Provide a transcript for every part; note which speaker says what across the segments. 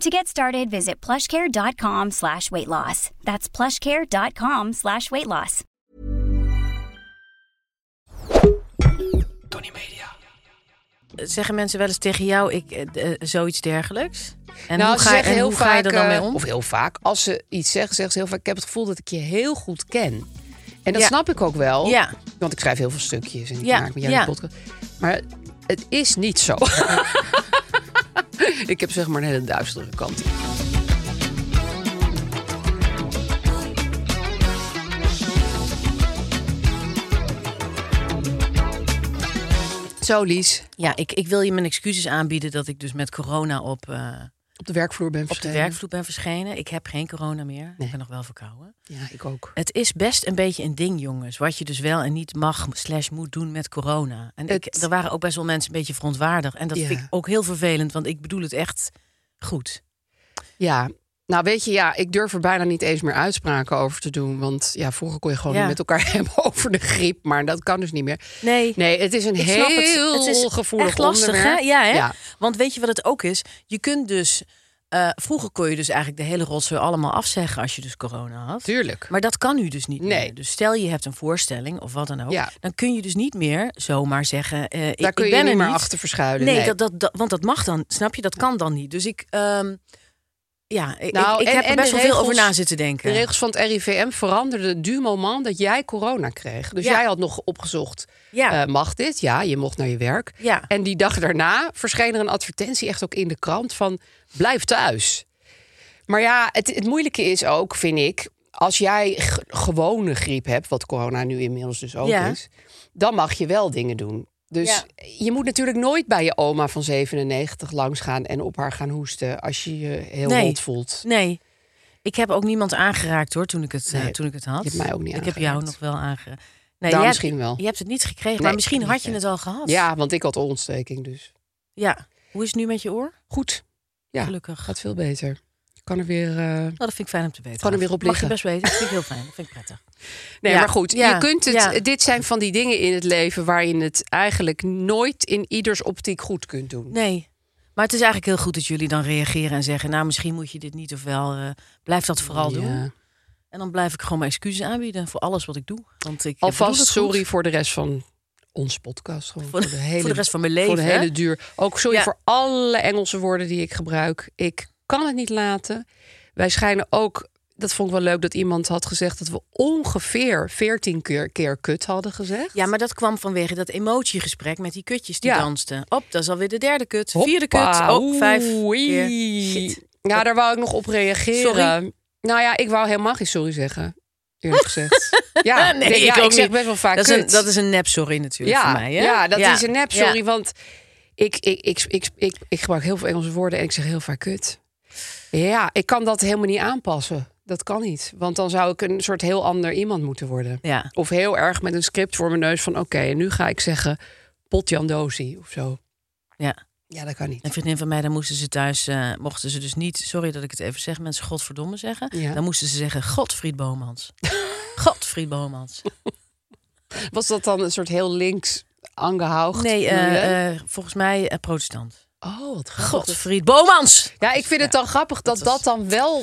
Speaker 1: To get started, visit plushcare.com slash weight loss. That's plushcare.com slash weight loss.
Speaker 2: Tony Media. Zeggen mensen wel eens tegen jou ik, eh, eh, zoiets dergelijks? En
Speaker 3: nou,
Speaker 2: hoe,
Speaker 3: ze
Speaker 2: ga,
Speaker 3: zeggen
Speaker 2: en
Speaker 3: heel
Speaker 2: hoe ga je
Speaker 3: vaak,
Speaker 2: er dan mee
Speaker 3: eh,
Speaker 2: om?
Speaker 3: Of heel vaak, als ze iets zeggen, zeggen ze heel vaak... ik heb het gevoel dat ik je heel goed ken. En dat
Speaker 2: Ja.
Speaker 3: snap ik ook wel.
Speaker 2: Ja.
Speaker 3: Want ik schrijf heel veel stukjes en ik
Speaker 2: Ja,
Speaker 3: maak met jou die
Speaker 2: ja.
Speaker 3: podcast. Maar het is niet zo. ik heb zeg maar een hele duistere kant. Zo, Lies.
Speaker 2: Ja, ik, ik wil je mijn excuses aanbieden dat ik dus met corona op, eh,
Speaker 3: Op de werkvloer ben
Speaker 2: op de
Speaker 3: verschenen.
Speaker 2: werkvloer ben verschenen. Ik heb geen corona meer. Ik ben nog wel verkouden.
Speaker 3: Ja, ik ook.
Speaker 2: Het is best een beetje een ding, jongens. Wat je dus wel en niet mag slash moet doen met corona. En ik,
Speaker 3: Het-
Speaker 2: er waren ook best wel mensen een beetje verontwaardigd. En dat
Speaker 3: Ja.
Speaker 2: vind ik ook heel vervelend, want ik bedoel het echt goed.
Speaker 3: Ja. Nou, weet je, ja, ik durf er bijna niet eens meer uitspraken over te doen. Want ja, vroeger kon je gewoon
Speaker 2: Ja.
Speaker 3: niet met elkaar hebben over de griep. Maar dat kan dus niet meer.
Speaker 2: Nee.
Speaker 3: Nee, het is een
Speaker 2: Ik
Speaker 3: heel
Speaker 2: snap het. Het is
Speaker 3: gevoelig
Speaker 2: echt lastig,
Speaker 3: onderwerp.
Speaker 2: Hè? Ja, hè?
Speaker 3: Ja.
Speaker 2: Want weet je wat het ook is? Je kunt dus... eh, vroeger kon je dus eigenlijk de hele rotzooi allemaal afzeggen als je dus corona had.
Speaker 3: Tuurlijk.
Speaker 2: Maar dat kan nu dus niet
Speaker 3: Nee.
Speaker 2: meer. Dus stel je hebt een voorstelling of wat dan ook.
Speaker 3: Ja.
Speaker 2: Dan kun je dus niet meer zomaar zeggen... eh, ik,
Speaker 3: Daar kun
Speaker 2: ik
Speaker 3: je
Speaker 2: ben
Speaker 3: niet
Speaker 2: er
Speaker 3: meer
Speaker 2: niet.
Speaker 3: achter verschuilen.
Speaker 2: Nee,
Speaker 3: nee.
Speaker 2: Dat, dat, dat, want dat mag dan, snap je? Dat kan dan niet. Dus ik... ehm, ja, ik,
Speaker 3: Nou,
Speaker 2: ik, ik
Speaker 3: en-
Speaker 2: heb
Speaker 3: en
Speaker 2: er best
Speaker 3: de
Speaker 2: wel veel over
Speaker 3: regels-
Speaker 2: na zitten denken.
Speaker 3: De regels van het RIVM veranderden du moment dat jij corona kreeg. Dus
Speaker 2: Ja.
Speaker 3: jij had nog opgezocht,
Speaker 2: Ja.
Speaker 3: eh, mag dit? Ja, je mocht naar je werk.
Speaker 2: Ja.
Speaker 3: En die dag daarna verscheen er een advertentie echt ook in de krant van blijf thuis. Maar ja, het, het moeilijke is ook, vind ik, als jij g- gewone griep hebt, wat corona nu inmiddels dus ook
Speaker 2: Ja.
Speaker 3: is, dan mag je wel dingen doen. Dus je moet natuurlijk nooit bij je oma van 97 langsgaan en op haar gaan hoesten als je je heel
Speaker 2: Nee.
Speaker 3: rot voelt.
Speaker 2: Nee. Ik heb ook niemand aangeraakt hoor toen ik het, eh,
Speaker 3: Nee,
Speaker 2: toen ik het had.
Speaker 3: je hebt mij ook niet
Speaker 2: Ik heb jou
Speaker 3: aangeraakt.
Speaker 2: nog wel aangeraakt. Nee,
Speaker 3: Nou,
Speaker 2: jij-
Speaker 3: misschien wel.
Speaker 2: Je hebt het niet gekregen,
Speaker 3: Nee,
Speaker 2: maar misschien
Speaker 3: niet
Speaker 2: had je het
Speaker 3: gekregen.
Speaker 2: al gehad.
Speaker 3: Ja, want ik had ontsteking dus.
Speaker 2: ja. Hoe is het nu met je oor?
Speaker 3: Goed. Ja,
Speaker 2: Gelukkig.
Speaker 3: gaat veel beter. Ik kan er weer... eh,
Speaker 2: Nou, dat vind ik fijn om te weten.
Speaker 3: Kan er weer op
Speaker 2: Mag je
Speaker 3: liggen.
Speaker 2: best weten. Dat vind ik heel fijn. Dat vind ik prettig.
Speaker 3: Nee,
Speaker 2: Ja.
Speaker 3: maar goed.
Speaker 2: Ja.
Speaker 3: Je kunt het,
Speaker 2: Ja.
Speaker 3: Dit zijn van die dingen in het leven waar je het eigenlijk nooit in ieders optiek goed kunt doen.
Speaker 2: Nee. Maar het is eigenlijk heel goed dat jullie dan reageren en zeggen... nou, misschien moet je dit niet of wel. eh, blijf dat vooral doen.
Speaker 3: Ja.
Speaker 2: En dan blijf ik gewoon mijn excuses aanbieden voor alles wat ik doe. Want ik bedoel
Speaker 3: Alvast
Speaker 2: het goed.
Speaker 3: sorry voor de rest van ons podcast. Gewoon voor, de hele,
Speaker 2: voor de rest van mijn
Speaker 3: Voor de
Speaker 2: leven, hè?
Speaker 3: hele duur. Ook sorry
Speaker 2: Ja.
Speaker 3: voor alle Engelse woorden die ik gebruik. Ik kan het niet laten. Wij schijnen ook... Dat vond ik wel leuk dat iemand had gezegd... dat we ongeveer 14 keer, keer kut hadden gezegd.
Speaker 2: Ja, maar dat kwam vanwege dat emotiegesprek met die kutjes die
Speaker 3: Ja.
Speaker 2: dansten. Op, dat is alweer de derde kut.
Speaker 3: Hoppa,
Speaker 2: Vierde kut. Ook vijf
Speaker 3: oei.
Speaker 2: keer. Shit.
Speaker 3: Ja, daar wou ik nog op reageren.
Speaker 2: Sorry.
Speaker 3: Nou ja, ik wou helemaal geen sorry zeggen. Eerlijk gezegd. Ja,
Speaker 2: Nee,
Speaker 3: ja,
Speaker 2: ik ook
Speaker 3: zeg
Speaker 2: niet.
Speaker 3: best wel vaak
Speaker 2: dat is, een,
Speaker 3: kut.
Speaker 2: dat is een nep sorry natuurlijk
Speaker 3: ja,
Speaker 2: voor mij. Hè?
Speaker 3: ja, dat is een nep
Speaker 2: Ja.
Speaker 3: sorry. Want ik, ik, ik, ik, ik, ik gebruik heel veel Engelse woorden en ik zeg heel vaak kut. Ja, ik kan dat helemaal niet aanpassen. Dat kan niet. Want dan zou ik een soort heel ander iemand moeten worden.
Speaker 2: Ja.
Speaker 3: Of heel erg met een script voor mijn neus van... oké, en nu ga ik zeggen potjandosi of zo.
Speaker 2: Ja.
Speaker 3: Ja, dat kan niet.
Speaker 2: Een vriendin van mij, daar moesten ze thuis, eh, mochten ze dus niet, sorry dat ik het even zeg, mensen godverdomme zeggen.
Speaker 3: Ja.
Speaker 2: Dan moesten ze zeggen, Godfried Bomans. Godfried Bomans.
Speaker 3: Was dat dan een soort heel links aangehoogd?
Speaker 2: Nee, eh,
Speaker 3: milieu?
Speaker 2: eh, volgens mij eh, protestant.
Speaker 3: oh, wat grappig.
Speaker 2: Godfried Bomans!
Speaker 3: Ja, ik vind het dan grappig dat dat,
Speaker 2: was-
Speaker 3: dan wel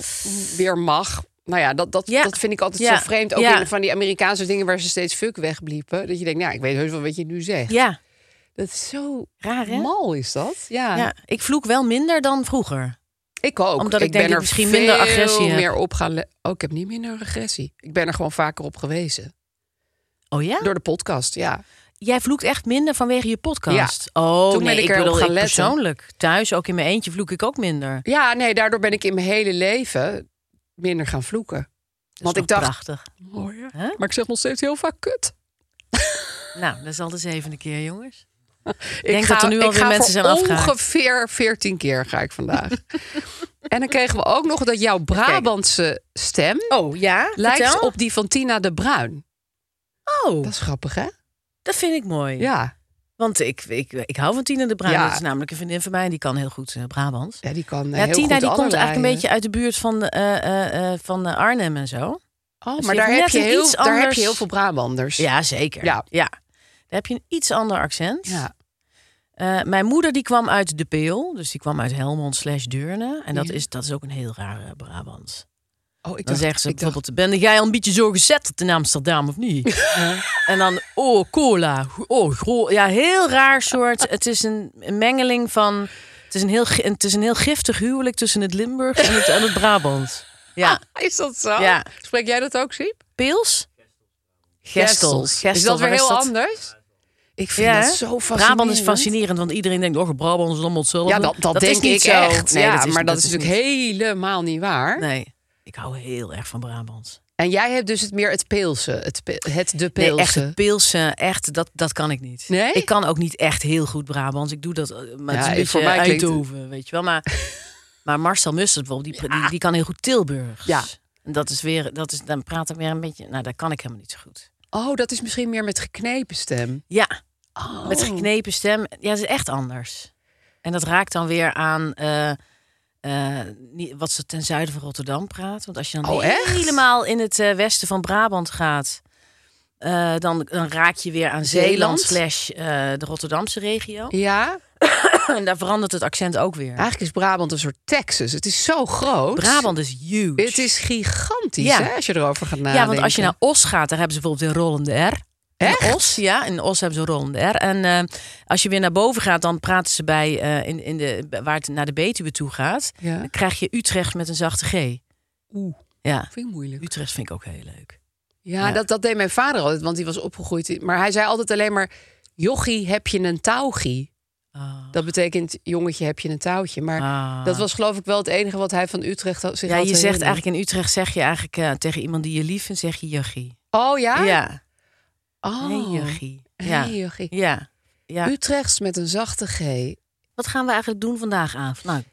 Speaker 3: weer mag. Nou ja, dat, dat,
Speaker 2: Ja.
Speaker 3: dat vind ik altijd
Speaker 2: Ja.
Speaker 3: zo vreemd. Ook
Speaker 2: Ja.
Speaker 3: in van die Amerikaanse dingen waar ze steeds fuck wegbliepen. Dat je denkt, nou, ik weet heus wel wat je nu zegt.
Speaker 2: Ja,
Speaker 3: Dat is zo
Speaker 2: raar hè?
Speaker 3: mal is dat. Ja,
Speaker 2: Ja, ik vloek wel minder dan vroeger.
Speaker 3: ik ook.
Speaker 2: Omdat ik
Speaker 3: ben
Speaker 2: denk dat
Speaker 3: er
Speaker 2: ik misschien minder
Speaker 3: veel
Speaker 2: agressie heb.
Speaker 3: meer op gaan le- Oh, ik heb niet minder agressie. Ik ben er gewoon vaker op gewezen.
Speaker 2: Oh ja?
Speaker 3: Door de podcast, ja.
Speaker 2: Jij vloekt echt minder vanwege je podcast? Oh
Speaker 3: Toen
Speaker 2: nee,
Speaker 3: ben ik
Speaker 2: ik,
Speaker 3: erop
Speaker 2: bedoel
Speaker 3: gaan
Speaker 2: ik
Speaker 3: letten.
Speaker 2: persoonlijk. Thuis, ook in mijn eentje, vloek ik ook minder.
Speaker 3: Ja, nee, daardoor ben ik in mijn hele leven minder gaan vloeken.
Speaker 2: Dat
Speaker 3: Want
Speaker 2: is
Speaker 3: ik
Speaker 2: nog
Speaker 3: dacht,
Speaker 2: prachtig.
Speaker 3: mooi, hè?
Speaker 2: Hè?
Speaker 3: maar ik zeg nog steeds heel vaak kut.
Speaker 2: Nou, dat is al de zevende keer, jongens.
Speaker 3: Ik
Speaker 2: denk dat er nu
Speaker 3: ik
Speaker 2: alweer
Speaker 3: ga
Speaker 2: mensen
Speaker 3: voor
Speaker 2: zijn afgehaakt.
Speaker 3: Ongeveer 14 keer ga ik vandaag. en dan kregen we ook nog dat jouw Brabantse stem
Speaker 2: Oh ja?
Speaker 3: lijkt
Speaker 2: Vertel.
Speaker 3: op die van Tina de Bruin.
Speaker 2: Oh,
Speaker 3: Dat is grappig, hè?
Speaker 2: dat vind ik mooi.
Speaker 3: Ja,
Speaker 2: Want ik, ik, ik hou van Tina de Bruin.
Speaker 3: Ja.
Speaker 2: Dat is namelijk een vriendin van mij en die kan heel goed eh, Brabants.
Speaker 3: ja die kan eh,
Speaker 2: ja,
Speaker 3: heel
Speaker 2: Tina die
Speaker 3: goed
Speaker 2: komt
Speaker 3: allerlei, eh.
Speaker 2: eigenlijk een
Speaker 3: hè?
Speaker 2: beetje uit de buurt van, eh, eh, eh, van eh, Arnhem en zo.
Speaker 3: Oh,
Speaker 2: ze
Speaker 3: maar
Speaker 2: heeft
Speaker 3: daar heb,
Speaker 2: net
Speaker 3: je
Speaker 2: een
Speaker 3: heel,
Speaker 2: iets
Speaker 3: daar heb
Speaker 2: anders-
Speaker 3: je heel veel Brabanders.
Speaker 2: Ja, zeker.
Speaker 3: Ja.
Speaker 2: Daar heb je een iets ander accent.
Speaker 3: Ja.
Speaker 2: Eh, mijn moeder die kwam uit De Peel. Dus die kwam uit Helmond slash Deurne. En dat,
Speaker 3: Ja.
Speaker 2: is, dat is ook een heel rare Brabant.
Speaker 3: Oh, ik
Speaker 2: Dan
Speaker 3: dacht,
Speaker 2: zeggen ze
Speaker 3: ik dacht,
Speaker 2: bijvoorbeeld... Ben jij al een beetje zo gezetteld in Amsterdam of niet? Eh, en dan, oh, cola. Oh, gro Ja, heel raar soort. Het is een, een mengeling van... Het is een, heel, gi- het is een heel giftig huwelijk tussen het Limburgs en het, en het Brabant. Ja.
Speaker 3: Ah, is dat zo?
Speaker 2: Ja.
Speaker 3: Spreek jij dat ook, Siep?
Speaker 2: Pils?
Speaker 3: Is dat weer
Speaker 2: waar
Speaker 3: heel anders? Ik vind
Speaker 2: Ja,
Speaker 3: dat
Speaker 2: hè?
Speaker 3: zo fascinerend.
Speaker 2: Brabant is fascinerend, want iedereen denkt, oh, Brabant is allemaal hetzelfde.
Speaker 3: Ja, dat, dat,
Speaker 2: is
Speaker 3: denk
Speaker 2: niet
Speaker 3: ik
Speaker 2: zo.
Speaker 3: echt.
Speaker 2: Nee,
Speaker 3: ja,
Speaker 2: dat is,
Speaker 3: maar dat, is natuurlijk
Speaker 2: niet-
Speaker 3: helemaal niet waar.
Speaker 2: Nee, ik hou heel erg van Brabant.
Speaker 3: En jij hebt dus het meer het peelse, het, pe- het de
Speaker 2: Nee,
Speaker 3: peelse.
Speaker 2: echt het pilsen, echt, dat, dat kan ik niet.
Speaker 3: Nee?
Speaker 2: Ik kan ook niet echt heel goed Brabants. Ik doe dat, eh, maar het is
Speaker 3: Ja,
Speaker 2: een beetje
Speaker 3: voor mij klinkt-
Speaker 2: Eindhoven, weet je wel. Maar, maar Marcel Musters bijvoorbeeld, die, die, die kan heel goed Tilburgs.
Speaker 3: Ja.
Speaker 2: En dat is weer, dat is, dan praat ik weer een beetje, nou, daar kan ik helemaal niet zo goed.
Speaker 3: Oh, dat is misschien meer met geknepen stem.
Speaker 2: Ja,
Speaker 3: Oh.
Speaker 2: Met geknepen stem. Ja, het is echt anders. En dat raakt dan weer aan eh, eh, niet- wat ze ten zuiden van Rotterdam praat. Want als je dan
Speaker 3: Oh, echt?
Speaker 2: helemaal in het eh, westen van Brabant gaat... eh, dan, dan raak je weer aan Zeeland
Speaker 3: Zeeland?
Speaker 2: slash eh, de Rotterdamse regio.
Speaker 3: Ja, Ah,
Speaker 2: En daar verandert het accent ook weer.
Speaker 3: eigenlijk is Brabant een soort Texas. Het is zo groot.
Speaker 2: Brabant is huge.
Speaker 3: Het is gigantisch,
Speaker 2: Ja.
Speaker 3: hè, als je erover gaat nadenken.
Speaker 2: ja, want als je naar Os gaat, daar hebben ze bijvoorbeeld een rollende R.
Speaker 3: Echt?
Speaker 2: In Os, ja, in Os hebben ze een rollende R. En eh, als je weer naar boven gaat, dan praten ze bij, eh, in, in de, waar het naar de Betuwe toe gaat.
Speaker 3: Ja,
Speaker 2: Dan krijg je Utrecht met een zachte G.
Speaker 3: oeh,
Speaker 2: Ja,
Speaker 3: vind ik moeilijk.
Speaker 2: Utrecht vind ik ook heel leuk.
Speaker 3: Ja,
Speaker 2: Ja.
Speaker 3: Dat, dat deed mijn vader altijd, want die was opgegroeid. in- Maar hij zei altijd alleen maar, jochie, heb je een touwgie? Dat betekent, jongetje, heb je een touwtje. Maar
Speaker 2: Ah.
Speaker 3: dat was geloof ik wel het enige wat hij van Utrecht had- zich
Speaker 2: ja,
Speaker 3: had
Speaker 2: je zegt
Speaker 3: herinnerd.
Speaker 2: eigenlijk in Utrecht zeg je eigenlijk eh, tegen iemand die je lief vindt, zeg je jachie.
Speaker 3: Oh ja?
Speaker 2: Ja.
Speaker 3: Oh.
Speaker 2: Hey, jachie. Ja.
Speaker 3: Hey, jochie.
Speaker 2: ja. Ja.
Speaker 3: Utrechts met een zachte G.
Speaker 2: Wat gaan we eigenlijk doen vandaag aan? Nou,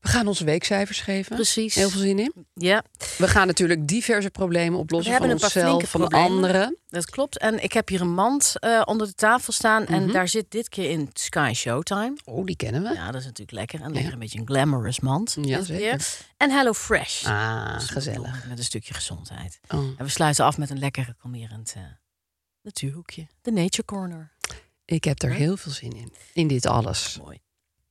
Speaker 3: We gaan onze weekcijfers geven.
Speaker 2: precies.
Speaker 3: Heel veel zin in.
Speaker 2: Ja,
Speaker 3: We gaan natuurlijk diverse problemen oplossen
Speaker 2: We
Speaker 3: van
Speaker 2: hebben een paar
Speaker 3: onszelf,
Speaker 2: flinke
Speaker 3: van
Speaker 2: problemen.
Speaker 3: anderen.
Speaker 2: dat klopt. En ik heb hier een mand eh, onder de tafel staan.
Speaker 3: Mhm.
Speaker 2: En daar zit dit keer in Sky Showtime.
Speaker 3: Oh, die kennen we.
Speaker 2: Ja, dat is natuurlijk lekker. En lekker een beetje een glamorous mand.
Speaker 3: Ja,
Speaker 2: dit
Speaker 3: Mm, zeker.
Speaker 2: keer. En Hello Fresh.
Speaker 3: Ah,
Speaker 2: Dus
Speaker 3: gezellig.
Speaker 2: Met een stukje gezondheid.
Speaker 3: Oh.
Speaker 2: En we sluiten af met een lekker reclamerend eh, natuurhoekje. De Nature Corner.
Speaker 3: Ik heb er heel veel zin in. In dit alles.
Speaker 2: Mooi.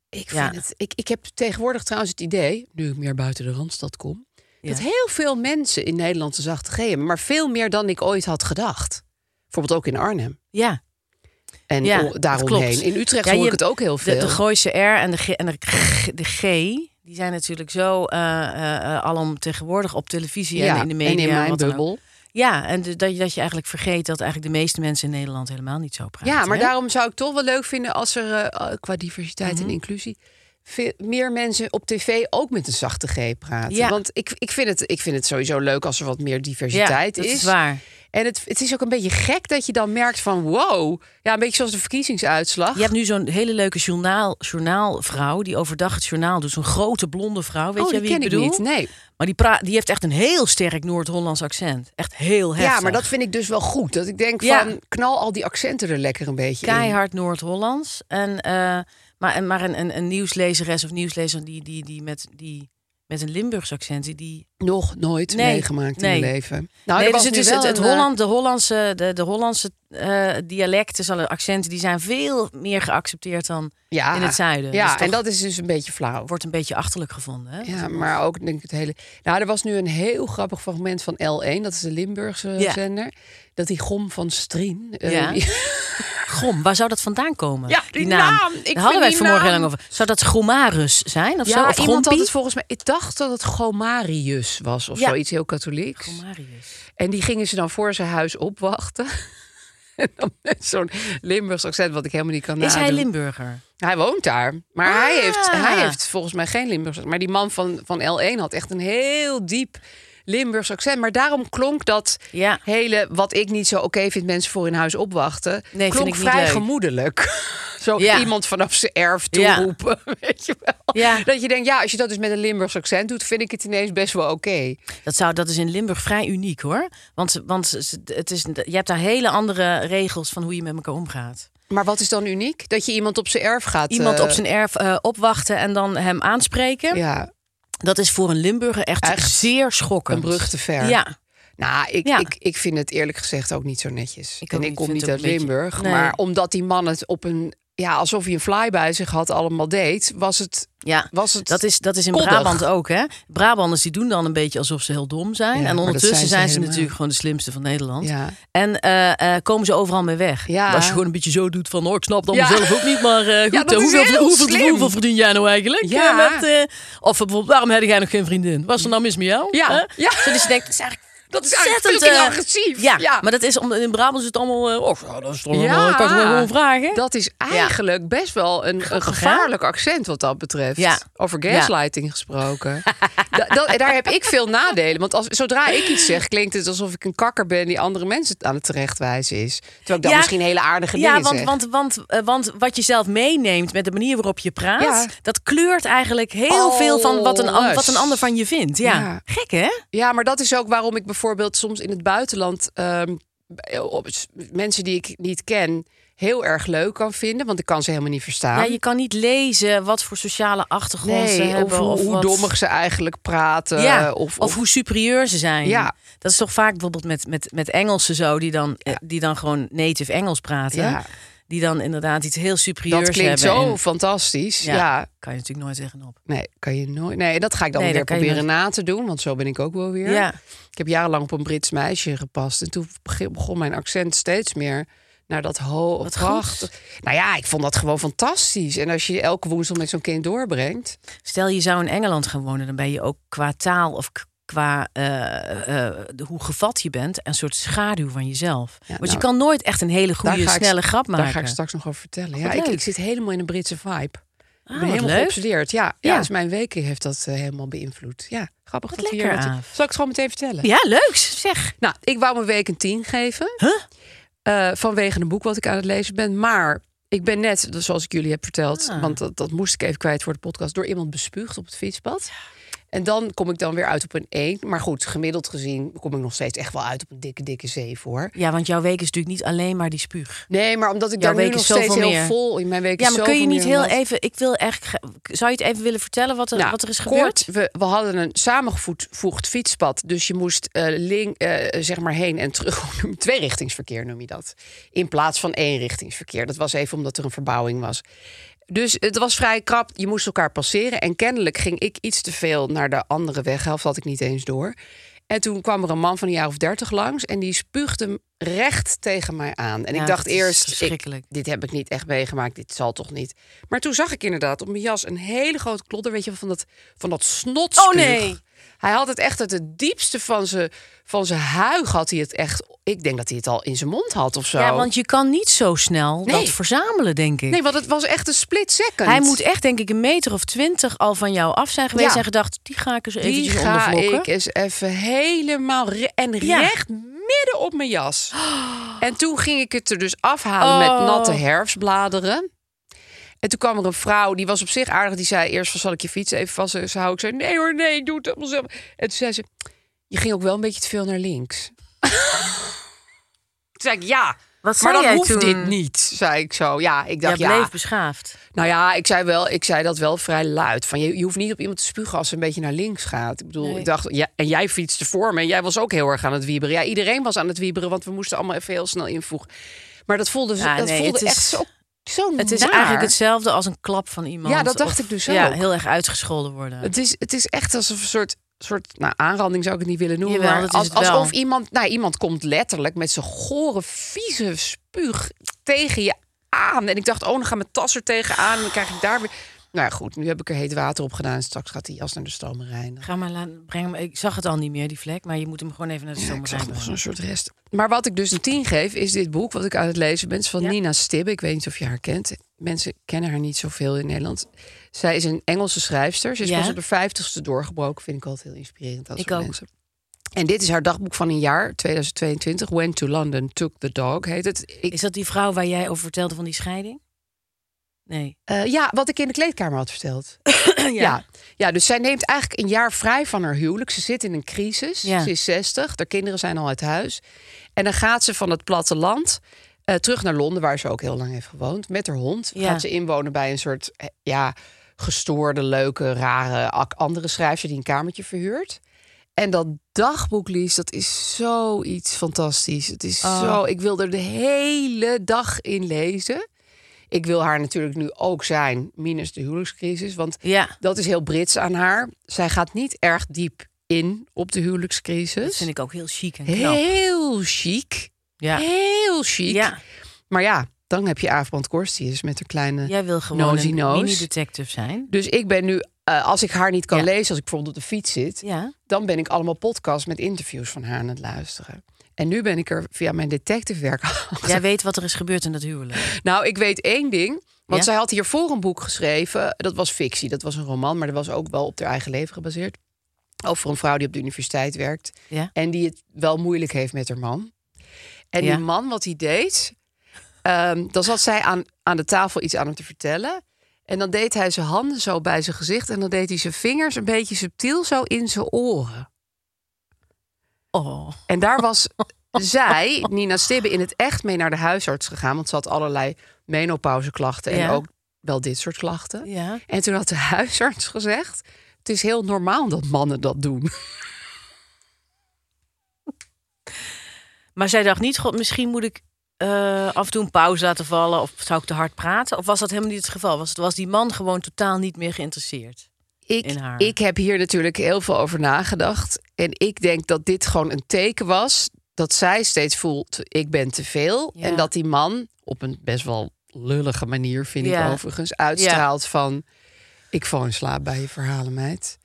Speaker 3: Ik,
Speaker 2: Ja.
Speaker 3: vind het, ik, ik heb tegenwoordig trouwens het idee, nu ik meer buiten de Randstad kom...
Speaker 2: Ja.
Speaker 3: dat heel veel mensen in Nederland een zachte G hebben. Maar veel meer dan ik ooit had gedacht. Bijvoorbeeld ook in Arnhem.
Speaker 2: Ja,
Speaker 3: En
Speaker 2: ja
Speaker 3: o-
Speaker 2: dat
Speaker 3: daaromheen.
Speaker 2: klopt.
Speaker 3: In Utrecht
Speaker 2: Ja,
Speaker 3: hoor
Speaker 2: je-
Speaker 3: ik het ook heel
Speaker 2: de,
Speaker 3: veel.
Speaker 2: de Gooise R en de G, en de, G- de G, die zijn natuurlijk zo eh eh, eh, alomtegenwoordig op televisie en in de media.
Speaker 3: en in
Speaker 2: en
Speaker 3: mijn
Speaker 2: wat dan ook.
Speaker 3: bubbel.
Speaker 2: Ja, en de- dat, je- dat je eigenlijk vergeet dat eigenlijk de meeste mensen in Nederland helemaal niet zo praten.
Speaker 3: Ja, maar
Speaker 2: hè?
Speaker 3: daarom zou ik toch wel leuk vinden als er eh, qua diversiteit
Speaker 2: Mhm.
Speaker 3: en inclusie veel meer mensen op tv ook met een zachte G praten.
Speaker 2: Ja.
Speaker 3: Want ik, ik, vind het, ik vind het sowieso leuk als er wat meer
Speaker 2: ja,
Speaker 3: diversiteit
Speaker 2: dat
Speaker 3: is.
Speaker 2: is, waar.
Speaker 3: En het, het is ook een beetje gek dat je dan merkt van wow. Ja, een beetje zoals de verkiezingsuitslag.
Speaker 2: Je hebt nu zo'n hele leuke journaal, journaalvrouw die overdag het journaal doet. Zo'n grote blonde vrouw. Weet
Speaker 3: oh,
Speaker 2: je
Speaker 3: die
Speaker 2: wie
Speaker 3: ken
Speaker 2: ik
Speaker 3: ik
Speaker 2: bedoel?
Speaker 3: niet. Nee.
Speaker 2: Maar die, pra- die heeft echt een heel sterk Noord-Hollands accent. Echt heel heftig.
Speaker 3: Ja, maar dat vind ik dus wel goed. Dat ik denk
Speaker 2: Ja.
Speaker 3: van knal al die accenten er lekker een beetje in.
Speaker 2: keihard Noord-Hollands. En, eh, maar en, maar een, een, een nieuwslezeres of nieuwslezer die, die, die met die met een Limburgs accent die
Speaker 3: Nog nooit
Speaker 2: Nee,
Speaker 3: meegemaakt
Speaker 2: nee.
Speaker 3: in mijn leven. Nou,
Speaker 2: nee,
Speaker 3: er
Speaker 2: dus
Speaker 3: was
Speaker 2: het,
Speaker 3: nu
Speaker 2: is
Speaker 3: wel
Speaker 2: het, het
Speaker 3: een,
Speaker 2: Holland, de Hollandse, de, de Hollandse eh, dialecten, zal- accenten, die zijn veel meer geaccepteerd dan
Speaker 3: eh, ja,
Speaker 2: in het zuiden.
Speaker 3: Ja,
Speaker 2: Dus toch
Speaker 3: en dat is dus een beetje flauw.
Speaker 2: wordt een beetje achterlijk gevonden. Hè?
Speaker 3: Ja, maar ook denk ik het hele. Nou, er was nu een heel grappig fragment van L1, dat is de Limburgse
Speaker 2: Ja.
Speaker 3: zender. Dat die Gom van Strien. eh,
Speaker 2: Ja. Grom, waar zou dat vandaan komen?
Speaker 3: Ja, die naam. Ik
Speaker 2: Daar
Speaker 3: vind
Speaker 2: hadden wij het
Speaker 3: die
Speaker 2: vanmorgen heel
Speaker 3: naam-
Speaker 2: lang over. Zou dat Gromarus zijn of zo?
Speaker 3: ja
Speaker 2: Of
Speaker 3: iemand had
Speaker 2: Grompie?
Speaker 3: het volgens mij. Ik dacht dat het Gomarius was of
Speaker 2: Ja.
Speaker 3: zoiets heel katholieks.
Speaker 2: Gromarius.
Speaker 3: En die gingen ze dan voor zijn huis opwachten. En dan met zo'n Limburgs accent, wat ik helemaal niet kan
Speaker 2: Is hij
Speaker 3: nadoen.
Speaker 2: Limburger?
Speaker 3: Hij woont daar. Maar hij,
Speaker 2: Ah.
Speaker 3: heeft, hij heeft volgens mij geen Limburgs accent. Maar die man van, van L1 had echt een heel diep Limburgs accent. Maar daarom klonk dat
Speaker 2: Ja.
Speaker 3: hele, wat ik niet zo oké vind, mensen voor in huis opwachten.
Speaker 2: vind
Speaker 3: klonk
Speaker 2: ik niet
Speaker 3: vrij
Speaker 2: leuk.
Speaker 3: gemoedelijk. zo
Speaker 2: Ja.
Speaker 3: iemand vanaf zijn erf
Speaker 2: Ja.
Speaker 3: toeroepen. Weet je wel?
Speaker 2: Ja.
Speaker 3: Dat je denkt, ja, als je dat dus met een Limburgs accent doet, vind ik het ineens best wel oké.
Speaker 2: Dat, zou, dat is in Limburg vrij uniek hoor. Want, ze- want ze- ze- het is, je hebt daar hele andere regels van hoe je met elkaar omgaat.
Speaker 3: Maar wat is dan uniek? Dat je iemand op zijn erf gaat.
Speaker 2: Iemand
Speaker 3: eh,
Speaker 2: op zijn erf eh, opwachten en dan hem aanspreken.
Speaker 3: Ja,
Speaker 2: Dat is voor een Limburger echt,
Speaker 3: Echt
Speaker 2: zeer schokkend.
Speaker 3: een brug te ver.
Speaker 2: Ja,
Speaker 3: Nou, ik,
Speaker 2: Ja.
Speaker 3: ik, ik vind het eerlijk gezegd ook niet zo netjes.
Speaker 2: Ik ook
Speaker 3: en ik
Speaker 2: niet.
Speaker 3: kom
Speaker 2: Vind
Speaker 3: niet
Speaker 2: het
Speaker 3: uit
Speaker 2: ook een beetje-
Speaker 3: Limburg.
Speaker 2: Nee.
Speaker 3: Maar omdat die man het op een... Ja, alsof hij een fly bij zich had, allemaal deed. Was het...
Speaker 2: ja.
Speaker 3: Was het
Speaker 2: Dat is, dat is in
Speaker 3: Koddig.
Speaker 2: Brabant ook, hè? Brabanders die doen dan een beetje alsof ze heel dom zijn.
Speaker 3: Ja, maar
Speaker 2: en
Speaker 3: dat
Speaker 2: ondertussen
Speaker 3: zijn
Speaker 2: zijn
Speaker 3: ze
Speaker 2: ze,
Speaker 3: helemaal.
Speaker 2: natuurlijk gewoon de slimste van Nederland.
Speaker 3: Ja.
Speaker 2: En eh, eh, komen ze overal mee weg.
Speaker 3: Ja.
Speaker 2: Als je gewoon een beetje zo doet van... Oh, ik snap dat
Speaker 3: Ja.
Speaker 2: mezelf ook niet, maar eh, goed.
Speaker 3: dat
Speaker 2: eh,
Speaker 3: is
Speaker 2: hoeveel,
Speaker 3: heel
Speaker 2: hoeveel,
Speaker 3: slim.
Speaker 2: hoeveel verdien jij nou eigenlijk?
Speaker 3: Ja.
Speaker 2: eh, met, eh, of bijvoorbeeld, waarom heb jij nog geen vriendin? Was er nou mis met jou?
Speaker 3: Ja.
Speaker 2: Hè?
Speaker 3: Ja.
Speaker 2: Zo, Dus je denkt, dat is eigenlijk...
Speaker 3: Dat is eigenlijk
Speaker 2: ontzettend,
Speaker 3: fucking
Speaker 2: eh,
Speaker 3: agressief.
Speaker 2: Ja,
Speaker 3: Ja.
Speaker 2: maar dat is om, in Brabant is het allemaal... eh, oh, ja, dat is toch wel-
Speaker 3: Ja.
Speaker 2: ik kan het gewoon vragen.
Speaker 3: Dat is eigenlijk best wel een, een
Speaker 2: Grappig, hè?
Speaker 3: gevaarlijk accent wat dat betreft.
Speaker 2: Ja.
Speaker 3: Over
Speaker 2: Ja.
Speaker 3: gaslighting gesproken. da, da- daar heb ik veel nadelen. Want als, zodra ik iets zeg, klinkt het alsof ik een kakker ben... die andere mensen aan het terechtwijzen is. Terwijl ik dan
Speaker 2: Ja.
Speaker 3: misschien hele aardige
Speaker 2: Ja,
Speaker 3: dingen
Speaker 2: want,
Speaker 3: zeg.
Speaker 2: want, want, eh, want wat je zelf meeneemt met de manier waarop je praat,
Speaker 3: Ja.
Speaker 2: dat kleurt eigenlijk heel
Speaker 3: Alles.
Speaker 2: veel van wat een, an- wat een ander van je vindt. Ja.
Speaker 3: Ja.
Speaker 2: Gek hè?
Speaker 3: Ja, maar dat is ook waarom ik bijvoorbeeld soms in het buitenland ehm, op- mensen die ik niet ken heel erg leuk kan vinden, want ik kan ze helemaal niet verstaan.
Speaker 2: Ja, je kan niet lezen wat voor sociale achtergrond ze
Speaker 3: nee, of
Speaker 2: hebben.
Speaker 3: hoe,
Speaker 2: of
Speaker 3: hoe
Speaker 2: wat-
Speaker 3: dommig ze eigenlijk praten.
Speaker 2: Ja,
Speaker 3: of,
Speaker 2: of,
Speaker 3: of,
Speaker 2: hoe superieur ze zijn.
Speaker 3: Ja.
Speaker 2: Dat is toch vaak bijvoorbeeld met, met, met Engelsen zo, die dan, eh, die dan gewoon native Engels praten.
Speaker 3: Ja.
Speaker 2: Die dan inderdaad iets heel superieurs
Speaker 3: dat klinkt
Speaker 2: hebben.
Speaker 3: zo
Speaker 2: en-
Speaker 3: fantastisch. Ja.
Speaker 2: ja, kan je natuurlijk nooit tegenop.
Speaker 3: nee, kan je nooit. Nee, dat ga ik dan
Speaker 2: Nee,
Speaker 3: weer
Speaker 2: dat kan je
Speaker 3: proberen na te doen, want zo ben ik ook wel weer. Ik heb jarenlang op een Brits meisje gepast. En toen beg- begon mijn accent steeds meer naar dat ho
Speaker 2: Wat
Speaker 3: prachtig. Nou ja, ik vond dat gewoon fantastisch. En als je elke woensdag met zo'n kind doorbrengt.
Speaker 2: Stel je zou in Engeland gaan wonen, dan ben je ook qua taal of k- qua eh, eh, de- hoe gevat je bent een soort schaduw van jezelf. Want
Speaker 3: nou,
Speaker 2: je kan nooit echt een hele
Speaker 3: daar
Speaker 2: goede,
Speaker 3: ga ik-
Speaker 2: snelle grap maken.
Speaker 3: Daar ga ik straks nog over vertellen. Ja,
Speaker 2: wat
Speaker 3: ik,
Speaker 2: leuk.
Speaker 3: ik zit helemaal in een Britse vibe.
Speaker 2: Ah,
Speaker 3: ik ben
Speaker 2: wat
Speaker 3: helemaal
Speaker 2: leuk.
Speaker 3: geobsedeerd. Ja, ja.
Speaker 2: Ja.
Speaker 3: dus mijn weken heeft dat eh, helemaal beïnvloed. Ja, grappig
Speaker 2: Wat
Speaker 3: dat we
Speaker 2: lekker,
Speaker 3: hier...
Speaker 2: Aaf.
Speaker 3: Zal ik het gewoon meteen vertellen?
Speaker 2: Ja, leuk. Zeg.
Speaker 3: Nou, ik wou mijn week een 10 geven. Eh, vanwege een boek wat ik aan het lezen ben. Maar ik ben net, dus zoals ik jullie heb verteld...
Speaker 2: Ah.
Speaker 3: want dat, dat moest ik even kwijt voor de podcast... door iemand bespuugd op het fietspad. En dan kom ik dan weer uit op een 1. Maar goed, gemiddeld gezien kom ik nog steeds echt wel uit op een dikke, dikke 7 hoor.
Speaker 2: Ja, want jouw week is natuurlijk niet alleen maar die spuug.
Speaker 3: Nee, maar omdat ik
Speaker 2: Jouw
Speaker 3: daar nu
Speaker 2: week
Speaker 3: nog
Speaker 2: is
Speaker 3: steeds
Speaker 2: zoveel
Speaker 3: heel
Speaker 2: meer.
Speaker 3: vol... in Mijn week
Speaker 2: Ja,
Speaker 3: is
Speaker 2: maar kun je
Speaker 3: zoveel
Speaker 2: niet
Speaker 3: meer
Speaker 2: heel
Speaker 3: omdat-
Speaker 2: even... Ik wil echt... gra- Zou je het even willen vertellen wat er,
Speaker 3: Nou,
Speaker 2: wat er is
Speaker 3: kort,
Speaker 2: gebeurd?
Speaker 3: we, we hadden een samengevoegd fietspad. Dus je moest eh link, eh, zeg maar heen en terug. Tweerichtingsverkeer noem je dat. In plaats van eenrichtingsverkeer. Dat was even omdat er een verbouwing was. Dus het was vrij krap. Je moest elkaar passeren. En kennelijk ging ik iets te veel naar de andere weghelft. Had ik niet eens door. En toen kwam er een man van een jaar of dertig langs. En die spuugde hem recht tegen mij aan. En
Speaker 2: Ja,
Speaker 3: ik dacht
Speaker 2: dat is
Speaker 3: eerst, ik,
Speaker 2: verschrikkelijk.
Speaker 3: dit heb ik niet echt meegemaakt, dit zal toch niet. Maar toen zag ik inderdaad op mijn jas een hele grote klodder, weet je, wel, van dat, van dat snotspuug.
Speaker 2: Oh, nee.
Speaker 3: Hij had het echt uit het diepste van zijn, van zijn huig, had hij het echt, ik denk dat hij het al in zijn mond had of zo.
Speaker 2: Ja, want je kan niet zo snel
Speaker 3: Nee.
Speaker 2: dat verzamelen, denk ik.
Speaker 3: Nee, want het was echt een split second.
Speaker 2: Hij moet echt, denk ik, een meter of twintig al van jou af zijn geweest
Speaker 3: Ja.
Speaker 2: en gedacht, die ga ik eens
Speaker 3: Die
Speaker 2: eventjes
Speaker 3: ga
Speaker 2: ondervlokken.
Speaker 3: ik eens even helemaal re- en
Speaker 2: Ja.
Speaker 3: recht midden op mijn jas. En toen ging ik het er dus afhalen
Speaker 2: Oh.
Speaker 3: met natte herfstbladeren. En toen kwam er een vrouw, die was op zich aardig. Die zei eerst van, zal ik je fiets even vasthouden? Ik zei, nee hoor, nee, ik doe het allemaal zelf. En toen zei ze, je ging ook wel een beetje te veel naar links. toen zei ik, ja,
Speaker 2: Wat
Speaker 3: Maar
Speaker 2: zei
Speaker 3: dan
Speaker 2: jij
Speaker 3: hoeft
Speaker 2: toen?
Speaker 3: dit niet, zei ik zo. Ja, ik
Speaker 2: Jij
Speaker 3: dacht,
Speaker 2: bleef
Speaker 3: ja,
Speaker 2: beschaafd.
Speaker 3: Nou ja, ik zei, wel, ik zei dat wel vrij luid. Van, je, je hoeft niet op iemand te spugen als ze een beetje naar links gaat. Ik bedoel,
Speaker 2: Nee.
Speaker 3: ik dacht, ja, en jij fietste voor me. En jij was ook heel erg aan het wieberen. Ja, iedereen was aan het wieberen, want we moesten allemaal even heel snel invoegen. Maar dat voelde,
Speaker 2: Ja,
Speaker 3: dat
Speaker 2: nee,
Speaker 3: voelde
Speaker 2: het is-
Speaker 3: echt zo, zo
Speaker 2: Het is
Speaker 3: naar.
Speaker 2: eigenlijk hetzelfde als een klap van iemand.
Speaker 3: Ja, dat dacht
Speaker 2: Of-
Speaker 3: ik dus
Speaker 2: Ja,
Speaker 3: ook.
Speaker 2: heel erg uitgescholden worden.
Speaker 3: Het is, het is echt alsof een soort, soort nou, aanranding zou ik het niet willen noemen.
Speaker 2: Jawel,
Speaker 3: maar
Speaker 2: dat is
Speaker 3: als-
Speaker 2: het wel.
Speaker 3: Alsof iemand, nou, iemand komt letterlijk met zijn gore, vieze spuug tegen je aan. En ik dacht, oh, dan gaat mijn tas er tegenaan. En dan krijg ik daar weer... Nou ja, goed, nu heb ik er heet water op gedaan. En straks gaat die jas naar de stomerij. En dan-
Speaker 2: Ga maar laten, breng hem. Ik zag het al niet meer, die vlek. Maar je moet hem gewoon even naar de
Speaker 3: Ja, ik
Speaker 2: zomer
Speaker 3: zag nog zo'n soort rest. Maar wat ik dus een 10 geef, is dit boek wat ik aan het lezen ben. Het is van
Speaker 2: Ja.
Speaker 3: Nina Stibbe. Ik weet niet of je haar kent. Mensen kennen haar niet zoveel in Nederland. Zij is een Engelse schrijfster. Ze is
Speaker 2: Ja.
Speaker 3: pas op de vijftigste doorgebroken. Vind ik altijd heel inspirerend. Dat
Speaker 2: Ik
Speaker 3: soort
Speaker 2: ook.
Speaker 3: mensen. En dit is haar dagboek van een jaar, 2022. Went to London, took the dog, heet het. Ik,
Speaker 2: Is dat die vrouw waar jij over vertelde van die scheiding? Nee.
Speaker 3: eh, ja, wat ik in de kleedkamer had verteld.
Speaker 2: Ja.
Speaker 3: Ja. ja, dus zij neemt eigenlijk een jaar vrij van haar huwelijk. Ze zit in een crisis.
Speaker 2: Ja.
Speaker 3: Ze is 60, haar kinderen zijn al uit huis. En dan gaat ze van het platteland eh, terug naar Londen, waar ze ook heel lang heeft gewoond. Met haar hond
Speaker 2: Ja.
Speaker 3: gaat ze inwonen bij een soort eh, ja, gestoorde, leuke, rare ak- andere schrijfster die een kamertje verhuurt. En dat dagboek, Lies, dat is zoiets fantastisch. Het is
Speaker 2: Oh.
Speaker 3: zo... Ik wil er de hele dag in lezen. Ik wil haar natuurlijk nu ook zijn, minus de huwelijkscrisis. Want
Speaker 2: Ja,
Speaker 3: dat is heel Brits aan haar. Zij gaat niet erg diep in op de
Speaker 2: dat
Speaker 3: huwelijkscrisis.
Speaker 2: vind ik ook heel chic en knap.
Speaker 3: heel chic.
Speaker 2: Ja.
Speaker 3: Heel chic.
Speaker 2: ja,
Speaker 3: Maar ja, dan heb je Aafbrand Korstius met haar kleine...
Speaker 2: jij wil gewoon
Speaker 3: Nosy
Speaker 2: een
Speaker 3: nose.
Speaker 2: mini-detective zijn.
Speaker 3: Dus ik ben nu, eh, als ik haar niet kan
Speaker 2: Ja.
Speaker 3: lezen, als ik bijvoorbeeld op de fiets zit...
Speaker 2: Ja.
Speaker 3: dan ben ik allemaal podcasts met interviews van haar aan het luisteren. En nu ben ik er via mijn detectivewerk achter.
Speaker 2: Jij weet wat er is gebeurd in dat huwelijk.
Speaker 3: Nou, ik weet één ding.
Speaker 2: Ja?
Speaker 3: Want zij had hiervoor een boek geschreven. Dat was fictie, dat was een roman. Maar dat was ook wel op haar eigen leven gebaseerd. Over een vrouw die op de universiteit werkt.
Speaker 2: Ja.
Speaker 3: En die het wel moeilijk heeft met haar man. En
Speaker 2: Ja.
Speaker 3: die man, wat hij deed... ehm, dan zat zij aan, aan de tafel iets aan hem te vertellen. En dan deed hij zijn handen zo bij zijn gezicht. En dan deed hij zijn vingers een beetje subtiel zo in zijn oren.
Speaker 2: Oh.
Speaker 3: En daar was zij, Nina Stibbe, in het echt mee naar de huisarts gegaan. Want ze had allerlei menopauzeklachten en
Speaker 2: Ja.
Speaker 3: ook wel dit soort klachten.
Speaker 2: Ja.
Speaker 3: En toen had de huisarts gezegd... het is heel normaal dat mannen dat doen.
Speaker 2: Maar zij dacht niet, god, misschien moet ik eh, af en toe een pauze laten vallen. Of zou ik te hard praten? Of was dat helemaal niet het geval? Was, het, was die man gewoon totaal niet meer geïnteresseerd?
Speaker 3: Ik,
Speaker 2: In haar.
Speaker 3: ik heb hier natuurlijk heel veel over nagedacht. En ik denk dat dit gewoon een teken was... dat zij steeds voelt, ik ben te veel.
Speaker 2: Ja.
Speaker 3: En dat die man, op een best wel lullige manier vind
Speaker 2: Ja.
Speaker 3: ik overigens... uitstraalt van, ik val in slaap bij je verhalen, meid.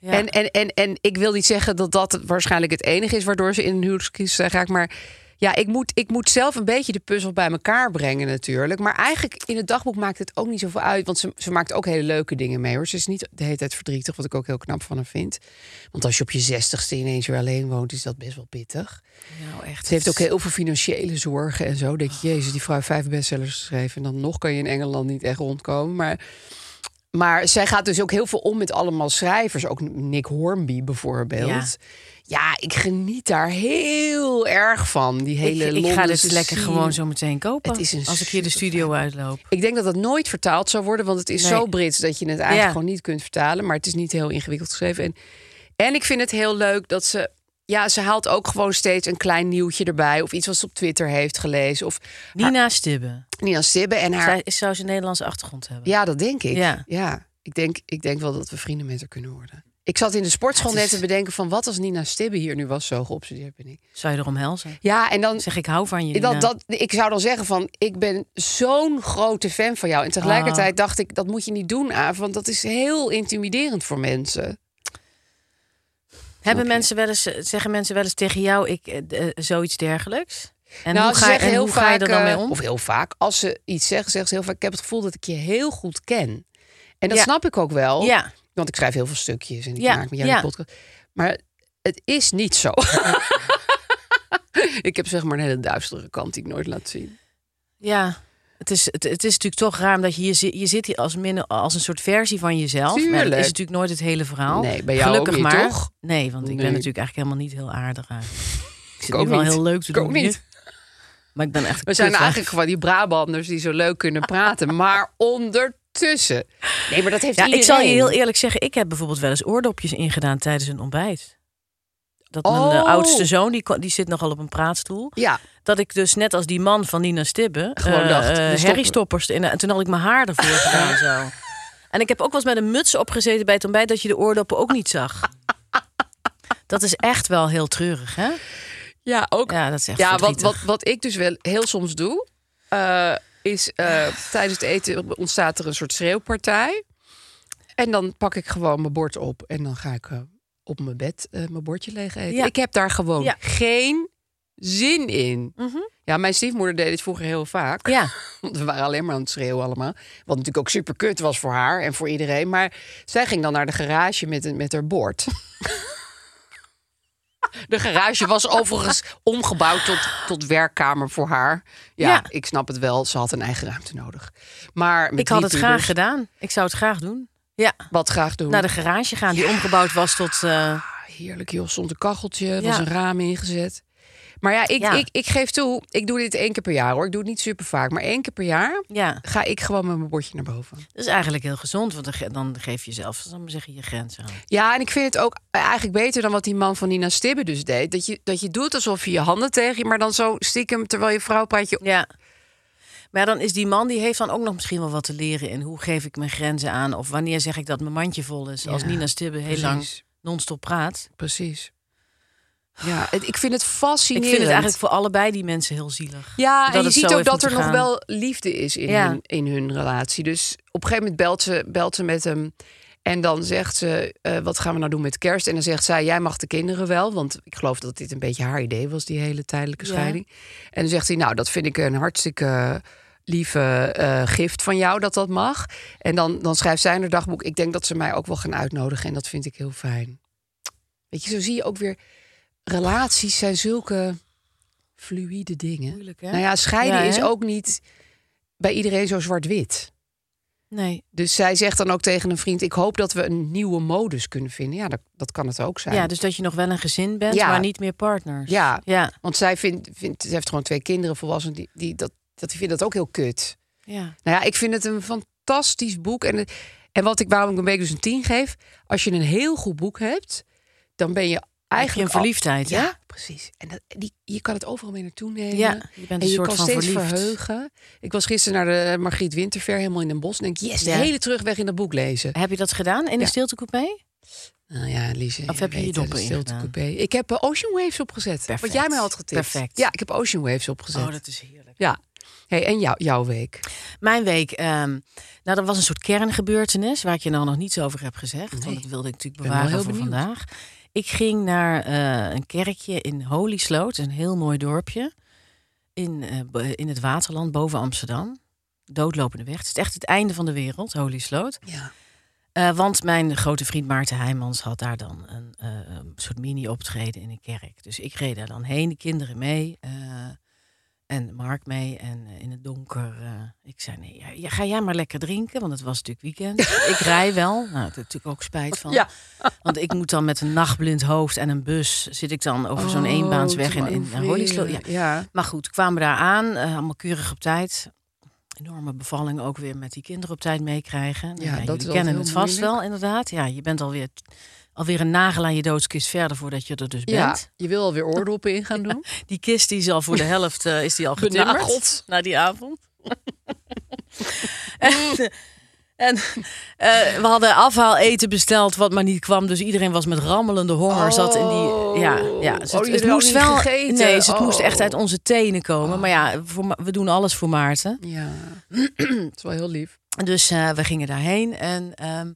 Speaker 2: Ja.
Speaker 3: En, en, en, en ik wil niet zeggen dat dat waarschijnlijk het enige is waardoor ze in een huwelijkscrisis zijn geraakt. Maar ja, ik moet, ik moet zelf een beetje de puzzel bij elkaar brengen natuurlijk. Maar eigenlijk in het dagboek maakt het ook niet zoveel uit. Want ze, ze maakt ook hele leuke dingen mee hoor. Ze is niet de hele tijd verdrietig, wat ik ook heel knap van haar vind. Want als je op je zestigste ineens weer alleen woont, is dat best wel pittig.
Speaker 2: nou, echt.
Speaker 3: Ze heeft ook heel veel financiële zorgen en zo. Dan Denk je, jezus, die vrouw heeft vijf bestsellers geschreven. En dan nog kan je in Engeland niet echt rondkomen. Maar, maar zij gaat dus ook heel veel om met allemaal schrijvers. Ook Nick Hornby bijvoorbeeld.
Speaker 2: Ja.
Speaker 3: Ja, ik geniet daar heel erg van. Die
Speaker 2: Ik,
Speaker 3: hele
Speaker 2: ik ga dit
Speaker 3: Londense
Speaker 2: lekker
Speaker 3: scene.
Speaker 2: gewoon zo meteen kopen.
Speaker 3: Het is een
Speaker 2: als ik hier de studio uitloop.
Speaker 3: Ik denk dat dat nooit vertaald zou worden, want het is
Speaker 2: Nee.
Speaker 3: zo Brits dat je het eigenlijk
Speaker 2: Ja.
Speaker 3: gewoon niet kunt vertalen. Maar het is niet heel ingewikkeld geschreven. En, en ik vind het heel leuk dat ze. Ja, ze haalt ook gewoon steeds een klein nieuwtje erbij. Of iets wat ze op Twitter heeft gelezen. Of
Speaker 2: Nina Stibbe.
Speaker 3: Nina Sibbe en haar.
Speaker 2: Zij zou ze een Nederlandse achtergrond hebben.
Speaker 3: Ja, dat denk ik.
Speaker 2: Ja.
Speaker 3: Ja. Ik, denk, ik denk wel dat we vrienden met haar kunnen worden. Ik zat in de sportschool
Speaker 2: Het is-
Speaker 3: net te bedenken van wat als Nina Stibbe hier nu was, zo geobsedeerd ben ik.
Speaker 2: Zou je erom helzen?
Speaker 3: Ja, en dan
Speaker 2: Zeg ik hou van je. Nina.
Speaker 3: dat, dat, ik zou dan zeggen van, ik ben zo'n grote fan van jou. En tegelijkertijd
Speaker 2: Ah.
Speaker 3: dacht ik, dat moet je niet doen, Aaf. Want dat is heel intimiderend voor mensen.
Speaker 2: Hebben mensen wel eens, eh, zeggen mensen wel eens tegen jou ik, eh, eh, zoiets dergelijks? En
Speaker 3: nou,
Speaker 2: hoe,
Speaker 3: ze
Speaker 2: ga, je-
Speaker 3: zeggen
Speaker 2: en
Speaker 3: heel
Speaker 2: hoe
Speaker 3: vaak,
Speaker 2: ga je er dan mee
Speaker 3: eh,
Speaker 2: om?
Speaker 3: Of heel vaak, als ze iets zeggen, zeggen ze heel vaak... ik heb het gevoel dat ik je heel goed ken. En dat
Speaker 2: Ja.
Speaker 3: snap ik ook wel.
Speaker 2: ja,
Speaker 3: Want ik schrijf heel veel stukjes en ik
Speaker 2: Ja,
Speaker 3: maak met jou
Speaker 2: ja.
Speaker 3: een podcast. Maar het is niet zo. ik heb zeg maar een hele duistere kant die ik nooit laat zien.
Speaker 2: ja. Het is, het, het is natuurlijk toch raar dat je, je, zit- je zit hier als, min, als een soort versie van jezelf. Maar dat
Speaker 3: Tuurlijk.
Speaker 2: is natuurlijk nooit het hele verhaal.
Speaker 3: Nee, bij jou
Speaker 2: Gelukkig
Speaker 3: ook niet,
Speaker 2: maar.
Speaker 3: toch?
Speaker 2: Nee, want ik ben
Speaker 3: Nee.
Speaker 2: natuurlijk eigenlijk helemaal niet heel aardig. eigenlijk. Ik eh. zit
Speaker 3: ook
Speaker 2: nu wel
Speaker 3: niet.
Speaker 2: heel leuk te
Speaker 3: Ik
Speaker 2: doen
Speaker 3: ook
Speaker 2: hier.
Speaker 3: niet.
Speaker 2: Maar ik ben echt.
Speaker 3: We zijn
Speaker 2: kut, hè?
Speaker 3: eigenlijk gewoon die Brabanders die zo leuk kunnen praten. Maar ondertussen. Nee, maar dat heeft
Speaker 2: Ja, ik zal je heel
Speaker 3: iedereen.
Speaker 2: eerlijk zeggen, ik heb bijvoorbeeld wel eens oordopjes ingedaan tijdens een ontbijt. Dat mijn
Speaker 3: Oh.
Speaker 2: eh, oudste zoon, die, kon- die zit nogal op een praatstoel.
Speaker 3: Ja,
Speaker 2: Dat ik dus net als die man van Nina Stibbe...
Speaker 3: Gewoon
Speaker 2: eh,
Speaker 3: dacht,
Speaker 2: eh,
Speaker 3: we stoppen.
Speaker 2: herriestoppers. In, en toen had ik mijn haar ervoor gedaan zo. En ik heb ook wel eens met een muts opgezeten bij het ontbijt... dat je de oordoppen ook niet zag. Dat is echt wel heel treurig, hè?
Speaker 3: ja ook.
Speaker 2: Ja, dat is echt
Speaker 3: Ja, wat,
Speaker 2: verdrietig.
Speaker 3: wat, wat ik dus wel heel soms doe, eh, is eh, tijdens het eten ontstaat er een soort schreeuwpartij. En dan pak ik gewoon mijn bord op en dan ga ik eh, op mijn bed eh, mijn bordje leeg eten.
Speaker 2: Ja.
Speaker 3: Ik heb daar gewoon
Speaker 2: Ja.
Speaker 3: geen zin in.
Speaker 2: Mhm.
Speaker 3: Ja, mijn stiefmoeder deed dit vroeger heel vaak.
Speaker 2: Ja,
Speaker 3: Want we waren alleen maar aan het schreeuwen allemaal. Wat natuurlijk ook super kut was voor haar en voor iedereen. Maar zij ging dan naar de garage met, een- met haar bord. De garage was overigens omgebouwd tot, tot werkkamer voor haar. Ja,
Speaker 2: Ja.
Speaker 3: ik snap het wel. Ze had een eigen ruimte nodig. Maar met
Speaker 2: ik had
Speaker 3: drie
Speaker 2: het graag
Speaker 3: pubers,
Speaker 2: gedaan. Ik zou het graag doen. Ja,
Speaker 3: Wat graag doen.
Speaker 2: naar de garage gaan die omgebouwd was tot... eh,
Speaker 3: Heerlijk joh, stond een kacheltje, was
Speaker 2: Ja.
Speaker 3: een raam ingezet. Maar ja ik,
Speaker 2: Ja.
Speaker 3: Ik, ik geef toe, ik doe dit één keer per jaar hoor. Ik doe het niet super vaak, maar één keer per jaar
Speaker 2: ja,
Speaker 3: ga ik gewoon met mijn bordje naar boven.
Speaker 2: dat is eigenlijk heel gezond. Want dan ge- dan geef je zelf, zal ik maar zeggen, je grenzen aan.
Speaker 3: Ja, en ik vind het ook eigenlijk beter dan wat die man van Nina Stibbe dus deed. Dat je, dat je doet alsof je je handen tegen je, maar dan zo stiekem terwijl je vrouw praat je...
Speaker 2: Ja. Maar dan is die man, die heeft dan ook nog misschien wel wat te leren in hoe geef ik mijn grenzen aan. Of wanneer zeg ik dat mijn mandje vol is. Als
Speaker 3: Ja,
Speaker 2: Nina Stibbe heel lang
Speaker 3: Precies,
Speaker 2: non-stop praat.
Speaker 3: Precies. Ja, het- ik vind het
Speaker 2: Ik
Speaker 3: fascinerend.
Speaker 2: vind het eigenlijk voor allebei die mensen heel zielig.
Speaker 3: Ja,
Speaker 2: dat
Speaker 3: en je
Speaker 2: het zo
Speaker 3: ziet ook
Speaker 2: heeft
Speaker 3: dat er
Speaker 2: moeten
Speaker 3: nog
Speaker 2: gaan.
Speaker 3: wel liefde is in,
Speaker 2: Ja.
Speaker 3: hun, in hun relatie. Dus op een gegeven moment belt ze, belt ze met hem. En dan zegt ze, eh, wat gaan we nou doen met kerst? En dan zegt zij, jij mag de kinderen wel. Want ik geloof dat dit een beetje haar idee was, die hele tijdelijke
Speaker 2: Ja.
Speaker 3: scheiding. En dan zegt hij, nou, dat vind ik een hartstikke lieve eh, gift van jou dat dat mag. En dan, dan schrijft zij in haar dagboek, ik denk dat ze mij ook wel gaan uitnodigen. En dat vind ik heel fijn. Weet je, zo zie je ook weer, relaties zijn zulke fluïde dingen.
Speaker 2: Moeilijk, hè?
Speaker 3: Nou ja, scheiden
Speaker 2: Ja,
Speaker 3: is
Speaker 2: hè?
Speaker 3: ook niet bij iedereen zo zwart-wit.
Speaker 2: Nee.
Speaker 3: Dus zij zegt dan ook tegen een vriend: Ik hoop dat we een nieuwe modus kunnen vinden. Ja, dat, dat kan het ook zijn.
Speaker 2: Ja, dus dat je nog wel een gezin bent,
Speaker 3: Ja.
Speaker 2: maar niet meer partners.
Speaker 3: Ja,
Speaker 2: Ja.
Speaker 3: want zij vindt, vindt, ze heeft gewoon twee kinderen volwassenen, die, die, dat, dat, die vinden dat ook heel kut.
Speaker 2: ja.
Speaker 3: Nou ja, ik vind het een fantastisch boek. En, en wat ik, waarom ik een beetje dus een 10 geef, als je een heel goed boek hebt, dan ben je
Speaker 2: Eigenlijk een
Speaker 3: eigenlijk. al-
Speaker 2: verliefdheid, hè?
Speaker 3: Ja, precies. En dat, die, je kan het overal mee naartoe nemen.
Speaker 2: Ja, je bent
Speaker 3: En
Speaker 2: een
Speaker 3: je
Speaker 2: soort
Speaker 3: kan
Speaker 2: van
Speaker 3: steeds
Speaker 2: verliefd.
Speaker 3: verheugen. Ik was gisteren naar de Margriet Winterver helemaal in een bos. En denk, yes, de
Speaker 2: Ja.
Speaker 3: hele terugweg in dat boek lezen.
Speaker 2: Heb je dat gedaan in de
Speaker 3: Ja.
Speaker 2: stiltecoupé?
Speaker 3: Nou ja, Liesje.
Speaker 2: Of heb je je
Speaker 3: weet het,
Speaker 2: doppen
Speaker 3: de stilte
Speaker 2: ingedaan?
Speaker 3: coupé. Ik heb eh, Ocean Waves opgezet. Wat
Speaker 2: Perfect.
Speaker 3: jij mij had getipt.
Speaker 2: Perfect.
Speaker 3: Ja, ik heb Ocean Waves opgezet.
Speaker 2: Oh, dat is heerlijk.
Speaker 3: Ja. Hey, en jou, jouw week?
Speaker 2: Mijn week, ehm, nou, dat was een soort kerngebeurtenis waar ik je nou nog niets over heb gezegd.
Speaker 3: Nee.
Speaker 2: Want dat wilde ik natuurlijk
Speaker 3: ben wel
Speaker 2: bewaren
Speaker 3: heel
Speaker 2: voor
Speaker 3: benieuwd.
Speaker 2: vandaag. Ik ging naar eh, een kerkje in Holisloot, een heel mooi dorpje in, eh, bo- in het Waterland boven Amsterdam. Doodlopende weg. Het is echt het einde van de wereld, Holisloot.
Speaker 3: Ja.
Speaker 2: Eh, want mijn grote vriend Maarten Heijmans had daar dan een, eh, een soort mini-optreden in een kerk. Dus ik reed daar dan heen, de kinderen mee eh, en Mark mee. En eh, in het donker, eh, ik zei nee, ja, ja, ga jij maar lekker drinken, want het was natuurlijk weekend. ik rij wel, nou, daar heb ik natuurlijk ook spijt van.
Speaker 3: Ja.
Speaker 2: Want ik moet dan met een nachtblind hoord en een bus, zit ik dan over zo'n
Speaker 3: Oh,
Speaker 2: eenbaansweg in, in
Speaker 3: te
Speaker 2: naar Holislo. Ja.
Speaker 3: manoeuvreren. Ja.
Speaker 2: Maar goed, kwamen daar aan, eh, allemaal keurig op tijd. Enorme bevalling ook weer met die kinderen op tijd meekrijgen. Nou
Speaker 3: Ja, dat
Speaker 2: jullie
Speaker 3: is altijd
Speaker 2: kennen
Speaker 3: heel
Speaker 2: het vast
Speaker 3: moeilijk.
Speaker 2: wel, inderdaad. Ja, je bent alweer, alweer een nagel aan je doodskist verder voordat je er dus
Speaker 3: ja,
Speaker 2: bent.
Speaker 3: je wil alweer oordoppen in gaan doen.
Speaker 2: Die kist die is al voor de helft eh, is die al
Speaker 3: Benageld.
Speaker 2: getimmerd na die avond. en en eh, we hadden afhaaleten besteld, wat maar niet kwam. Dus iedereen was met rammelende honger. zat in die. Ja, ja. Dus het,
Speaker 3: Oh, jullie
Speaker 2: het
Speaker 3: hadden
Speaker 2: moest
Speaker 3: niet
Speaker 2: wel.
Speaker 3: gegeten.
Speaker 2: Nee, dus het moest
Speaker 3: Oh.
Speaker 2: echt uit onze tenen komen. Maar ja, voor, Ma- we doen alles voor Maarten.
Speaker 3: Ja, het is wel heel lief.
Speaker 2: Dus eh, we gingen daarheen en ehm,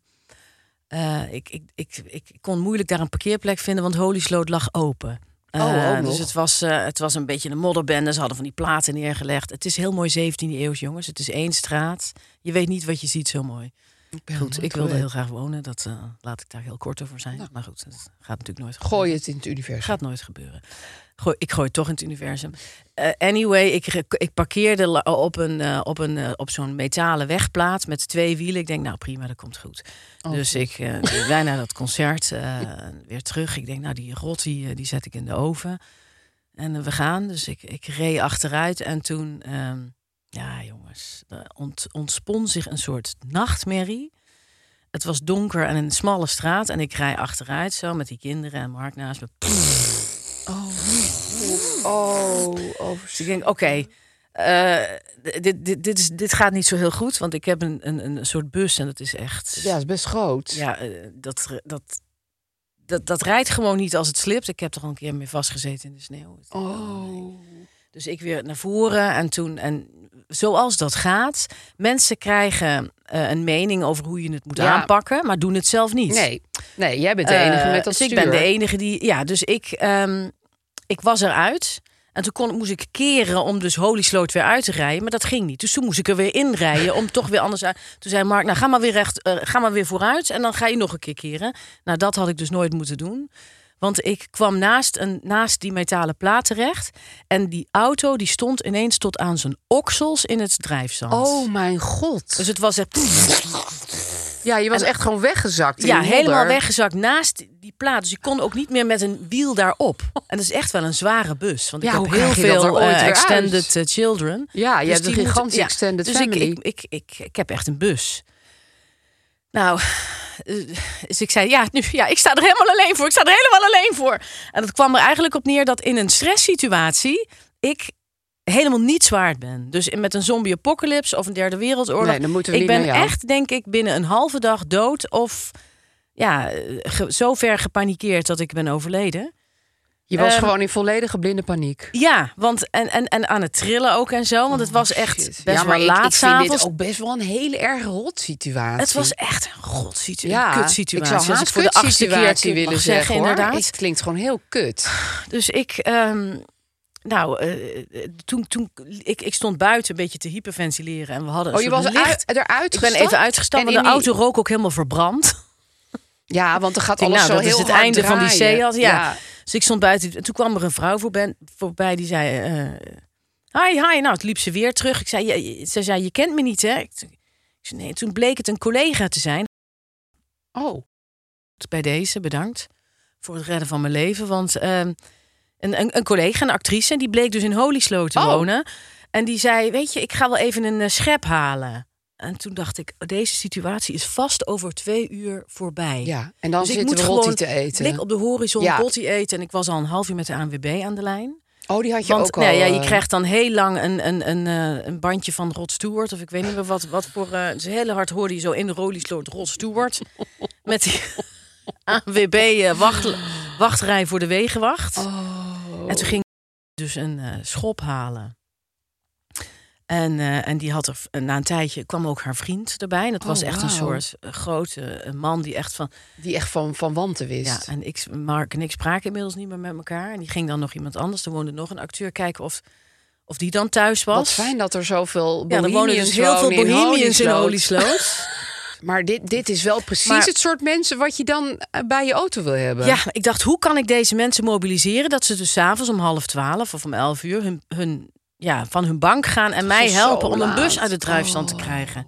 Speaker 2: eh, ik, ik, ik, ik kon moeilijk daar een parkeerplek vinden, want Holisloot lag open.
Speaker 3: Oh, ook
Speaker 2: Eh,
Speaker 3: nog.
Speaker 2: dus het was, eh, het was een beetje een modderbende. Ze hadden van die platen neergelegd. Het is heel mooi 17e eeuw, jongens. Het is één straat. Je weet niet wat je ziet, zo mooi.
Speaker 3: Ik ben
Speaker 2: Goed,
Speaker 3: helemaal
Speaker 2: ik wilde
Speaker 3: dood.
Speaker 2: heel graag wonen. Dat eh, laat ik daar heel kort over zijn. Maar goed, dat gaat natuurlijk nooit.
Speaker 3: Gooi het in het universum.
Speaker 2: Gaat nooit gebeuren. Gooi, ik gooi het toch in het universum. Eh, anyway, ik, re- ik parkeerde la- op, een, eh, op, een, eh, op zo'n metalen wegplaats met twee wielen. Ik denk, nou prima, dat komt goed.
Speaker 3: Oh,
Speaker 2: dus
Speaker 3: goed.
Speaker 2: ik, eh, wij naar dat concert eh, weer terug. Ik denk, nou die rot die, eh, die zet ik in de oven. En eh, we gaan. Dus ik, ik reed achteruit. En toen, ehm, ja jongens, er ont, ontspon zich een soort nachtmerrie. Het was donker en een smalle straat. En ik rij achteruit zo met die kinderen en Mark naast me.
Speaker 3: Oh, oh.
Speaker 2: Dus ik denk, oké, eh, d- dit, dit, dit, is, dit gaat niet zo heel goed. Want ik heb een, een, een soort bus en dat is echt...
Speaker 3: Ja, is best groot.
Speaker 2: Ja, eh, dat, dat, dat, dat rijdt gewoon niet als het slipt. Ik heb er al een keer mee vastgezeten in de sneeuw.
Speaker 3: Oh.
Speaker 2: Dus ik weer naar voren en toen. En zoals dat gaat, mensen krijgen eh, een mening over hoe je het moet
Speaker 3: Ja.
Speaker 2: aanpakken, maar doen het zelf niet.
Speaker 3: Nee, nee, jij bent de enige
Speaker 2: Eh,
Speaker 3: met dat
Speaker 2: dus ik
Speaker 3: stuur.
Speaker 2: ben de enige die. Ja, dus ik, ehm, ik was eruit. En toen kon, moest ik keren om dus Holysloot weer uit te rijden. Maar dat ging niet. Dus toen moest ik er weer inrijden om toch weer anders uit. Toen zei Mark, nou ga maar weer, recht, eh, ga maar weer vooruit. En dan ga je nog een keer keren. Nou, dat had ik dus nooit moeten doen. Want ik kwam naast, een, naast die metalen plaat terecht. En die auto die stond ineens tot aan zijn oksels in het drijfzand.
Speaker 3: Oh mijn god.
Speaker 2: Dus het was echt...
Speaker 3: ja, je was echt gewoon weggezakt. in
Speaker 2: Ja,
Speaker 3: die modder.
Speaker 2: helemaal weggezakt naast die plaat. Dus ik kon ook niet meer met een wiel daarop. En dat is echt wel een zware bus. Want
Speaker 3: Ja,
Speaker 2: ik
Speaker 3: hoe
Speaker 2: heb
Speaker 3: krijg
Speaker 2: heel
Speaker 3: je dat er
Speaker 2: veel
Speaker 3: ooit
Speaker 2: eh,
Speaker 3: weer uit?
Speaker 2: extended eh, children.
Speaker 3: Ja, je
Speaker 2: Dus die
Speaker 3: hebt een
Speaker 2: moeten-
Speaker 3: gigantische
Speaker 2: ja,
Speaker 3: extended
Speaker 2: dus ik,
Speaker 3: family.
Speaker 2: ik, ik, ik, ik heb echt een bus. Nou, eh, dus ik zei, ja, nu, ja, ik sta er helemaal alleen voor. Ik sta er helemaal alleen voor. En dat kwam er eigenlijk op neer dat in een stresssituatie... ik helemaal niet zwaard ben. Dus in- met een zombie-apocalypse of een derde wereldoorlog...
Speaker 3: Nee, dan moeten we
Speaker 2: ik
Speaker 3: niet
Speaker 2: ben
Speaker 3: naar jou.
Speaker 2: echt, denk ik, binnen een halve dag dood... of ja, eh, ge- zo ver gepanikeerd dat ik ben overleden.
Speaker 3: je was
Speaker 2: Ehm,
Speaker 3: gewoon in volledige blinde paniek.
Speaker 2: Ja, want en, en, en aan het trillen ook en zo. Want het was echt
Speaker 3: Shit.
Speaker 2: best
Speaker 3: Oh, ja, maar
Speaker 2: wel
Speaker 3: ik,
Speaker 2: laat
Speaker 3: ik vind dit
Speaker 2: s'avonds.
Speaker 3: ook best wel een hele erg hot situatie.
Speaker 2: Het was echt een godsituatie.
Speaker 3: ja,
Speaker 2: een kutsituatie.
Speaker 3: Ik zou
Speaker 2: Als
Speaker 3: haast
Speaker 2: voor de achtste keer
Speaker 3: kutsituatie
Speaker 2: toe
Speaker 3: willen
Speaker 2: mag
Speaker 3: zeggen, hoor.
Speaker 2: inderdaad.
Speaker 3: Het klinkt gewoon heel kut.
Speaker 2: Dus ik, ehm, nou, eh, eh, toen, toen ik, ik stond buiten een beetje te hyperventileren en we hadden een
Speaker 3: Oh, je
Speaker 2: soort
Speaker 3: was
Speaker 2: licht.
Speaker 3: uit, eruit
Speaker 2: ik ben even uitgestapt, want
Speaker 3: en
Speaker 2: de
Speaker 3: in die-
Speaker 2: auto rook ook helemaal verbrand.
Speaker 3: Ja, want dan gaat
Speaker 2: Ik denk,
Speaker 3: alles
Speaker 2: nou,
Speaker 3: zo
Speaker 2: dat is
Speaker 3: heel
Speaker 2: het
Speaker 3: hard
Speaker 2: einde van die
Speaker 3: draaien.
Speaker 2: Seat, ja. Dus ik stond buiten. En toen kwam er een vrouw voorbij, voorbij die zei... eh, hi, hi. Nou, het liep ze weer terug. Ik zei, je, je- ze zei, je kent me niet, hè? Ik zei, nee. Toen bleek het een collega te zijn.
Speaker 3: Oh,
Speaker 2: Bij deze, bedankt voor het redden van mijn leven. Want ehm, een, een, een collega, een actrice, die bleek dus in Holysloot te
Speaker 3: Oh.
Speaker 2: wonen. En die zei, weet je, ik ga wel even een eh, schep halen. En toen dacht ik, oh, deze situatie is vast over twee uur voorbij.
Speaker 3: ja. En dan
Speaker 2: Dus ik
Speaker 3: zitten
Speaker 2: moet
Speaker 3: we rotti
Speaker 2: gewoon
Speaker 3: te eten.
Speaker 2: Blik op de horizon,
Speaker 3: Ja.
Speaker 2: botti eten. En ik was al een half uur met de ANWB aan de lijn.
Speaker 3: Oh, die had je
Speaker 2: Want
Speaker 3: ook al.
Speaker 2: nou ja, je
Speaker 3: eh,
Speaker 2: krijgt dan heel lang een, een, een, eh, een bandje van Rod Stewart. Of ik weet niet meer wat, wat voor... eh dus heel hard hoorde je zo in de rolliesloot Rod Stewart. met die AWB eh, wacht, wachtrij voor de wegenwacht.
Speaker 3: oh,
Speaker 2: En toen ging ik dus een eh, schop halen. En, eh, en die had er eh, na een tijdje kwam ook haar vriend erbij. En dat was
Speaker 3: Oh,
Speaker 2: echt een
Speaker 3: wauw.
Speaker 2: soort eh, grote eh, man die echt van
Speaker 3: Die echt van, van wanten wist.
Speaker 2: ja, en ik, Mark en ik spraken inmiddels niet meer met elkaar. En die ging dan nog iemand anders. Er woonde nog een acteur kijken of, of die dan thuis was.
Speaker 3: Wat fijn dat er zoveel
Speaker 2: Ja, er
Speaker 3: Bohemians
Speaker 2: wonen dus heel veel
Speaker 3: wonen in
Speaker 2: Bohemians in
Speaker 3: Holy
Speaker 2: Holisloot.
Speaker 3: Sloot. Maar dit, dit is wel precies
Speaker 2: Maar-
Speaker 3: het soort mensen wat je dan eh, bij je auto wil hebben.
Speaker 2: ja, ik dacht, hoe kan ik deze mensen mobiliseren? Dat ze dus 's avonds om half twaalf of om elf uur hun, hun, ja, van hun bank gaan en mij
Speaker 3: is
Speaker 2: helpen
Speaker 3: zo
Speaker 2: om een bus
Speaker 3: laat. Oh.
Speaker 2: uit het druifstand te krijgen.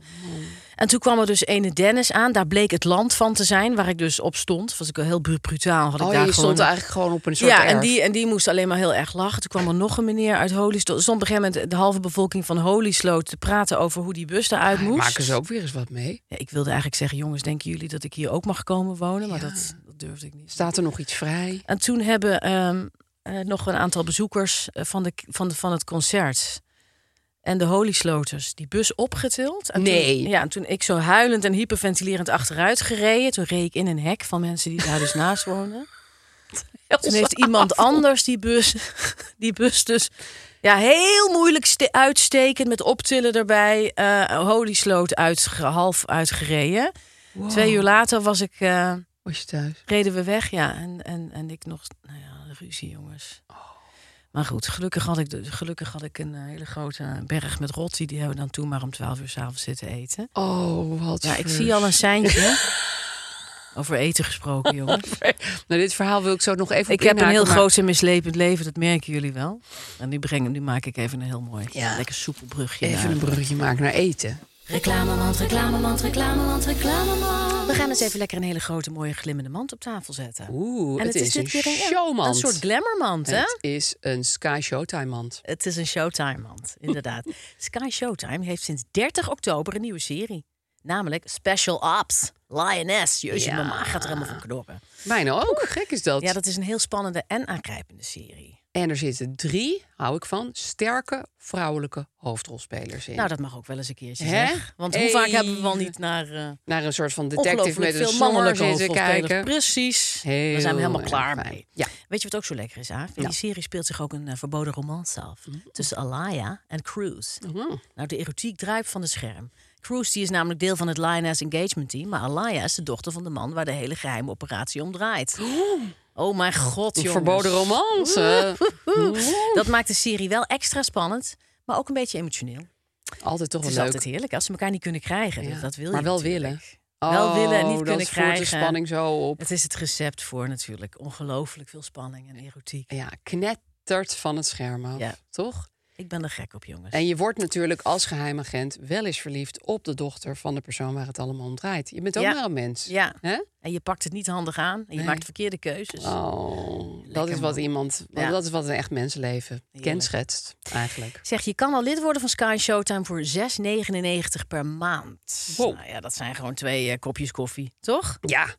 Speaker 2: En toen kwam er dus ene Dennis aan. Daar bleek het land van te zijn, waar ik dus op stond. Was ik al heel bru- brutaal. Had ik
Speaker 3: Oh,
Speaker 2: daar
Speaker 3: je
Speaker 2: gewoon
Speaker 3: stond eigenlijk gewoon op een soort
Speaker 2: ja, en
Speaker 3: erf.
Speaker 2: die, en die moest alleen maar heel erg lachen. Toen kwam er nog een meneer uit Holisloot. Er stond op een gegeven moment de halve bevolking van Holisloot te praten over hoe die bus eruit moest.
Speaker 3: Maken ze ook weer eens wat mee?
Speaker 2: Ja, ik wilde eigenlijk zeggen, jongens, denken jullie dat ik hier ook mag komen wonen? Maar
Speaker 3: Ja.
Speaker 2: dat, dat durfde ik niet.
Speaker 3: Staat er nog iets vrij?
Speaker 2: En toen hebben ehm, eh, nog een aantal bezoekers eh, van, de, van, de, van het concert en de Holysloters die bus opgetild. En
Speaker 3: Nee.
Speaker 2: Toen, ja, en toen ik zo huilend en hyperventilerend achteruit gereden, toen reed ik in een hek van mensen die daar dus naast woonden. Toen heeft iemand anders die bus, die bus dus ja, heel moeilijk ste- uitstekend met optillen erbij, eh Holysloot uit, half uitgereden.
Speaker 3: Oh.
Speaker 2: Twee uur later was ik. eh,
Speaker 3: Was je thuis?
Speaker 2: reden we weg, ja. En, en, en ik nog, nou ja, ruzie, jongens. Maar goed, gelukkig had, ik, de- gelukkig had ik een eh, hele grote berg met rotti. Die hebben we dan toen maar om 12 uur s'avonds zitten eten.
Speaker 3: Oh, wat
Speaker 2: Ja, ik
Speaker 3: vers.
Speaker 2: zie al een seintje. Over eten gesproken, jongens.
Speaker 3: Nou, dit verhaal wil ik zo nog even
Speaker 2: Ik
Speaker 3: op
Speaker 2: heb een
Speaker 3: inhaken,
Speaker 2: heel
Speaker 3: maar-
Speaker 2: groot en mislepend leven, dat merken jullie wel. En nu, breng, nu maak ik even een heel mooi,
Speaker 3: Ja.
Speaker 2: lekker soepel brugje.
Speaker 3: Even
Speaker 2: naar-
Speaker 3: een bruggetje maken naar eten.
Speaker 4: Reclameland, reclameland, reclameland, reclameland.
Speaker 2: We gaan eens even lekker een hele grote, mooie, glimmende mand op tafel zetten.
Speaker 3: Oeh,
Speaker 2: en
Speaker 3: het, is,
Speaker 2: dit
Speaker 3: een
Speaker 2: keer
Speaker 3: showmand.
Speaker 2: Een soort glamourmand, hè?
Speaker 3: Het is een Sky Showtime mand.
Speaker 2: Het is een Showtime-mand, inderdaad. Sky Showtime heeft sinds 30 oktober een nieuwe serie. Namelijk Special Ops, Lioness. Jezus,
Speaker 3: Ja.
Speaker 2: mijn maag gaat er helemaal van knorren.
Speaker 3: Mijne ook, gek is dat.
Speaker 2: Ja, dat is een heel spannende en aangrijpende serie.
Speaker 3: En er zitten drie, hou ik van, sterke vrouwelijke hoofdrolspelers in.
Speaker 2: Nou, dat mag ook wel eens een keertje,
Speaker 3: Hè?
Speaker 2: zeg. Want hoe vaak
Speaker 3: Hey.
Speaker 2: hebben we wel niet naar eh
Speaker 3: Naar een soort van detective
Speaker 2: ongelooflijk
Speaker 3: met een
Speaker 2: veel
Speaker 3: snor
Speaker 2: mannelijke
Speaker 3: zitten
Speaker 2: hoofdrolspelers.
Speaker 3: kijken.
Speaker 2: Precies. Daar
Speaker 3: Heel
Speaker 2: zijn we helemaal
Speaker 3: erg
Speaker 2: klaar
Speaker 3: fijn.
Speaker 2: mee.
Speaker 3: Ja.
Speaker 2: Weet je wat ook zo lekker is,
Speaker 3: Nou.
Speaker 2: Aaf? In die serie speelt zich ook een eh, verboden romance af.
Speaker 3: Mm-hmm.
Speaker 2: Tussen Alaya en Cruz. Nou, de erotiek druipt van het scherm. Cruz die is namelijk deel van het Lioness Engagement Team. Maar Alaya is de dochter van de man waar de hele geheime operatie om draait. Oh mijn god,
Speaker 3: Een
Speaker 2: jongens.
Speaker 3: verboden romance.
Speaker 2: Dat maakt de serie wel extra spannend. Maar ook een beetje emotioneel.
Speaker 3: Altijd toch
Speaker 2: Het
Speaker 3: wel
Speaker 2: is
Speaker 3: leuk.
Speaker 2: altijd heerlijk als ze elkaar niet kunnen krijgen.
Speaker 3: Ja.
Speaker 2: Dus dat wil je
Speaker 3: maar wel
Speaker 2: natuurlijk.
Speaker 3: willen.
Speaker 2: Wel willen en niet
Speaker 3: Oh,
Speaker 2: kunnen
Speaker 3: dat voert de
Speaker 2: krijgen.
Speaker 3: spanning zo op.
Speaker 2: Het is het recept voor natuurlijk ongelooflijk veel spanning en erotiek.
Speaker 3: Ja, knettert van het scherm af,
Speaker 2: Ja.
Speaker 3: toch?
Speaker 2: Ik ben er gek op, jongens.
Speaker 3: En je wordt natuurlijk als geheimagent wel eens verliefd op de dochter van de persoon waar het allemaal om draait. Je bent ook
Speaker 2: Ja.
Speaker 3: maar een mens.
Speaker 2: Ja.
Speaker 3: Hè?
Speaker 2: En je pakt het niet handig aan. En je
Speaker 3: Nee.
Speaker 2: maakt verkeerde keuzes.
Speaker 3: Oh, dat is wat
Speaker 2: man.
Speaker 3: iemand,
Speaker 2: Ja.
Speaker 3: dat is wat een echt mensenleven
Speaker 2: Heerlijk.
Speaker 3: kenschetst eigenlijk.
Speaker 2: Zeg, je kan al lid worden van Sky Showtime voor 6,99 per maand.
Speaker 3: Wow.
Speaker 2: Nou ja, dat zijn gewoon twee eh, kopjes koffie, toch?
Speaker 3: Ja.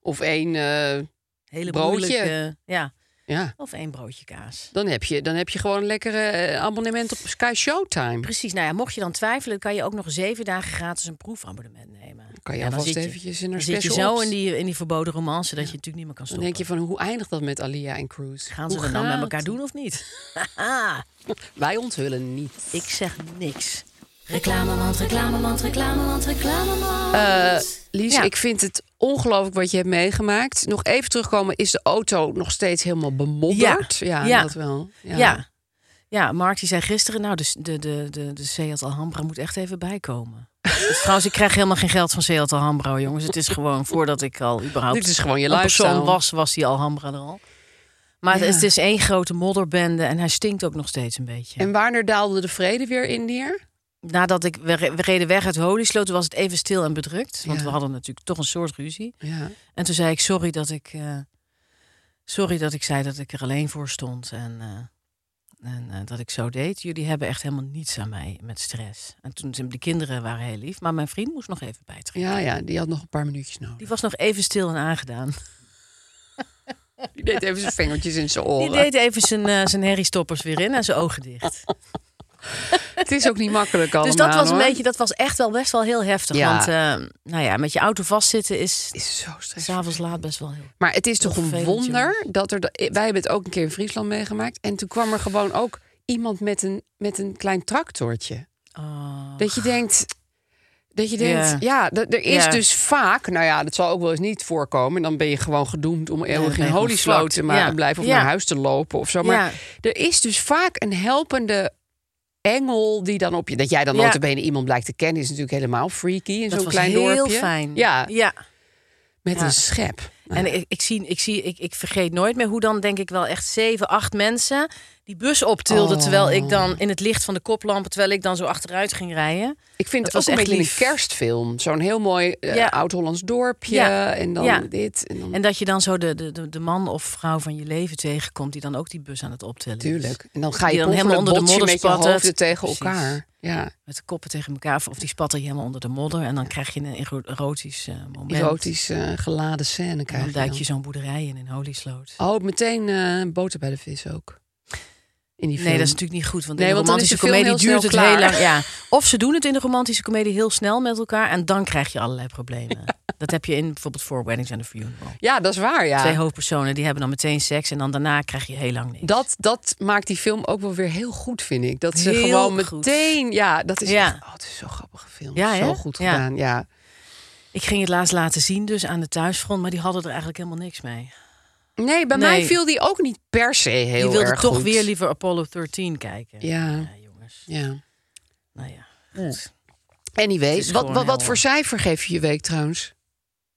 Speaker 3: Of één, eh,
Speaker 2: Hele
Speaker 3: Broodje.
Speaker 2: moeilijke, eh, ja.
Speaker 3: ja.
Speaker 2: Of één broodje kaas.
Speaker 3: Dan heb je, dan heb je gewoon een lekkere eh, abonnement op Sky Showtime.
Speaker 2: Precies. Nou ja, mocht je dan twijfelen, kan je ook nog zeven dagen gratis een proefabonnement nemen.
Speaker 3: Kan je
Speaker 2: ja, dan
Speaker 3: alvast
Speaker 2: zit
Speaker 3: eventjes in
Speaker 2: dan
Speaker 3: haar
Speaker 2: zit je
Speaker 3: special
Speaker 2: zo
Speaker 3: ops.
Speaker 2: in die, in die verboden romance dat je natuurlijk niet meer kan
Speaker 3: Dan
Speaker 2: stoppen.
Speaker 3: denk je van, hoe eindigt dat met Alia en Cruz?
Speaker 2: Gaan ze
Speaker 3: Hoe
Speaker 2: dat nou met
Speaker 3: gaat
Speaker 2: elkaar
Speaker 3: het?
Speaker 2: doen of niet? Haha.
Speaker 3: Wij onthullen niet.
Speaker 2: Ik zeg niks.
Speaker 3: Lies,
Speaker 2: Eh, Ja.
Speaker 3: ik vind het ongelooflijk wat je hebt meegemaakt. Nog even terugkomen, is de auto nog steeds helemaal bemodderd?
Speaker 2: Ja.
Speaker 3: ja,
Speaker 2: Ja.
Speaker 3: dat wel.
Speaker 2: Ja. ja. Mark die zei gisteren, nou, de, de, de, de, de Seat Alhambra moet echt even bijkomen. Dus trouwens, ik krijg helemaal geen geld van Seat Alhambra, jongens. Het is gewoon, voordat ik al überhaupt
Speaker 3: Dit is gewoon je
Speaker 2: een persoon
Speaker 3: lifestyle.
Speaker 2: was, was die Alhambra er al. Maar het,
Speaker 3: Ja.
Speaker 2: is, het is één grote modderbende en hij stinkt ook nog steeds een beetje.
Speaker 3: En wanneer daalde de vrede weer in neer?
Speaker 2: Nadat ik, we, re- we reden weg uit Holisloot, was het even stil en bedrukt. Want
Speaker 3: Ja.
Speaker 2: we hadden natuurlijk toch een soort ruzie.
Speaker 3: Ja.
Speaker 2: En toen zei ik sorry dat ik, eh, sorry dat ik zei dat ik er alleen voor stond en, eh, en eh, dat ik zo deed. Jullie hebben echt helemaal niets aan mij met stress. En toen zijn de kinderen waren heel lief, maar mijn vriend moest nog even bijtrekken.
Speaker 3: ja, ja, die had nog een paar minuutjes nodig.
Speaker 2: Die was nog even stil en aangedaan.
Speaker 3: Die deed even zijn vingertjes in zijn
Speaker 2: Die
Speaker 3: oren.
Speaker 2: deed even zijn, eh zijn herriestoppers weer in en zijn ogen dicht.
Speaker 3: Het is ook niet makkelijk allemaal,
Speaker 2: dus dat was een
Speaker 3: hoor.
Speaker 2: beetje, dat was echt wel best wel heel heftig.
Speaker 3: Ja.
Speaker 2: Want eh, nou ja, met je auto vastzitten is
Speaker 3: is zo stressvol.
Speaker 2: s'avonds laat best wel heel.
Speaker 3: Maar het is
Speaker 2: Heel
Speaker 3: toch een
Speaker 2: vervelend,
Speaker 3: wonder dat er. da- eh, Wij hebben het ook een keer in Friesland meegemaakt. En toen kwam er gewoon ook iemand met een, met een klein tractortje.
Speaker 2: Oh.
Speaker 3: Dat je denkt. Dat je denkt,
Speaker 2: Ja.
Speaker 3: ja, dat, er is
Speaker 2: Ja.
Speaker 3: dus vaak, nou ja, dat zal ook wel eens niet voorkomen. En dan ben je gewoon gedoemd om
Speaker 2: dan
Speaker 3: eeuwig
Speaker 2: ben
Speaker 3: in
Speaker 2: je gewoon
Speaker 3: holiesloot te
Speaker 2: vlak.
Speaker 3: maar
Speaker 2: Ja.
Speaker 3: blijven of
Speaker 2: Ja.
Speaker 3: naar huis te lopen of zo. Maar
Speaker 2: Ja.
Speaker 3: er is dus vaak een helpende engel die dan op je... Dat jij dan
Speaker 2: Ja.
Speaker 3: ja. benen iemand blijkt te kennen is natuurlijk helemaal freaky in
Speaker 2: Dat
Speaker 3: zo'n
Speaker 2: was
Speaker 3: klein
Speaker 2: heel
Speaker 3: dorpje.
Speaker 2: fijn.
Speaker 3: Ja,
Speaker 2: ja.
Speaker 3: met
Speaker 2: Ja.
Speaker 3: een schep.
Speaker 2: En ik, ik, zie, ik, zie, ik, ik vergeet nooit meer hoe dan denk ik wel echt zeven, acht mensen die bus optilden.
Speaker 3: Oh.
Speaker 2: Terwijl ik dan in het licht van de koplampen, terwijl ik dan zo achteruit ging rijden.
Speaker 3: Ik vind
Speaker 2: Dat
Speaker 3: het
Speaker 2: was
Speaker 3: ook een
Speaker 2: echt
Speaker 3: beetje een
Speaker 2: lief.
Speaker 3: kerstfilm. Zo'n heel mooi eh,
Speaker 2: Ja.
Speaker 3: oud-Hollands dorpje
Speaker 2: Ja.
Speaker 3: en dan
Speaker 2: Ja.
Speaker 3: dit. En dan...
Speaker 2: En dat je dan zo de, de, de- de man of vrouw van je leven tegenkomt die dan ook die bus aan het optillen is.
Speaker 3: Tuurlijk. En dan ga
Speaker 2: Die
Speaker 3: je
Speaker 2: dan
Speaker 3: dan helemaal onder de modder met je
Speaker 2: spattert.
Speaker 3: hoofden tegen
Speaker 2: Precies.
Speaker 3: elkaar. Ja,
Speaker 2: Met de koppen tegen elkaar. Of die spatten je helemaal onder de modder. En dan krijg je een ero- erotisch eh, moment.
Speaker 3: erotisch eh, geladen scène
Speaker 2: En
Speaker 3: krijg
Speaker 2: dan
Speaker 3: je
Speaker 2: duik
Speaker 3: dan.
Speaker 2: je zo'n boerderij in in Holisloot.
Speaker 3: Oh, meteen eh, boter bij de vis ook. In die film.
Speaker 2: Nee, dat is natuurlijk niet goed. Want
Speaker 3: Nee,
Speaker 2: in de
Speaker 3: want dan is
Speaker 2: romantische
Speaker 3: de
Speaker 2: komedie
Speaker 3: film heel
Speaker 2: duurt het
Speaker 3: snel
Speaker 2: heel
Speaker 3: klaar.
Speaker 2: lang. Ja. Of ze doen het in de romantische komedie heel snel met elkaar. En dan krijg je allerlei problemen. Dat heb je in bijvoorbeeld Four Weddings and a Funeral.
Speaker 3: Ja, dat is waar, ja.
Speaker 2: Twee hoofdpersonen die hebben dan meteen seks. En dan daarna krijg je heel lang niks.
Speaker 3: dat, dat maakt die film ook wel weer heel goed, vind ik. Dat ze
Speaker 2: Heel
Speaker 3: gewoon
Speaker 2: goed.
Speaker 3: meteen... Ja, dat is
Speaker 2: Ja.
Speaker 3: echt... Oh, het is zo'n grappige film.
Speaker 2: Ja,
Speaker 3: zo
Speaker 2: hè?
Speaker 3: goed
Speaker 2: Ja.
Speaker 3: gedaan, ja.
Speaker 2: Ik ging het laatst laten zien dus aan de thuisfront. Maar die hadden er eigenlijk helemaal niks mee.
Speaker 3: Nee, bij
Speaker 2: Nee.
Speaker 3: mij viel die ook niet per se heel
Speaker 2: die wilden
Speaker 3: erg
Speaker 2: toch
Speaker 3: goed.
Speaker 2: weer liever Apollo 13 kijken.
Speaker 3: Ja,
Speaker 2: Ja, jongens.
Speaker 3: ja.
Speaker 2: Nou ja, goed. Het
Speaker 3: Anyway,
Speaker 2: is
Speaker 3: wat,
Speaker 2: gewoon
Speaker 3: wat, wat
Speaker 2: heel-
Speaker 3: voor cijfer geef je je week trouwens?
Speaker 2: 7,5.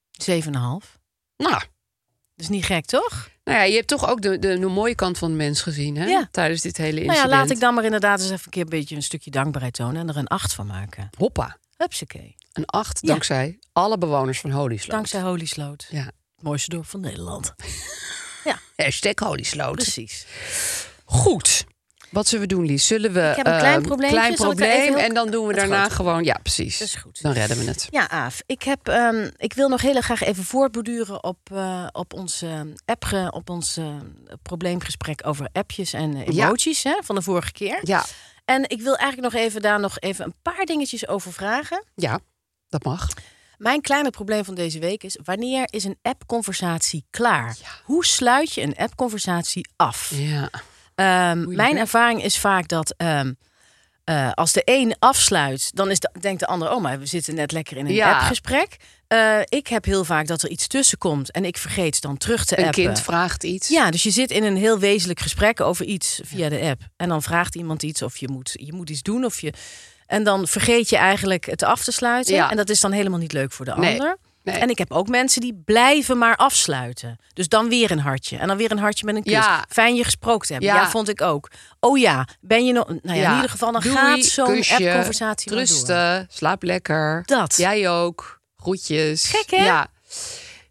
Speaker 3: Nou,
Speaker 2: Dat is niet gek, toch?
Speaker 3: nou ja, je hebt toch ook de, de, de mooie kant van de mens gezien, hè?
Speaker 2: Ja.
Speaker 3: Tijdens dit hele
Speaker 2: Nou
Speaker 3: incident.
Speaker 2: ja, laat ik dan maar inderdaad eens even een keer een beetje een stukje dankbaarheid tonen. En er een 8 van maken.
Speaker 3: Hoppa.
Speaker 2: Hupsakee.
Speaker 3: Een acht
Speaker 2: Ja.
Speaker 3: dankzij alle bewoners van Holysloot.
Speaker 2: Dankzij Holy Sloot.
Speaker 3: Ja.
Speaker 2: Het mooiste dorp van Nederland.
Speaker 3: Hashtag Holysloot.
Speaker 2: Precies.
Speaker 3: Goed. Wat zullen we doen, Lies? Zullen we...
Speaker 4: Ik heb een klein
Speaker 3: ehm,
Speaker 4: probleempje.
Speaker 3: Klein
Speaker 4: Zal ik er
Speaker 3: probleem
Speaker 4: even heel-
Speaker 3: en dan doen we
Speaker 4: het
Speaker 3: daarna
Speaker 4: grote.
Speaker 3: gewoon... Ja, precies.
Speaker 2: Dat is goed.
Speaker 3: Dan redden we het.
Speaker 2: Ja, Aaf. Ik, heb, ehm, ik wil nog heel graag even voortborduren op, eh, op onze app, op ons eh, probleemgesprek over appjes en eh,
Speaker 3: Ja.
Speaker 2: emoties hè, van de vorige keer.
Speaker 3: Ja,
Speaker 2: En ik wil eigenlijk nog even daar nog even een paar dingetjes over vragen.
Speaker 3: ja, dat mag.
Speaker 2: Mijn kleine probleem van deze week is: wanneer is een app-conversatie klaar? Hoe sluit je een app-conversatie af?
Speaker 3: Ja.
Speaker 2: Ehm, mijn ervaring is vaak dat ehm, eh, als de een afsluit, dan is de, denkt de ander: oh, maar we zitten net lekker in een
Speaker 3: Ja.
Speaker 2: appgesprek. Eh, ik heb heel vaak dat er iets tussenkomt en ik vergeet dan terug te
Speaker 3: Een
Speaker 2: appen.
Speaker 3: kind vraagt iets.
Speaker 2: Ja, dus je zit in een heel wezenlijk gesprek over iets via de app. En dan vraagt iemand iets of je moet, je moet iets doen. Of je... En dan vergeet je eigenlijk het af te sluiten.
Speaker 3: Ja.
Speaker 2: En dat is dan helemaal niet leuk voor de
Speaker 3: Nee,
Speaker 2: ander.
Speaker 3: nee.
Speaker 2: En ik heb ook mensen die blijven maar afsluiten. Dus dan weer een hartje. En dan weer een hartje met een kus.
Speaker 3: Ja.
Speaker 2: Fijn je gesproken te hebben.
Speaker 3: Ja.
Speaker 2: Ja. vond ik ook. Oh ja, ben je nog... Nou ja, in
Speaker 3: Ja.
Speaker 2: ieder geval, dan
Speaker 3: Doei,
Speaker 2: gaat zo'n
Speaker 3: kusje,
Speaker 2: app-conversatie maar door.
Speaker 3: Rusten, slaap lekker.
Speaker 2: Dat.
Speaker 3: Jij ook. Groetjes.
Speaker 2: Gek, hè?
Speaker 3: Ja.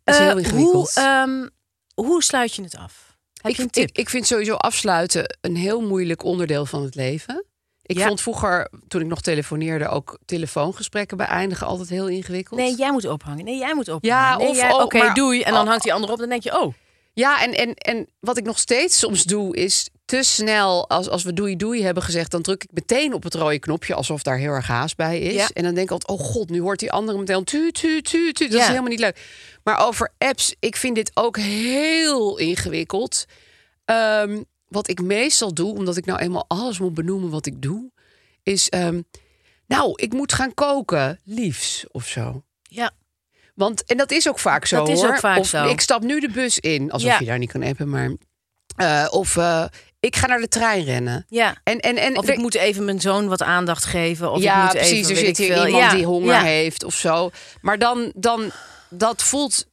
Speaker 3: Dat is
Speaker 2: Eh,
Speaker 3: heel
Speaker 2: hoe,
Speaker 3: ingewikkeld.
Speaker 2: ehm, hoe sluit je het af? Heb
Speaker 3: ik,
Speaker 2: je een tip?
Speaker 3: ik, ik vind sowieso afsluiten een heel moeilijk onderdeel van het leven. Ik
Speaker 2: Ja.
Speaker 3: vond vroeger, toen ik nog telefoneerde, ook telefoongesprekken beëindigen altijd heel ingewikkeld.
Speaker 2: Nee, jij moet ophangen. Nee, jij moet ophangen.
Speaker 3: Ja,
Speaker 2: Nee,
Speaker 3: of
Speaker 2: jij-
Speaker 3: ook,
Speaker 2: Oké,
Speaker 3: maar-
Speaker 2: doei. En dan
Speaker 3: Oh.
Speaker 2: hangt die ander op. Dan denk je, oh,
Speaker 3: Ja, en, en, en wat ik nog steeds soms doe, is te snel, als, als we doei doei hebben gezegd, dan druk ik meteen op het rode knopje, alsof daar heel erg haast bij is.
Speaker 2: Ja.
Speaker 3: En dan denk ik altijd, oh god, nu hoort die andere meteen tu, tu, tu, tu. Dat
Speaker 2: Ja.
Speaker 3: is helemaal niet leuk. Maar over apps, ik vind dit ook heel ingewikkeld. Ehm, wat ik meestal doe, omdat ik nou eenmaal alles moet benoemen wat ik doe, is, ehm, nou, ik moet gaan koken, liefs of zo.
Speaker 2: ja.
Speaker 3: Want, en dat is ook vaak zo.
Speaker 2: Dat is
Speaker 3: hoor.
Speaker 2: ook vaak
Speaker 3: of,
Speaker 2: zo.
Speaker 3: Ik stap nu de bus in, alsof
Speaker 2: Ja.
Speaker 3: je daar niet kan appen, maar. eh, of eh, ik ga naar de trein rennen.
Speaker 2: ja.
Speaker 3: En, en, en
Speaker 2: Of
Speaker 3: er-
Speaker 2: ik moet even mijn zoon wat aandacht geven. Of
Speaker 3: ja,
Speaker 2: ik moet
Speaker 3: precies.
Speaker 2: Even,
Speaker 3: er
Speaker 2: weet
Speaker 3: zit
Speaker 2: ik
Speaker 3: hier
Speaker 2: veel.
Speaker 3: iemand
Speaker 2: Ja,
Speaker 3: die honger
Speaker 2: ja.
Speaker 3: heeft of zo. Maar dan, dan dat voelt.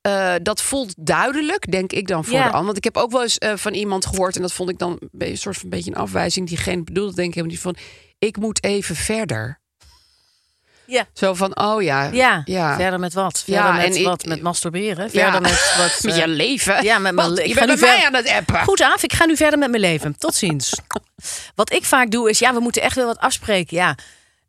Speaker 3: eh, dat voelt duidelijk, denk ik dan voor
Speaker 2: Ja.
Speaker 3: de ander. Want ik heb ook wel eens eh, van iemand gehoord, en dat vond ik dan een be- soort van een beetje een afwijzing. Diegene bedoelde, denk ik, helemaal niet van: ik moet even verder.
Speaker 2: Ja.
Speaker 3: Zo van: oh ja,
Speaker 2: Ja.
Speaker 3: ja.
Speaker 2: verder met wat?
Speaker 3: Ja,
Speaker 2: Verder met
Speaker 3: en ik-
Speaker 2: wat? Met masturberen?
Speaker 3: Ja.
Speaker 2: Verder met wat?
Speaker 3: Met
Speaker 2: eh,
Speaker 3: je leven.
Speaker 2: ja, met mijn
Speaker 3: Want
Speaker 2: le-
Speaker 3: Je
Speaker 2: ik
Speaker 3: bent
Speaker 2: ga
Speaker 3: bij
Speaker 2: nu
Speaker 3: mij
Speaker 2: ver-
Speaker 3: aan het appen.
Speaker 2: Goed, Aaf, ik ga nu verder met mijn leven. Tot ziens. wat ik vaak doe is, ja, we moeten echt weer wat afspreken. Ja,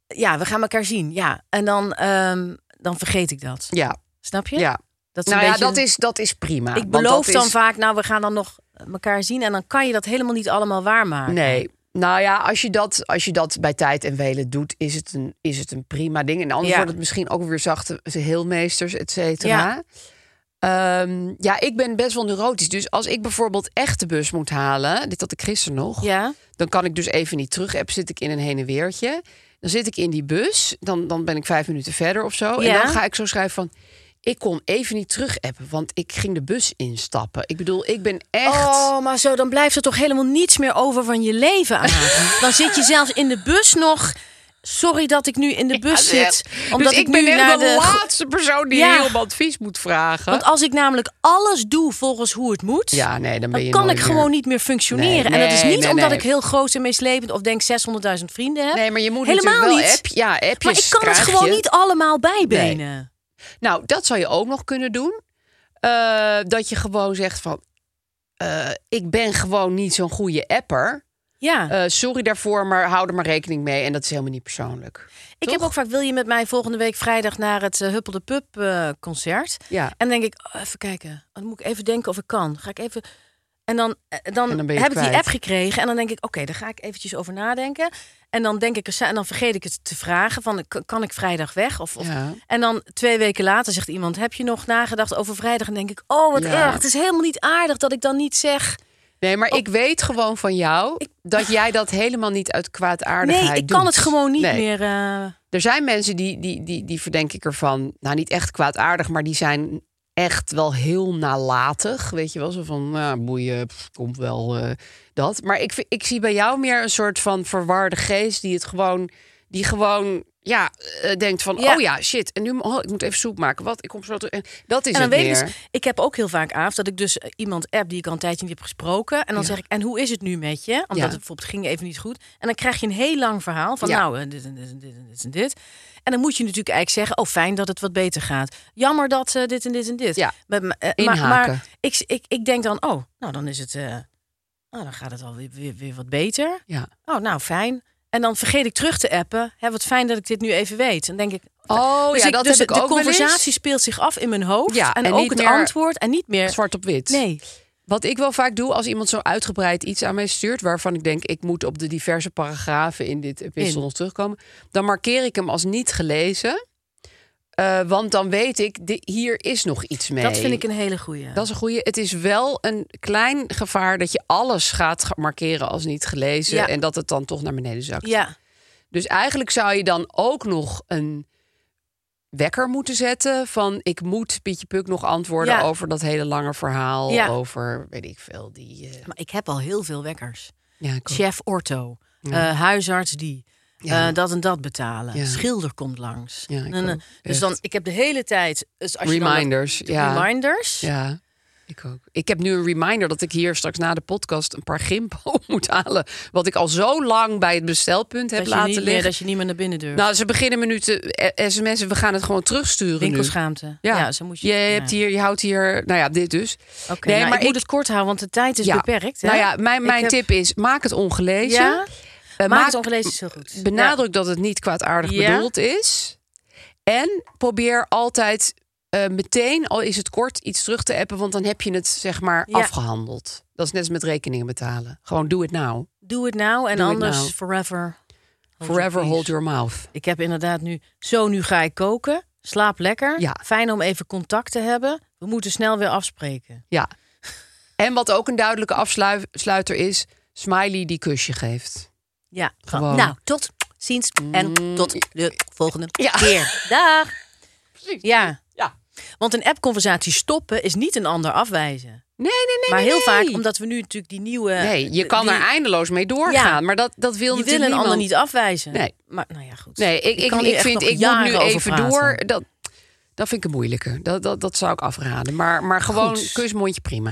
Speaker 2: ja we gaan elkaar zien. Ja, en dan, ehm, dan vergeet ik dat.
Speaker 3: Ja,
Speaker 2: Snap je?
Speaker 3: ja.
Speaker 2: Dat is
Speaker 3: Nou
Speaker 2: een
Speaker 3: ja,
Speaker 2: beetje-
Speaker 3: dat is, dat is prima.
Speaker 2: Ik
Speaker 3: Nou, want
Speaker 2: beloof
Speaker 3: dat
Speaker 2: dan
Speaker 3: is-
Speaker 2: vaak, nou, we gaan dan nog elkaar zien. En dan kan je dat helemaal niet allemaal waarmaken.
Speaker 3: Nee. Nou ja, als je, dat, als je dat bij tijd en welen doet, is het een, is het een prima ding. En anders
Speaker 2: Ja.
Speaker 3: wordt het misschien ook weer zachte heelmeesters, et cetera. Ja. ja, ik ben best wel neurotisch. Dus als ik bijvoorbeeld echt de bus moet halen, dit had ik gisteren nog,
Speaker 2: Ja,
Speaker 3: dan kan ik dus even niet terug. App zit ik in een heen en weertje. Dan zit ik in die bus. Dan, dan ben ik vijf minuten verder of zo. En
Speaker 2: Ja.
Speaker 3: dan ga ik zo schrijven van... Ik kon even niet terug appen, want ik ging de bus instappen. Ik bedoel, ik ben echt...
Speaker 2: Oh, maar zo, dan blijft er toch helemaal niets meer over van je leven aan. dan zit je zelfs in de bus nog. Sorry dat ik nu in de bus
Speaker 3: Ja,
Speaker 2: zit. Omdat
Speaker 3: dus
Speaker 2: ik, nu
Speaker 3: ben echt
Speaker 2: naar
Speaker 3: de,
Speaker 2: de.
Speaker 3: laatste persoon die
Speaker 2: Ja.
Speaker 3: heel veel advies moet vragen.
Speaker 2: Want als ik namelijk alles doe volgens hoe het moet.
Speaker 3: ja, nee, dan ben
Speaker 2: Dan
Speaker 3: je
Speaker 2: kan ik
Speaker 3: nooit meer.
Speaker 2: gewoon niet meer functioneren.
Speaker 3: Nee,
Speaker 2: en dat is
Speaker 3: nee,
Speaker 2: niet
Speaker 3: nee,
Speaker 2: omdat
Speaker 3: nee.
Speaker 2: ik heel groot en meeslepend of denk 600.000 vrienden heb.
Speaker 3: Nee, maar je moet
Speaker 2: Helemaal
Speaker 3: natuurlijk wel
Speaker 2: niet.
Speaker 3: app, ja, appjes,
Speaker 2: maar ik kan het
Speaker 3: krijg
Speaker 2: gewoon
Speaker 3: je.
Speaker 2: niet allemaal bijbenen.
Speaker 3: Nou, dat zou je ook nog kunnen doen. Eh, dat je gewoon zegt van... eh, ik ben gewoon niet zo'n goede apper.
Speaker 2: Ja.
Speaker 3: Eh, sorry daarvoor, maar hou er maar rekening mee. En dat is helemaal niet persoonlijk.
Speaker 2: Ik
Speaker 3: Toch?
Speaker 2: heb ook vaak, wil je met mij volgende week vrijdag naar het eh, Huppel de Pup eh, concert?
Speaker 3: Ja.
Speaker 2: En dan denk ik, oh, even kijken. Oh, Dan moet ik even denken of ik kan. Ga ik even... En dan, eh, dan,
Speaker 3: En dan ben je
Speaker 2: heb ik
Speaker 3: kwijt.
Speaker 2: die app gekregen. En dan denk ik, oké, daar ga ik eventjes over nadenken. En dan denk ik, er zijn- en dan vergeet ik het te vragen. Van, k- kan ik vrijdag weg? Of, of...
Speaker 3: Ja.
Speaker 2: En dan twee weken later zegt iemand, heb je nog nagedacht over vrijdag? En denk ik, oh, wat
Speaker 3: Ja.
Speaker 2: erg. Het is helemaal niet aardig dat ik dan niet zeg...
Speaker 3: Nee, maar ik weet gewoon van jou... dat jij dat helemaal niet uit kwaadaardigheid
Speaker 2: Nee,
Speaker 3: doet.
Speaker 2: ik kan het gewoon niet
Speaker 3: Nee.
Speaker 2: meer... eh,
Speaker 3: Er zijn mensen die, die, die, die verdenk ik ervan, nou niet echt kwaadaardig, maar die zijn echt wel heel nalatig. Weet je wel, zo van, nou, boeien, pff, komt wel eh, dat. Maar ik, vind- ik zie bij jou meer een soort van verwarde geest die het gewoon die gewoon ja, eh, denkt van,
Speaker 2: Ja.
Speaker 3: oh ja, shit. En nu, mo- oh, ik moet even soep maken. Wat, ik kom zo terug. En dat is
Speaker 2: En dan
Speaker 3: het
Speaker 2: weet ik
Speaker 3: meer.
Speaker 2: dus, ik heb ook heel vaak avond dat ik dus eh, iemand app die ik al een tijdje niet heb gesproken. En dan zeg ik, en hoe is het nu met je? Omdat
Speaker 3: Ja.
Speaker 2: het bijvoorbeeld ging even niet goed. En dan krijg je een heel lang verhaal van,
Speaker 3: Ja.
Speaker 2: nou, eh, dit en dit en dit en dit en dit. En dan moet je natuurlijk eigenlijk zeggen, oh fijn dat het wat beter gaat. Jammer dat eh, dit en dit en dit.
Speaker 3: Ja.
Speaker 2: Met m- eh, maar
Speaker 3: Inhaken.
Speaker 2: maar ik, ik, ik denk dan, oh, nou dan is het, eh, nou, dan gaat het alweer weer, weer wat beter.
Speaker 3: ja.
Speaker 2: Oh, nou fijn. En dan vergeet ik terug te appen. Hè, wat fijn dat ik dit nu even weet. Dan denk ik,
Speaker 3: Oh
Speaker 2: dus
Speaker 3: ja,
Speaker 2: ik-
Speaker 3: dat
Speaker 2: dus
Speaker 3: heb ik
Speaker 2: de
Speaker 3: ook wel eens.
Speaker 2: conversatie speelt zich af in mijn hoofd.
Speaker 3: Ja,
Speaker 2: en,
Speaker 3: en
Speaker 2: ook
Speaker 3: niet
Speaker 2: het
Speaker 3: meer-
Speaker 2: antwoord. En niet meer.
Speaker 3: Zwart op wit.
Speaker 2: Nee.
Speaker 3: Wat ik wel vaak doe als iemand zo uitgebreid iets aan mij stuurt, waarvan ik denk ik moet op de diverse paragrafen in dit epistel
Speaker 2: In.
Speaker 3: nog terugkomen, dan markeer ik hem als niet gelezen. Eh, want dan weet ik, di- hier is nog iets mee.
Speaker 2: Dat vind ik een hele goeie.
Speaker 3: Dat is een goede. Het is wel een klein gevaar dat je alles gaat ge- markeren als niet gelezen
Speaker 2: Ja.
Speaker 3: en dat het dan toch naar beneden zakt.
Speaker 2: Ja.
Speaker 3: Dus eigenlijk zou je dan ook nog een wekker moeten zetten van ik moet Pietje Puk nog antwoorden
Speaker 2: Ja.
Speaker 3: over dat hele lange verhaal
Speaker 2: Ja.
Speaker 3: over weet ik veel die eh,
Speaker 2: Maar ik heb al heel veel wekkers.
Speaker 3: ja, ik ook.
Speaker 2: Chef ortho. eh, huisarts die.
Speaker 3: Ja.
Speaker 2: eh, dat en dat betalen.
Speaker 3: Ja.
Speaker 2: Schilder komt langs.
Speaker 3: Ja, ik
Speaker 2: En, eh,
Speaker 3: ook.
Speaker 2: dus
Speaker 3: Echt.
Speaker 2: dan, ik heb de hele tijd... Dus als je dan-
Speaker 3: reminders ja
Speaker 2: Reminders.
Speaker 3: ja ik ook ik heb nu een reminder dat ik hier straks na de podcast een paar gimpo moet halen wat ik al zo lang bij het bestelpunt heb
Speaker 2: Dat, je
Speaker 3: laten
Speaker 2: niet meer,
Speaker 3: liggen
Speaker 2: dat je niet meer naar binnen durft.
Speaker 3: Nou, ze beginnen me nu te eh, sms'en. We gaan het gewoon terugsturen nu.
Speaker 2: Winkelschaamte. Ja. zo moet je...
Speaker 3: je,
Speaker 2: ja.
Speaker 3: hebt hier, je houdt hier, nou ja, dit dus.
Speaker 2: Oké, nou, ik,
Speaker 3: maar
Speaker 2: moet het kort houden, want de tijd is
Speaker 3: ja.
Speaker 2: beperkt. Hè?
Speaker 3: Nou ja, mijn,
Speaker 2: Ik
Speaker 3: mijn
Speaker 2: heb-
Speaker 3: tip is, maak het ongelezen.
Speaker 2: Ja?
Speaker 3: Eh,
Speaker 2: Maak het ongelezen is heel goed.
Speaker 3: Benadruk dat het niet kwaadaardig
Speaker 2: Ja.
Speaker 3: bedoeld is. En probeer altijd eh, meteen, al is het kort, iets terug te appen. Want dan heb je het, zeg maar,
Speaker 2: Ja.
Speaker 3: afgehandeld. Dat is net als met rekeningen betalen. Gewoon do it now.
Speaker 2: Doe het nou en
Speaker 3: Doe it
Speaker 2: anders
Speaker 3: now.
Speaker 2: forever. your
Speaker 3: Forever
Speaker 2: peace.
Speaker 3: hold your mouth.
Speaker 2: Ik heb inderdaad nu zo, nu ga ik koken. Slaap lekker.
Speaker 3: Ja.
Speaker 2: Fijn om even contact te hebben. We moeten snel weer afspreken.
Speaker 3: Ja. En wat ook een duidelijke afsluiter is, smiley die kusje geeft.
Speaker 2: Ja,
Speaker 3: Gewoon. Mm.
Speaker 2: Nou, tot ziens en tot de volgende
Speaker 3: Ja.
Speaker 2: keer. Dag.
Speaker 3: Precies.
Speaker 2: Ja,
Speaker 3: Ja.
Speaker 2: want een appconversatie stoppen is niet een ander afwijzen.
Speaker 3: Nee, nee, nee.
Speaker 2: maar
Speaker 3: nee,
Speaker 2: heel
Speaker 3: nee.
Speaker 2: vaak, omdat we nu natuurlijk die nieuwe...
Speaker 3: Nee, je
Speaker 2: die-
Speaker 3: kan
Speaker 2: die-
Speaker 3: er eindeloos mee doorgaan,
Speaker 2: Ja.
Speaker 3: maar dat, dat wil
Speaker 2: Je wil
Speaker 3: natuurlijk
Speaker 2: een
Speaker 3: niemand.
Speaker 2: ander niet afwijzen.
Speaker 3: Nee.
Speaker 2: Maar nou ja, goed.
Speaker 3: Nee, ik, ik,
Speaker 2: kan
Speaker 3: ik,
Speaker 2: hier echt
Speaker 3: vind,
Speaker 2: nog
Speaker 3: ik moet nu
Speaker 2: jaren over
Speaker 3: even
Speaker 2: praten.
Speaker 3: door. Dat, dat vind ik een moeilijke. Dat, dat, dat zou ik afraden. Maar, maar gewoon
Speaker 2: Goed.
Speaker 3: kusmondje prima.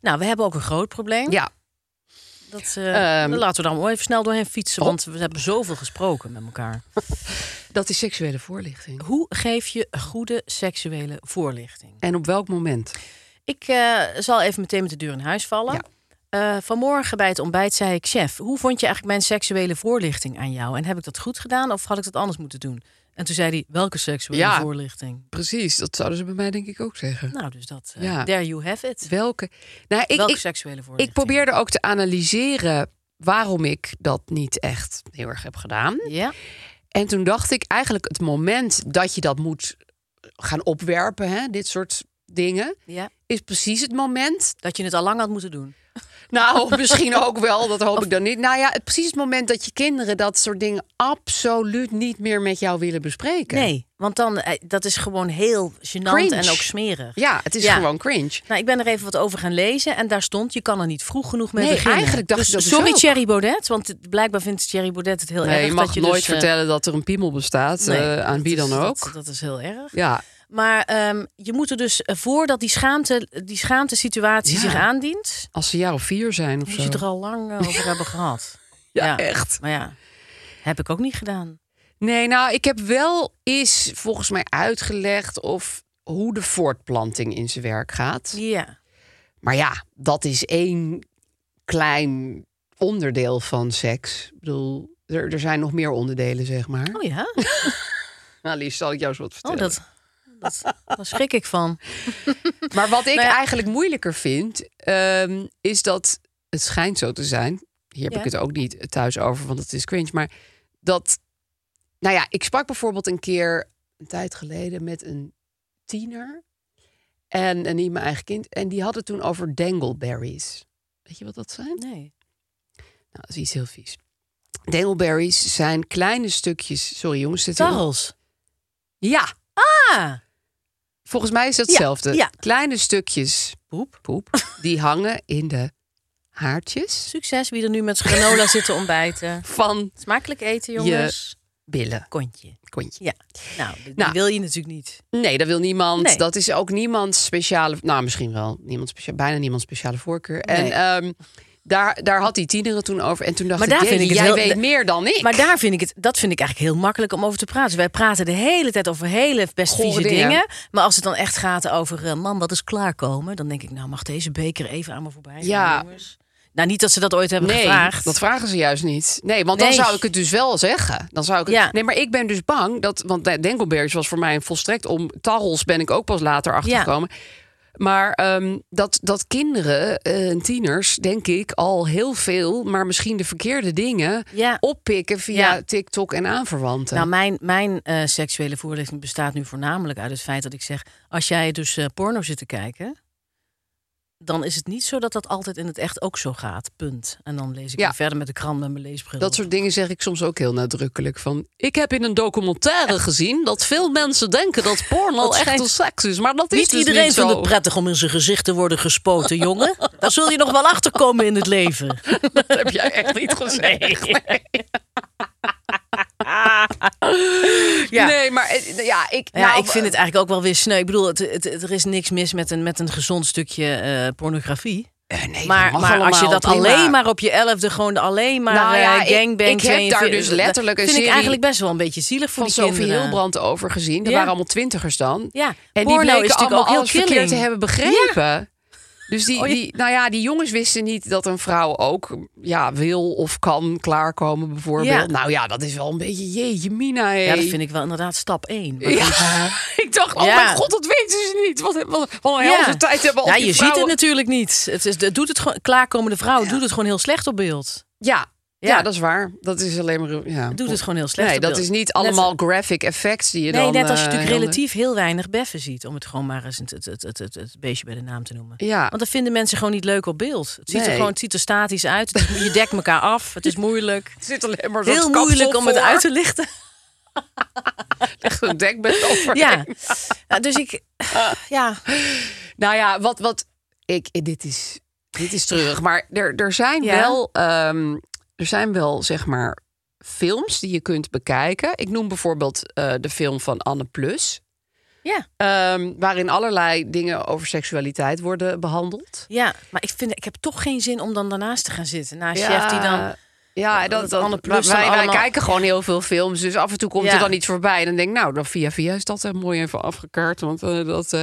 Speaker 2: Nou, we hebben ook een groot probleem.
Speaker 3: Ja,
Speaker 2: Dat, eh,
Speaker 3: Ehm. Oh.
Speaker 2: dan laten we dan wel even snel doorheen fietsen. Want we hebben zoveel gesproken met elkaar.
Speaker 3: dat is seksuele voorlichting.
Speaker 2: Hoe geef je goede seksuele voorlichting?
Speaker 3: En op welk moment?
Speaker 2: Ik eh, zal even meteen met de deur in huis vallen.
Speaker 3: Ja.
Speaker 2: Eh, vanmorgen bij het ontbijt zei ik, chef, hoe vond je eigenlijk mijn seksuele voorlichting aan jou? En heb ik dat goed gedaan of had ik dat anders moeten doen? En toen zei hij, welke seksuele
Speaker 3: Ja.
Speaker 2: voorlichting?
Speaker 3: Precies, dat zouden ze bij mij denk ik ook zeggen.
Speaker 2: Nou, dus dat, eh,
Speaker 3: Ja.
Speaker 2: there you have it.
Speaker 3: Welke? Nou, ik,
Speaker 2: welke
Speaker 3: ik,
Speaker 2: seksuele
Speaker 3: ik
Speaker 2: voorlichting?
Speaker 3: probeerde ook te analyseren waarom ik dat niet echt heel erg heb gedaan.
Speaker 2: Ja,
Speaker 3: En toen dacht ik eigenlijk het moment dat je dat moet gaan opwerpen, hè, dit soort dingen,
Speaker 2: ja,
Speaker 3: is precies het moment.
Speaker 2: dat je het al lang had moeten doen.
Speaker 3: Nou, misschien ook wel, dat hoop ik dan niet. Nou ja, het, precies het moment dat je kinderen dat soort dingen absoluut niet meer met jou willen bespreken.
Speaker 2: Nee, want dan, eh, dat is gewoon heel gênant
Speaker 3: Cringe.
Speaker 2: en ook smerig.
Speaker 3: Ja, het is
Speaker 2: Ja.
Speaker 3: gewoon cringe.
Speaker 2: Nou, ik ben er even wat over gaan lezen en daar stond: je kan er niet vroeg genoeg mee
Speaker 3: Nee,
Speaker 2: beginnen.
Speaker 3: eigenlijk dacht
Speaker 2: Dus
Speaker 3: ik dat dus
Speaker 2: Sorry,
Speaker 3: ook.
Speaker 2: Thierry Baudet, want het- blijkbaar vindt Thierry Baudet het heel
Speaker 3: Nee,
Speaker 2: erg.
Speaker 3: je mag
Speaker 2: dat je
Speaker 3: nooit
Speaker 2: dus, eh,
Speaker 3: vertellen dat er een piemel bestaat
Speaker 2: nee,
Speaker 3: eh, aan
Speaker 2: dat
Speaker 3: wie
Speaker 2: is-
Speaker 3: dan ook.
Speaker 2: Dat, dat is heel erg.
Speaker 3: ja,
Speaker 2: Maar ehm, je moet er dus eh, voordat die schaamte, die schaamte situatie
Speaker 3: Ja.
Speaker 2: zich aandient,
Speaker 3: als ze jaar of vier zijn of
Speaker 2: moet
Speaker 3: zo.
Speaker 2: je het er al lang eh, over hebben gehad.
Speaker 3: ja, echt.
Speaker 2: Maar ja, heb ik ook niet gedaan.
Speaker 3: Nee, nou, ik heb wel eens volgens mij uitgelegd of hoe de voortplanting in zijn werk gaat.
Speaker 2: Ja,
Speaker 3: Maar ja, dat is één klein onderdeel van seks. Ik bedoel, er, er zijn nog meer onderdelen, zeg maar.
Speaker 2: oh ja,
Speaker 3: Nou, Lies, zal ik jou eens wat vertellen.
Speaker 2: oh dat. Dat, daar schrik ik van.
Speaker 3: Maar wat ik
Speaker 2: Nou ja.
Speaker 3: eigenlijk moeilijker vind, ehm, is dat het schijnt zo te zijn. Hier heb
Speaker 2: Ja.
Speaker 3: ik het ook niet thuis over, want het is cringe. Maar dat, nou ja, ik sprak bijvoorbeeld een keer een tijd geleden met een tiener en, en niet mijn eigen kind. En die had het toen over dangleberries. Weet je wat dat zijn?
Speaker 2: Nee.
Speaker 3: Nou, dat is iets heel vies. Dangleberries zijn kleine stukjes. Sorry jongens, dit
Speaker 2: Tarrels.
Speaker 3: Ja,
Speaker 2: Ah.
Speaker 3: volgens mij is dat
Speaker 2: Ja,
Speaker 3: hetzelfde.
Speaker 2: ja.
Speaker 3: Kleine stukjes
Speaker 2: Poep.
Speaker 3: poep die hangen in de haartjes
Speaker 2: Succes wie er nu met z'n granola zit te ontbijten.
Speaker 3: van
Speaker 2: Smakelijk eten, jongens.
Speaker 3: billen.
Speaker 2: Kontje.
Speaker 3: Kontje.
Speaker 2: Ja. Nou, die
Speaker 3: Nou.
Speaker 2: wil je natuurlijk niet.
Speaker 3: Nee, dat wil niemand.
Speaker 2: Nee.
Speaker 3: Dat is ook niemands speciale. Nou, misschien wel. Niemand specia- bijna niemand speciale voorkeur.
Speaker 2: Nee.
Speaker 3: En ehm, daar, daar had die tieneren toen over. En toen dacht
Speaker 2: Maar
Speaker 3: ik,
Speaker 2: daar vind
Speaker 3: "Jee,
Speaker 2: ik het
Speaker 3: jij
Speaker 2: heel-
Speaker 3: weet meer dan ik.
Speaker 2: Maar daar vind ik het, dat vind ik eigenlijk heel makkelijk om over te praten. Wij praten de hele tijd over hele best
Speaker 3: Gore
Speaker 2: vieze
Speaker 3: dingen.
Speaker 2: dingen. Maar als het dan echt gaat over, eh, man, wat is klaarkomen? Dan denk ik, nou mag deze beker even aan me voorbij gaan,
Speaker 3: Ja.
Speaker 2: jongens. Nou, niet dat ze dat ooit hebben
Speaker 3: nee,
Speaker 2: gevraagd.
Speaker 3: dat vragen ze juist niet. Nee, want dan
Speaker 2: Nee.
Speaker 3: zou ik het dus wel zeggen. Dan zou ik het-
Speaker 2: Ja.
Speaker 3: Nee, maar ik ben dus bang dat... Want Denkelbergs was voor mij een volstrekt om... Tarrels ben ik ook pas later achtergekomen. Maar ehm, dat, dat kinderen eh, en tieners, denk ik, al heel veel... maar misschien de verkeerde dingen
Speaker 2: Ja.
Speaker 3: oppikken via
Speaker 2: Ja.
Speaker 3: TikTok en aanverwanten.
Speaker 2: Nou, mijn, mijn eh, seksuele voorlichting bestaat nu voornamelijk uit het feit dat ik zeg: als jij dus eh, porno zit te kijken, dan is het niet zo dat dat altijd in het echt ook zo gaat. Punt. En dan lees ik
Speaker 3: Ja.
Speaker 2: weer verder met de krant met mijn leesbril.
Speaker 3: dat soort dingen zeg ik soms ook heel nadrukkelijk. Van, ik heb in een documentaire gezien dat veel mensen denken dat porno
Speaker 2: Dat
Speaker 3: echt
Speaker 2: schijnt-
Speaker 3: een seks is. Maar dat is
Speaker 2: niet
Speaker 3: dus
Speaker 2: iedereen
Speaker 3: niet zo.
Speaker 2: vindt het prettig om in zijn gezicht te worden gespoten, jongen. Daar zul je nog wel achter komen in het leven.
Speaker 3: Dat heb jij echt niet gezegd. Nee, nee maar eh, ja, ik,
Speaker 2: Ja,
Speaker 3: nou,
Speaker 2: ik vind het eigenlijk ook wel weer sneu. Ik bedoel, het, het, het- er is niks mis met een, met een gezond stukje eh, pornografie.
Speaker 3: eh, nee, dat
Speaker 2: Maar,
Speaker 3: mag
Speaker 2: maar als je dat
Speaker 3: allemaal, prima.
Speaker 2: alleen maar op je elfde, gewoon alleen maar
Speaker 3: Nou
Speaker 2: nou
Speaker 3: ja, ik-
Speaker 2: gangbang.
Speaker 3: ik heb daar dus letterlijk een
Speaker 2: vind
Speaker 3: serie
Speaker 2: ik eigenlijk best wel een beetje zielig voor die
Speaker 3: van Sophie
Speaker 2: kinderen.
Speaker 3: Hilbrand over gezien. Dat
Speaker 2: Ja.
Speaker 3: waren allemaal twintigers dan.
Speaker 2: Ja,
Speaker 3: En die
Speaker 2: porno
Speaker 3: bleken
Speaker 2: is natuurlijk
Speaker 3: allemaal
Speaker 2: ook heel
Speaker 3: alles verkeerd
Speaker 2: killing.
Speaker 3: te hebben begrepen. Dus die,
Speaker 2: Oh, ja.
Speaker 3: die, nou ja, die jongens wisten niet dat een vrouw ook ja, wil of kan klaarkomen bijvoorbeeld.
Speaker 2: Ja.
Speaker 3: Nou ja, dat is wel een beetje jeetje mina. hé.
Speaker 2: Ja, dat vind ik wel inderdaad stap één. Maar goed.
Speaker 3: Ja. Ik dacht, oh
Speaker 2: Ja.
Speaker 3: mijn god, dat weten ze niet. Wat, wat, wat een
Speaker 2: Ja.
Speaker 3: helft tijd hebben al
Speaker 2: ja,
Speaker 3: die
Speaker 2: je ziet het
Speaker 3: vrouwen.
Speaker 2: natuurlijk niet. Het is, het doet het gewoon, klaarkomende vrouw doet het gewoon heel slecht op beeld.
Speaker 3: Ja. Ja.
Speaker 2: Ja.
Speaker 3: dat is waar. Dat is alleen maar. Ja.
Speaker 2: Doet het gewoon heel slecht
Speaker 3: Oh. Nee,
Speaker 2: op
Speaker 3: dat
Speaker 2: beeld.
Speaker 3: is niet
Speaker 2: Net-
Speaker 3: allemaal graphic effects die je
Speaker 2: Nee,
Speaker 3: dan.
Speaker 2: net als
Speaker 3: eh,
Speaker 2: je natuurlijk
Speaker 3: heel-
Speaker 2: relatief heel weinig beffen ziet. Om het gewoon maar eens het, het, het, het, het, het beestje bij de naam te noemen.
Speaker 3: Ja.
Speaker 2: Want dat vinden mensen gewoon niet leuk op beeld. Het ziet,
Speaker 3: Nee.
Speaker 2: er, gewoon, het ziet er statisch uit. Het is- je dekt elkaar af. Het is moeilijk.
Speaker 3: Het zit alleen maar een
Speaker 2: Heel
Speaker 3: soort kapsel
Speaker 2: moeilijk om het
Speaker 3: voor.
Speaker 2: uit te lichten.
Speaker 3: Echt een dekbed over.
Speaker 2: Ja. Nou, dus ik... Ja.
Speaker 3: Nou ja, wat, wat ik, dit is, dit is terug. Maar er, er zijn
Speaker 2: Ja.
Speaker 3: wel, ehm, er zijn wel, zeg maar, films die je kunt bekijken. Ik noem bijvoorbeeld eh, de film van Anne Plus.
Speaker 2: Ja.
Speaker 3: Ehm, waarin allerlei dingen over seksualiteit worden behandeld.
Speaker 2: Ja, maar ik, vind, ik heb toch geen zin om dan daarnaast te gaan zitten. Naast
Speaker 3: Ja.
Speaker 2: chef die dan...
Speaker 3: Ja,
Speaker 2: Dat
Speaker 3: dat, dat,
Speaker 2: Anne
Speaker 3: Anne
Speaker 2: Plus
Speaker 3: Plus wij,
Speaker 2: dan
Speaker 3: wij
Speaker 2: allemaal-
Speaker 3: kijken gewoon heel veel films. Dus af en toe komt
Speaker 2: Ja.
Speaker 3: er dan iets voorbij. En dan denk ik, nou, dan via via is dat eh, mooi even afgekaart. Want eh, dat... eh,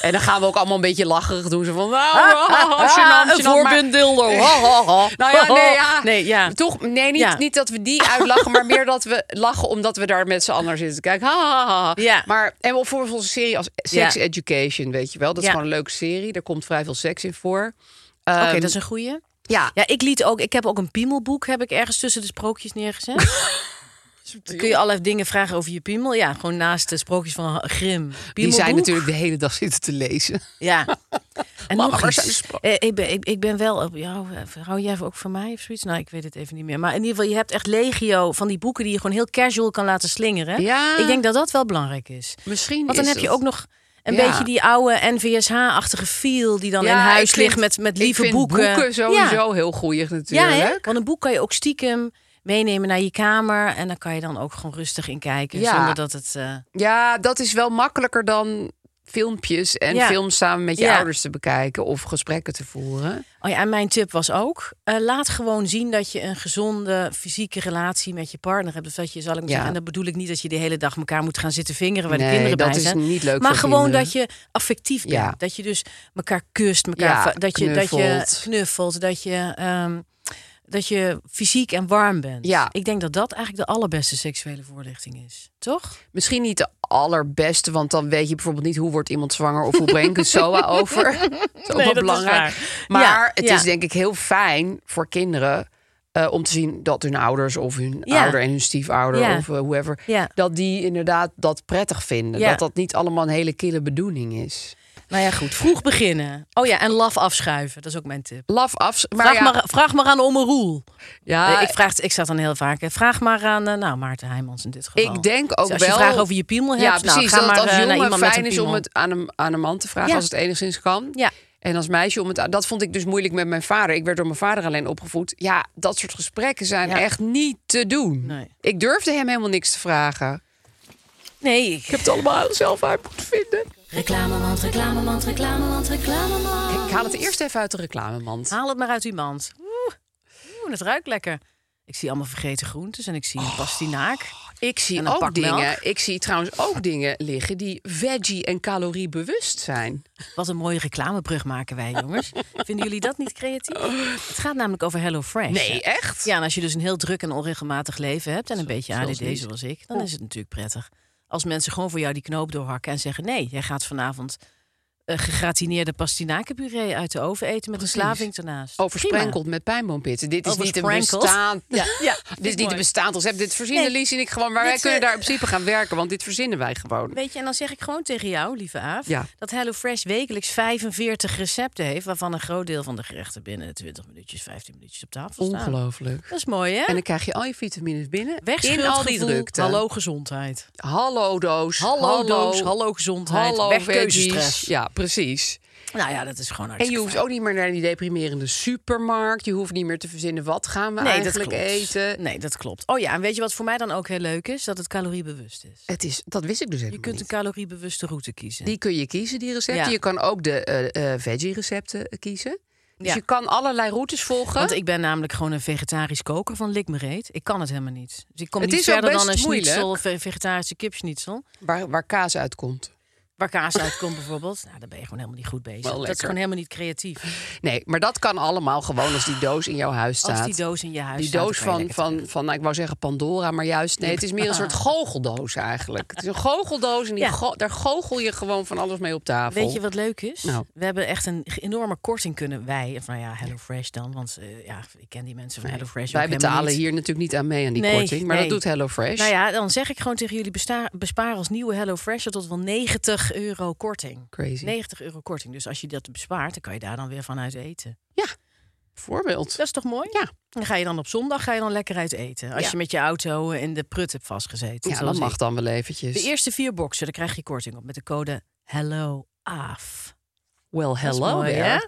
Speaker 3: en dan gaan we ook allemaal een beetje lacherig doen. Zo van, nou,
Speaker 2: Ah,
Speaker 3: gênant,
Speaker 2: een
Speaker 3: gênant, maar-
Speaker 2: voorbeeld dildo. Ha, ha, ha.
Speaker 3: Nou ja, nee, ja.
Speaker 2: Nee, ja.
Speaker 3: Toch, nee, niet,
Speaker 2: Ja.
Speaker 3: niet dat we die uitlachen, maar meer dat we lachen omdat we daar met z'n allen naar zitten te kijken. Ha, ha, ha, ha.
Speaker 2: Ja.
Speaker 3: Maar en wel voor onze serie als Sex
Speaker 2: Ja.
Speaker 3: Education, weet je wel. Dat is
Speaker 2: Ja.
Speaker 3: gewoon een leuke serie. Daar komt vrij veel seks in voor.
Speaker 2: Oké,
Speaker 3: Ehm,
Speaker 2: dat is een goeie.
Speaker 3: ja.
Speaker 2: Ja, ik liet ook... Ik heb ook een piemelboek heb ik ergens tussen de sprookjes neergezet. Dan kun je allerlei dingen vragen over je piemel. Ja, gewoon naast de sprookjes van Grim.
Speaker 3: Die zijn
Speaker 2: Piemelboek.
Speaker 3: natuurlijk de hele dag zitten te lezen.
Speaker 2: Ja. En
Speaker 3: Mama,
Speaker 2: nog
Speaker 3: waar
Speaker 2: eens.
Speaker 3: zijn de spro-
Speaker 2: Eh, ik, ben, ik, ik ben wel op jou. eh, Hou jij ook van mij of zoiets? Nou, ik weet het even niet meer. Maar in ieder geval, je hebt echt legio van die boeken die je gewoon heel casual kan laten slingeren.
Speaker 3: Ja.
Speaker 2: Ik denk dat dat wel belangrijk is.
Speaker 3: Misschien
Speaker 2: Want dan
Speaker 3: is
Speaker 2: heb je
Speaker 3: dat-
Speaker 2: ook nog een
Speaker 3: Ja.
Speaker 2: beetje die oude NVSH-achtige feel die dan in huis
Speaker 3: ik vind-
Speaker 2: ligt met, met lieve
Speaker 3: ik vind
Speaker 2: boeken.
Speaker 3: sowieso
Speaker 2: Ja.
Speaker 3: heel goeie
Speaker 2: Ja,
Speaker 3: natuurlijk.
Speaker 2: hè? want een boek kan je ook stiekem meenemen naar je kamer. En dan kan je dan ook gewoon rustig in kijken.
Speaker 3: Ja.
Speaker 2: Zonder dat het. eh,
Speaker 3: Ja, dat is wel makkelijker dan filmpjes en
Speaker 2: Ja.
Speaker 3: films samen met je
Speaker 2: Ja.
Speaker 3: ouders te bekijken of gesprekken te voeren.
Speaker 2: Oh ja, en mijn tip was ook: eh, laat gewoon zien dat je een gezonde fysieke relatie met je partner hebt. Of dat je, zal ik maar
Speaker 3: Ja.
Speaker 2: zeggen, en dat bedoel ik niet dat je de hele dag elkaar moet gaan zitten vingeren waar
Speaker 3: Nee,
Speaker 2: de kinderen
Speaker 3: dat
Speaker 2: bij
Speaker 3: is
Speaker 2: zijn.
Speaker 3: niet leuk
Speaker 2: maar
Speaker 3: voor
Speaker 2: gewoon
Speaker 3: kinderen.
Speaker 2: dat je affectief bent.
Speaker 3: Ja.
Speaker 2: Dat je dus elkaar kust, elkaar
Speaker 3: Ja,
Speaker 2: va- dat, je, dat je
Speaker 3: knuffelt.
Speaker 2: knuffelt, dat je, ehm, dat je fysiek en warm bent.
Speaker 3: Ja.
Speaker 2: Ik denk dat dat eigenlijk de allerbeste seksuele voorlichting is. Toch?
Speaker 3: Misschien niet de allerbeste, want dan weet je bijvoorbeeld niet hoe wordt iemand zwanger of hoe breng ik een SOA over. Dat is ook wel belangrijk. Maar
Speaker 2: Ja,
Speaker 3: het
Speaker 2: ja.
Speaker 3: is denk ik heel fijn voor kinderen eh, om te zien dat hun ouders of hun
Speaker 2: Ja.
Speaker 3: ouder en hun stiefouder
Speaker 2: Ja.
Speaker 3: of eh, whoever,
Speaker 2: Ja.
Speaker 3: dat die inderdaad dat prettig vinden.
Speaker 2: Ja.
Speaker 3: Dat dat niet allemaal een hele kille bedoeling is.
Speaker 2: Nou ja, goed. Vroeg beginnen. Oh ja, en laf afschuiven. Dat is ook mijn tip.
Speaker 3: Laf af. Maar
Speaker 2: Vraag,
Speaker 3: ja,
Speaker 2: maar, vraag maar aan Omme Roel.
Speaker 3: ja,
Speaker 2: Eh, ik, vraag, ik zeg dan heel vaak, eh, vraag maar aan eh, nou, Maarten Heijmans in dit geval.
Speaker 3: Ik denk ook
Speaker 2: Dus als je
Speaker 3: wel-
Speaker 2: vragen over je piemel hebt,
Speaker 3: ja,
Speaker 2: nou,
Speaker 3: precies.
Speaker 2: ga
Speaker 3: dat
Speaker 2: maar
Speaker 3: het
Speaker 2: eh,
Speaker 3: als
Speaker 2: naar
Speaker 3: jongen
Speaker 2: iemand met
Speaker 3: fijn
Speaker 2: een
Speaker 3: is om
Speaker 2: piemel.
Speaker 3: het aan een, aan een man te vragen
Speaker 2: Ja.
Speaker 3: als het enigszins kan.
Speaker 2: Ja.
Speaker 3: En als meisje om het aan- dat vond ik dus moeilijk met mijn vader. Ik werd door mijn vader alleen opgevoed. Ja, dat soort gesprekken zijn
Speaker 2: Ja.
Speaker 3: echt niet te doen.
Speaker 2: Nee.
Speaker 3: Ik durfde hem helemaal niks te vragen.
Speaker 2: Nee, ik-
Speaker 3: Ik heb het allemaal zelf uit moeten vinden.
Speaker 5: Reclamemand, reclamemand, reclamemand, reclamemand.
Speaker 3: Ik haal het eerst even uit de reclamemand.
Speaker 2: haal het maar uit iemand. Oeh, oeh, dat ruikt lekker. Ik zie allemaal vergeten groentes en ik zie
Speaker 3: Oh.
Speaker 2: een pastinaak.
Speaker 3: Ik zie
Speaker 2: En een
Speaker 3: ook
Speaker 2: pak
Speaker 3: dingen.
Speaker 2: melk.
Speaker 3: Ik zie trouwens ook dingen liggen die veggie en caloriebewust zijn.
Speaker 2: Wat een mooie reclamebrug maken wij, jongens. Vinden jullie dat niet creatief? Het gaat namelijk over HelloFresh.
Speaker 3: Nee, echt?
Speaker 2: Ja, en als je dus een heel druk en onregelmatig leven hebt en een beetje
Speaker 3: zoals
Speaker 2: ADD
Speaker 3: niet.
Speaker 2: zoals ik, dan is het natuurlijk prettig. Als mensen gewoon voor jou die knoop doorhakken en zeggen: nee, jij gaat vanavond eh, gegratineerde pastinakenpuree uit de oven eten met een slaving ernaast.
Speaker 3: Oversprenkeld met pijnboompitten. Dit is niet een
Speaker 2: Oversprenkeld.
Speaker 3: bestaan.
Speaker 2: Ja, ja,
Speaker 3: dit is niet
Speaker 2: mooi.
Speaker 3: een bestaand recept. Dit verzinnen
Speaker 2: Nee.
Speaker 3: Lies en ik gewoon. Maar
Speaker 2: Dit,
Speaker 3: wij kunnen
Speaker 2: eh,
Speaker 3: daar in principe gaan werken, want dit verzinnen wij gewoon.
Speaker 2: Weet je, en dan zeg ik gewoon tegen jou, lieve Aaf,
Speaker 3: Ja.
Speaker 2: dat HelloFresh wekelijks 45 recepten heeft, waarvan een groot deel van de gerechten binnen 20 minuutjes, 15 minuutjes op tafel staan.
Speaker 3: Ongelooflijk.
Speaker 2: Dat is mooi, hè?
Speaker 3: En dan krijg je al je vitamines binnen. in al die
Speaker 2: Wegschuldgevoel,
Speaker 3: drukte.
Speaker 2: Hallo gezondheid.
Speaker 3: hallo doos.
Speaker 2: Hallo, doos, hallo gezondheid.
Speaker 3: Hallo
Speaker 2: Weg
Speaker 3: veggies.
Speaker 2: keuzestress.
Speaker 3: Ja, precies.
Speaker 2: Nou ja, dat is gewoon
Speaker 3: En je
Speaker 2: hartstikke
Speaker 3: hoeft ook niet meer naar die deprimerende supermarkt. Je hoeft niet meer te verzinnen wat gaan we
Speaker 2: fijn. Nee, dat
Speaker 3: eigenlijk
Speaker 2: klopt.
Speaker 3: eten.
Speaker 2: Nee, dat klopt. Oh ja, en weet je wat voor mij dan ook heel leuk is? Dat het caloriebewust is.
Speaker 3: Het is, dat wist ik dus helemaal
Speaker 2: Je kunt een
Speaker 3: niet.
Speaker 2: caloriebewuste route kiezen.
Speaker 3: Die kun je kiezen, die recepten.
Speaker 2: Ja.
Speaker 3: Je kan ook de eh, eh, veggie-recepten kiezen. Dus
Speaker 2: Ja.
Speaker 3: je kan allerlei routes volgen.
Speaker 2: Want ik ben namelijk gewoon een vegetarisch koker van lik me reet. Ik kan het helemaal niet. Dus ik kom
Speaker 3: Het
Speaker 2: niet
Speaker 3: is ook
Speaker 2: verder dan
Speaker 3: best
Speaker 2: een schnitzel
Speaker 3: moeilijk.
Speaker 2: of een vegetarische kipschnitzel.
Speaker 3: Waar, waar kaas uitkomt.
Speaker 2: Waar kaas uitkomt bijvoorbeeld. Nou, dan ben je gewoon helemaal niet goed bezig.
Speaker 3: Wel
Speaker 2: dat is
Speaker 3: lekker.
Speaker 2: gewoon helemaal niet creatief.
Speaker 3: Nee, maar dat kan allemaal gewoon als die doos in jouw huis staat.
Speaker 2: Als die doos in je huis
Speaker 3: Die
Speaker 2: staat,
Speaker 3: doos
Speaker 2: dan kan je
Speaker 3: van,
Speaker 2: lekker
Speaker 3: van, van nou, ik wou zeggen Pandora, maar juist nee. Het is meer een soort goocheldoos eigenlijk. Het is een goocheldoos en die
Speaker 2: Ja.
Speaker 3: go- daar goochel je gewoon van alles mee op tafel.
Speaker 2: Weet je wat leuk is?
Speaker 3: Nou.
Speaker 2: We hebben echt een g- enorme korting kunnen wij, of nou ja, HelloFresh dan, want eh, ja, ik ken die mensen van HelloFresh.
Speaker 3: Wij
Speaker 2: ook helemaal
Speaker 3: betalen
Speaker 2: niet.
Speaker 3: hier natuurlijk niet aan mee aan die
Speaker 2: Nee,
Speaker 3: korting, maar
Speaker 2: nee.
Speaker 3: dat doet HelloFresh.
Speaker 2: Nou ja, dan zeg ik gewoon tegen jullie: besta- bespaar als nieuwe HelloFresher tot wel 90 euro korting.
Speaker 3: Crazy.
Speaker 2: 90 euro korting. Dus als je dat bespaart, dan kan je daar dan weer van uit eten.
Speaker 3: Voorbeeld.
Speaker 2: Dat is toch mooi?
Speaker 3: Ja.
Speaker 2: Dan ga je dan op zondag ga je dan lekker uit eten. Als
Speaker 3: Ja.
Speaker 2: je met je auto in de prut hebt vastgezeten.
Speaker 3: Ja,
Speaker 2: zoals
Speaker 3: dat
Speaker 2: ik.
Speaker 3: mag dan dus. wel eventjes.
Speaker 2: De eerste vier boxen, daar krijg je korting op met de code HelloAaf.
Speaker 3: Well,
Speaker 2: Dat is
Speaker 3: hello
Speaker 2: mooi,
Speaker 3: there.
Speaker 2: hè?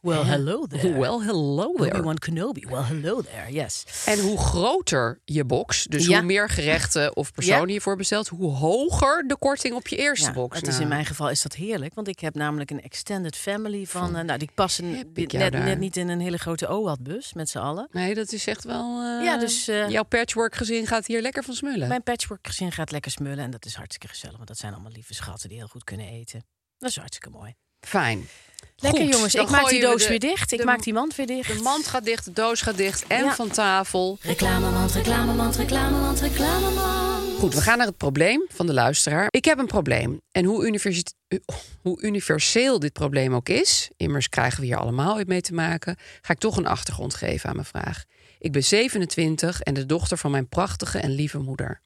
Speaker 2: Well, hello there.
Speaker 3: Well, hello there.
Speaker 2: Obi-Wan Kenobi. Well, hello there. Yes.
Speaker 3: En hoe groter je box, dus
Speaker 2: Ja.
Speaker 3: hoe meer gerechten of personen
Speaker 2: Ja.
Speaker 3: je voor bestelt, hoe hoger de korting op je eerste
Speaker 2: Ja,
Speaker 3: box.
Speaker 2: het is in
Speaker 3: Nou,
Speaker 2: mijn geval is dat heerlijk, want ik heb namelijk een extended family van, eh, nou die passen
Speaker 3: heb ik jou
Speaker 2: net,
Speaker 3: daar.
Speaker 2: net niet in een hele grote OAT-bus met z'n allen.
Speaker 3: Nee, dat is echt wel. eh,
Speaker 2: Ja, dus, eh,
Speaker 3: jouw patchwork gezin gaat hier lekker van smullen.
Speaker 2: Mijn patchwork gezin gaat lekker smullen en dat is hartstikke gezellig, want dat zijn allemaal lieve schatten die heel goed kunnen eten. Dat is hartstikke mooi.
Speaker 3: Fijn.
Speaker 2: Lekker
Speaker 3: Goed,
Speaker 2: jongens,
Speaker 3: dan
Speaker 2: ik maak die
Speaker 3: gooien we
Speaker 2: doos
Speaker 3: de-
Speaker 2: weer dicht, ik
Speaker 3: de-
Speaker 2: maak die mand weer dicht.
Speaker 3: De mand gaat dicht, de doos gaat dicht en
Speaker 2: Ja.
Speaker 3: van tafel.
Speaker 5: Reclamemand, reclamemand, reclamemand, reclamemand.
Speaker 3: Goed, we gaan naar het probleem van de luisteraar. Ik heb een probleem. En hoe, universit- u- hoe universeel dit probleem ook is, immers krijgen we hier allemaal mee te maken, ga ik toch een achtergrond geven aan mijn vraag. Ik ben 27 en de dochter van mijn prachtige en lieve moeder.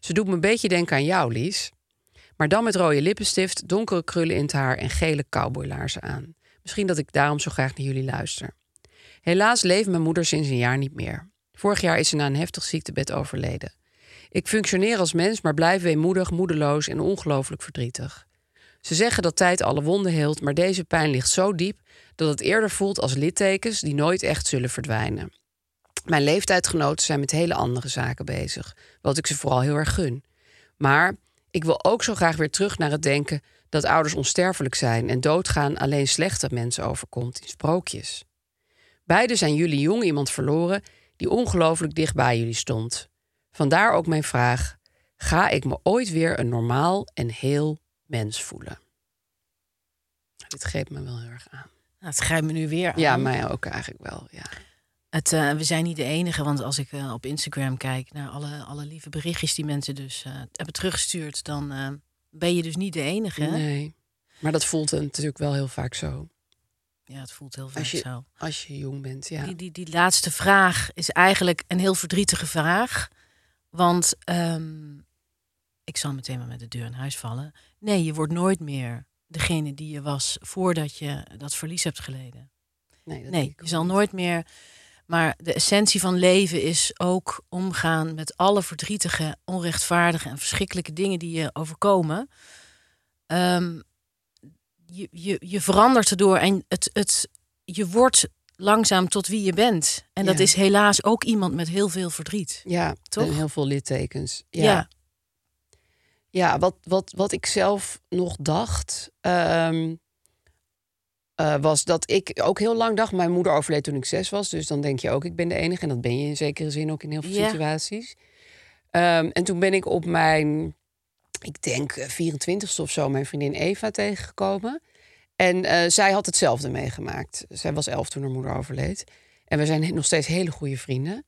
Speaker 3: Ze doet me een beetje denken aan jou, Lies. Maar dan met rode lippenstift, donkere krullen in het haar en gele cowboylaarzen aan. Misschien dat ik daarom zo graag naar jullie luister. Helaas leeft mijn moeder sinds een jaar niet meer. Vorig jaar is ze na een heftig ziektebed overleden. Ik functioneer als mens, maar blijf weemoedig, moedeloos en ongelooflijk verdrietig. Ze zeggen dat tijd alle wonden heelt, maar deze pijn ligt zo diep dat het eerder voelt als littekens die nooit echt zullen verdwijnen. Mijn leeftijdgenoten zijn met hele andere zaken bezig, wat ik ze vooral heel erg gun. Maar ik wil ook zo graag weer terug naar het denken dat ouders onsterfelijk zijn en doodgaan alleen slechte mensen overkomt in sprookjes. Beiden zijn jullie jong iemand verloren die ongelooflijk dicht bij jullie stond. Vandaar ook mijn vraag: ga ik me ooit weer een normaal en heel mens voelen? Nou, Dit greep me wel heel erg aan.
Speaker 2: Nou, het grijpt me nu weer aan.
Speaker 3: Ja, mij ook eigenlijk wel. Ja.
Speaker 2: Het, eh, we zijn niet de enige, want als ik eh, op Instagram kijk naar alle, alle lieve berichtjes die mensen dus eh, hebben teruggestuurd, dan eh, ben je dus niet de enige.
Speaker 3: Nee. Maar dat voelt natuurlijk wel heel vaak zo.
Speaker 2: Ja, het voelt heel vaak
Speaker 3: Als je,
Speaker 2: zo.
Speaker 3: als je jong bent, ja.
Speaker 2: Die, die, die laatste vraag is eigenlijk een heel verdrietige vraag. Want ehm, ik zal meteen maar met de deur in huis vallen. Nee, je wordt nooit meer degene die je was voordat je dat verlies hebt geleden.
Speaker 3: Nee, dat denk
Speaker 2: Nee,
Speaker 3: ik
Speaker 2: je
Speaker 3: ook
Speaker 2: zal
Speaker 3: niet.
Speaker 2: nooit meer. Maar de essentie van leven is ook omgaan met alle verdrietige, onrechtvaardige en verschrikkelijke dingen die je overkomen. Ehm, je, je, je verandert erdoor en het, het, je wordt langzaam tot wie je bent. En dat
Speaker 3: Ja.
Speaker 2: is helaas ook iemand met heel veel verdriet.
Speaker 3: Ja,
Speaker 2: Toch?
Speaker 3: toch? heel veel littekens.
Speaker 2: Ja,
Speaker 3: ja. Ja, wat, wat, wat ik zelf nog dacht, ehm, eh, was dat ik ook heel lang dacht... mijn moeder overleed toen ik zes was, dus dan denk je ook... ik ben de enige, en dat ben je in zekere zin ook in heel veel
Speaker 2: Ja.
Speaker 3: situaties. Ehm, en toen ben ik op mijn, ik denk eh, 24ste of zo... mijn vriendin Eva tegengekomen. En eh, zij had hetzelfde meegemaakt. Zij was elf toen haar moeder overleed. En we zijn nog steeds hele goede vrienden.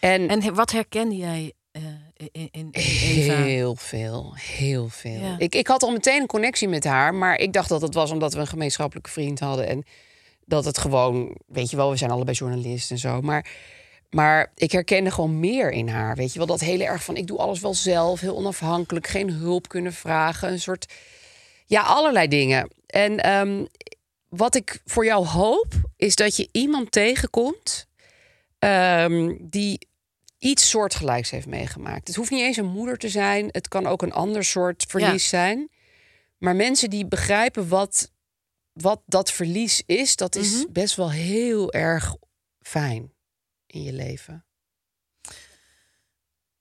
Speaker 3: En,
Speaker 2: En he- wat herkende jij eh, in, in- in Eva?
Speaker 3: Heel veel, heel veel.
Speaker 2: Ja.
Speaker 3: Ik, ik had al meteen een connectie met haar, maar ik dacht dat het was omdat we een gemeenschappelijke vriend hadden. En dat het gewoon, weet je wel, we zijn allebei journalist en zo. Maar, maar ik herkende gewoon meer in haar. Weet je wel, dat hele erg van ik doe alles wel zelf, heel onafhankelijk, geen hulp kunnen vragen. Een soort, ja, allerlei dingen. En ehm, wat ik voor jou hoop, is dat je iemand tegenkomt ehm, die iets soortgelijks heeft meegemaakt. Het hoeft niet eens een moeder te zijn. Het kan ook een ander soort verlies zijn. Maar mensen die begrijpen wat, wat dat verlies is, dat is
Speaker 2: Mhm.
Speaker 3: best wel heel erg fijn in je leven.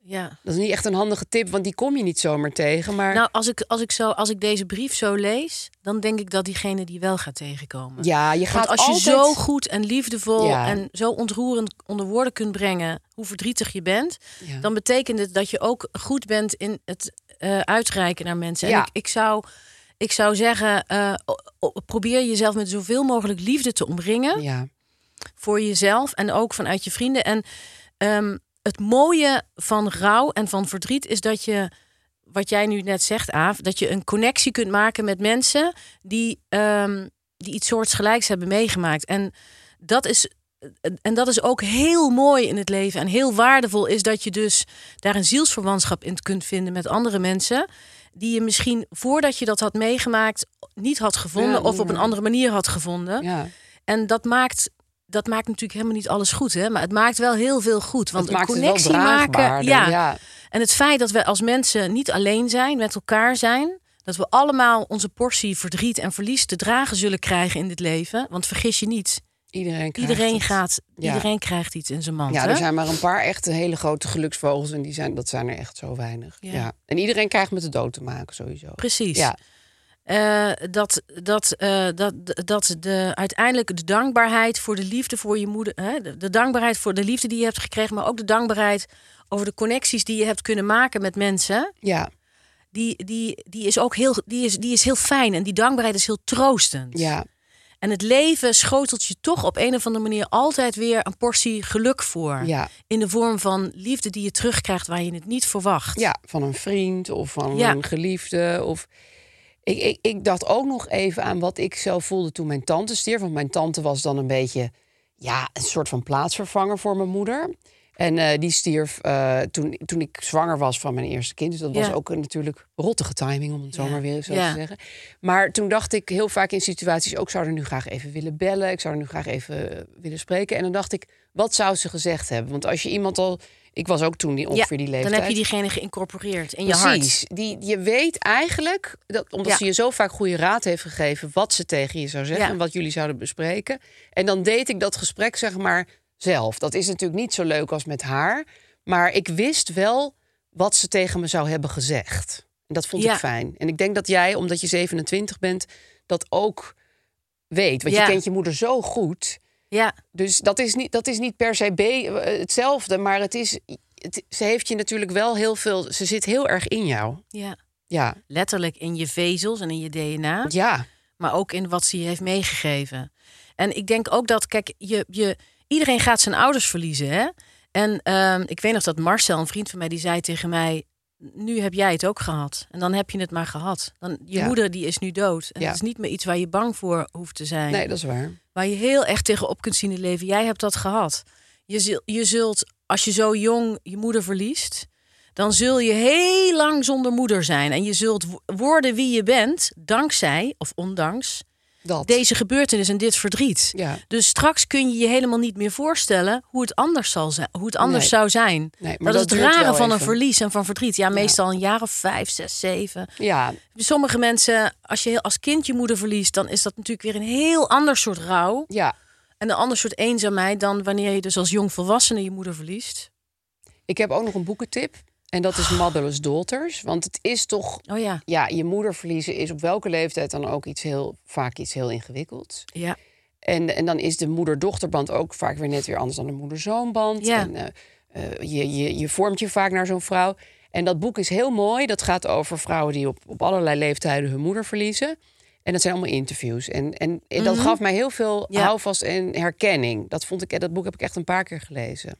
Speaker 2: Ja.
Speaker 3: Dat is niet echt een handige tip, want die kom je niet zomaar tegen. Maar
Speaker 2: Nou, als ik, als, ik zo, als ik deze brief zo lees, dan denk ik dat diegene die wel gaat tegenkomen.
Speaker 3: ja, je
Speaker 2: Want
Speaker 3: gaat
Speaker 2: als je
Speaker 3: altijd...
Speaker 2: zo goed en liefdevol
Speaker 3: Ja.
Speaker 2: en zo ontroerend onder woorden kunt brengen hoe verdrietig je bent,
Speaker 3: Ja.
Speaker 2: dan betekent het dat je ook goed bent in het eh, uitreiken naar mensen. En
Speaker 3: Ja.
Speaker 2: ik, ik, zou, ik zou zeggen, eh, o- o- probeer jezelf met zoveel mogelijk liefde te omringen
Speaker 3: ja.
Speaker 2: voor jezelf en ook vanuit je vrienden. En ehm, het mooie van rouw en van verdriet is dat je, wat jij nu net zegt, Aaf, dat je een connectie kunt maken met mensen die, ehm, die iets soortgelijks hebben meegemaakt. En dat is. En dat is ook heel mooi in het leven. En heel waardevol is dat je dus daar een zielsverwantschap in kunt vinden met andere mensen. Die je misschien voordat je dat had meegemaakt niet had gevonden.
Speaker 3: Ja,
Speaker 2: of op
Speaker 3: ja.
Speaker 2: een andere manier had gevonden.
Speaker 3: ja.
Speaker 2: En dat maakt, dat maakt natuurlijk helemaal niet alles goed, hè? Maar het maakt wel heel veel goed. Want
Speaker 3: Dat maakt
Speaker 2: een
Speaker 3: het wel
Speaker 2: connectie maken.
Speaker 3: draagbaarder,
Speaker 2: Ja.
Speaker 3: ja.
Speaker 2: En het feit dat we als mensen niet alleen zijn, met elkaar zijn. Dat we allemaal onze portie verdriet en verlies te dragen zullen krijgen in dit leven. Want vergis je niet,
Speaker 3: Iedereen, krijgt
Speaker 2: iedereen,
Speaker 3: het.
Speaker 2: gaat,
Speaker 3: Ja.
Speaker 2: iedereen krijgt iets in zijn mand.
Speaker 3: Ja,
Speaker 2: hè?
Speaker 3: er zijn maar een paar echte hele grote geluksvogels en die zijn, dat zijn er echt zo weinig.
Speaker 2: Ja.
Speaker 3: Ja. En iedereen krijgt met de dood te maken sowieso.
Speaker 2: Precies.
Speaker 3: Ja,
Speaker 2: Eh, dat, dat, eh, dat, dat de, uiteindelijk de dankbaarheid voor de liefde voor je moeder. Hè, de, de dankbaarheid voor de liefde die je hebt gekregen, maar ook de dankbaarheid over de connecties die je hebt kunnen maken met mensen.
Speaker 3: ja,
Speaker 2: Die, die, die is ook heel, die is, die is heel fijn. En die dankbaarheid is heel troostend.
Speaker 3: ja.
Speaker 2: En het leven schotelt je toch op een of andere manier altijd weer een portie geluk voor.
Speaker 3: Ja.
Speaker 2: In de vorm van liefde die je terugkrijgt waar je het niet verwacht.
Speaker 3: Ja, van een vriend of van
Speaker 2: Ja.
Speaker 3: een geliefde. Of... Ik, ik, ik dacht ook nog even aan wat ik zelf voelde toen mijn tante stierf. Want mijn tante was dan een beetje ja, een soort van plaatsvervanger voor mijn moeder. En eh, die stierf eh, toen, toen ik zwanger was van mijn eerste kind. Dus dat
Speaker 2: Ja.
Speaker 3: was ook een natuurlijk rottige timing, om het zo
Speaker 2: Ja.
Speaker 3: maar weer zo
Speaker 2: Ja.
Speaker 3: te zeggen. Maar toen dacht ik heel vaak in situaties... ook zou er nu graag even willen bellen. Ik zou er nu graag even eh, willen spreken. En dan dacht ik, wat zou ze gezegd hebben? Want als je iemand al... Ik was ook toen die ongeveer die leeftijd.
Speaker 2: dan heb je diegene geïncorporeerd in je hart.
Speaker 3: Precies. Die, je weet eigenlijk, dat, omdat
Speaker 2: Ja.
Speaker 3: ze je zo vaak goede raad heeft gegeven... wat ze tegen je zou zeggen
Speaker 2: Ja.
Speaker 3: en wat jullie zouden bespreken. En dan deed ik dat gesprek zeg maar zelf. Dat is natuurlijk niet zo leuk als met haar. Maar ik wist wel wat ze tegen me zou hebben gezegd. En dat vond
Speaker 2: Ja.
Speaker 3: ik fijn. En ik denk dat jij, omdat je 27 bent, dat ook weet. Want
Speaker 2: Ja.
Speaker 3: je kent je moeder zo goed...
Speaker 2: Ja.
Speaker 3: Dus dat is niet, dat is niet per se be- eh, hetzelfde, maar het is, het- ze heeft je natuurlijk wel heel veel. Ze zit heel erg in jou.
Speaker 2: ja.
Speaker 3: Ja,
Speaker 2: letterlijk in je vezels en in je DNA,
Speaker 3: ja,
Speaker 2: maar ook in wat ze je heeft meegegeven. En ik denk ook dat, kijk, je, je, iedereen gaat zijn ouders verliezen. Hè? En ehm, ik weet nog dat Marcel, een vriend van mij, die zei tegen mij: nu heb jij het ook gehad. En dan heb je het maar gehad. Dan, je
Speaker 3: Ja.
Speaker 2: moeder die is nu dood. En
Speaker 3: Ja.
Speaker 2: het is niet meer iets waar je bang voor hoeft te zijn.
Speaker 3: Nee, dat is waar.
Speaker 2: Waar je heel echt tegenop kunt zien in het leven. Jij hebt dat gehad. Je, zul- je zult, als je zo jong je moeder verliest... dan zul je heel lang zonder moeder zijn. En je zult wo- worden wie je bent, dankzij of ondanks...
Speaker 3: Dat.
Speaker 2: deze gebeurtenis en dit verdriet.
Speaker 3: Ja.
Speaker 2: Dus straks kun je je helemaal niet meer voorstellen... hoe het anders, zal zijn, hoe het anders
Speaker 3: Nee.
Speaker 2: zou zijn.
Speaker 3: maar
Speaker 2: dat,
Speaker 3: dat
Speaker 2: is
Speaker 3: duurt
Speaker 2: het rare
Speaker 3: wel
Speaker 2: van een
Speaker 3: even.
Speaker 2: verlies en van verdriet. Ja, meestal een jaar of vijf, zes, zeven
Speaker 3: Ja,
Speaker 2: sommige mensen, als je heel- als kind je moeder verliest, dan is dat natuurlijk weer een heel ander soort rouw.
Speaker 3: ja.
Speaker 2: En een ander soort eenzaamheid dan wanneer je dus als jong volwassene je moeder verliest.
Speaker 3: Ik heb ook nog een boekentip. En dat is Motherless Daughters. Want het is toch...
Speaker 2: Oh ja.
Speaker 3: Ja, je moeder verliezen is op welke leeftijd dan ook iets heel, vaak iets heel ingewikkelds.
Speaker 2: Ja.
Speaker 3: En, en dan is de moeder-dochterband ook vaak weer net weer anders dan de moeder-zoonband.
Speaker 2: Ja.
Speaker 3: En, eh, eh, je, je, je vormt je vaak naar zo'n vrouw. En dat boek is heel mooi. Dat gaat over vrouwen die op, op allerlei leeftijden hun moeder verliezen. En dat zijn allemaal interviews. En, en, en dat gaf mij heel veel
Speaker 2: Mhm. Ja.
Speaker 3: houvast en herkenning. Dat, vond ik, eh, dat boek heb ik echt een paar keer gelezen.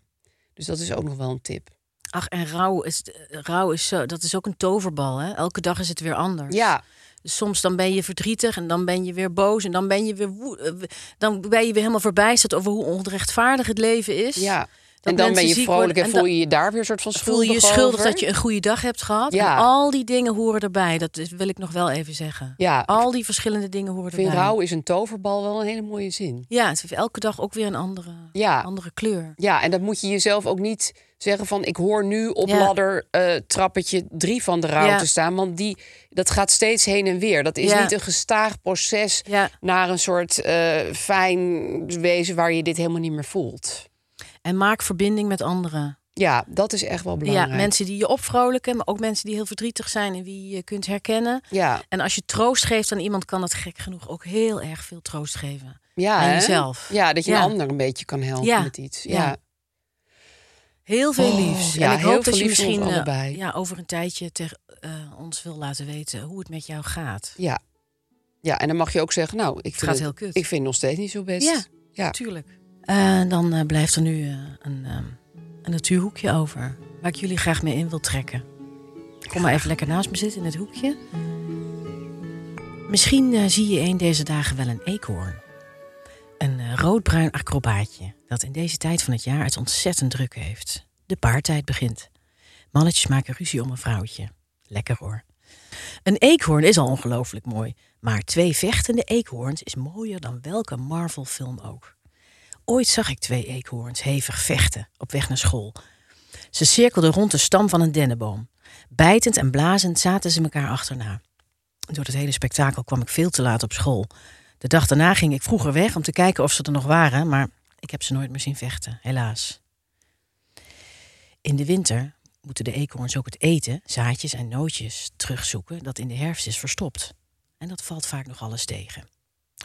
Speaker 3: Dus dat is ook nog wel een tip.
Speaker 2: Ach, en rouw is, rouw is zo, dat is ook een toverbal. Hè? Elke dag is het weer anders.
Speaker 3: Ja,
Speaker 2: Dus soms dan ben je verdrietig en dan ben je weer boos en dan ben je weer, woe- eh, dan ben je weer helemaal verbijsterd over hoe onrechtvaardig het leven is.
Speaker 3: ja.
Speaker 2: Dat
Speaker 3: en dan ben
Speaker 2: mensen
Speaker 3: je
Speaker 2: ziek
Speaker 3: vrolijk
Speaker 2: worden
Speaker 3: en,
Speaker 2: en
Speaker 3: voel
Speaker 2: dan-
Speaker 3: je je daar weer een soort van
Speaker 2: Voel
Speaker 3: schuldig
Speaker 2: je je schuldig
Speaker 3: over.
Speaker 2: dat je een goede dag hebt gehad?
Speaker 3: Ja.
Speaker 2: En al die dingen horen erbij. Dat is, wil ik nog wel even zeggen.
Speaker 3: Ja.
Speaker 2: Al die verschillende dingen horen
Speaker 3: Ik vind
Speaker 2: erbij.
Speaker 3: rouw is een toverbal wel een hele mooie zin.
Speaker 2: Ja, het heeft elke dag ook weer een andere,
Speaker 3: Ja.
Speaker 2: andere kleur.
Speaker 3: Ja, en dat moet je jezelf ook niet zeggen van... ik hoor nu op
Speaker 2: Ja.
Speaker 3: ladder eh, trappetje drie van de rouw
Speaker 2: Ja.
Speaker 3: te staan. Want die, dat gaat steeds heen en weer. Dat is
Speaker 2: Ja.
Speaker 3: niet een gestaag proces
Speaker 2: Ja.
Speaker 3: naar een soort eh, fijn wezen... waar je dit helemaal niet meer voelt.
Speaker 2: En maak verbinding met anderen.
Speaker 3: Ja, dat is echt wel
Speaker 2: Ja,
Speaker 3: belangrijk.
Speaker 2: mensen die je opvrolijken, maar ook mensen die heel verdrietig zijn en wie je kunt herkennen.
Speaker 3: Ja,
Speaker 2: En als je troost geeft aan iemand, kan dat gek genoeg ook heel erg veel troost geven.
Speaker 3: ja
Speaker 2: aan
Speaker 3: hè?
Speaker 2: jezelf.
Speaker 3: Ja, dat je
Speaker 2: Ja.
Speaker 3: een ander een beetje kan helpen
Speaker 2: Ja.
Speaker 3: met iets.
Speaker 2: Ja.
Speaker 3: ja.
Speaker 2: Heel veel
Speaker 3: Oh,
Speaker 2: liefs.
Speaker 3: ja,
Speaker 2: en ik
Speaker 3: heel
Speaker 2: hoop
Speaker 3: veel
Speaker 2: dat je
Speaker 3: liefs voor ons
Speaker 2: misschien eh,
Speaker 3: allebei.
Speaker 2: ja, over een tijdje ter, eh, ons wil laten weten hoe het met jou gaat.
Speaker 3: Ja. Ja, en dan mag je ook zeggen, nou, ik vind,
Speaker 2: gaat heel kut.
Speaker 3: Ik vind het nog steeds niet zo best.
Speaker 2: Ja.
Speaker 3: ja.
Speaker 2: Tuurlijk. Eh, dan eh, blijft er nu eh, een, ehm, een natuurhoekje over. Waar ik jullie graag mee in wil trekken. Kom maar even lekker naast me zitten in het hoekje. Misschien eh, zie je een deze dagen wel een eekhoorn. Een eh, roodbruin acrobaatje dat in deze tijd van het jaar het ontzettend druk heeft. De paartijd begint. Mannetjes maken ruzie om een vrouwtje. Lekker hoor. Een eekhoorn is al ongelooflijk mooi, maar twee vechtende eekhoorns is mooier dan welke Marvel-film ook. Ooit zag ik twee eekhoorns hevig vechten op weg naar school. Ze cirkelden rond de stam van een dennenboom. Bijtend en blazend zaten ze elkaar achterna. Door het hele spektakel kwam ik veel te laat op school. De dag daarna ging ik vroeger weg om te kijken of ze er nog waren, maar ik heb ze nooit meer zien vechten, helaas. In de winter moeten de eekhoorns ook het eten, zaadjes en nootjes terugzoeken dat in de herfst is verstopt. En dat valt vaak nog alles tegen.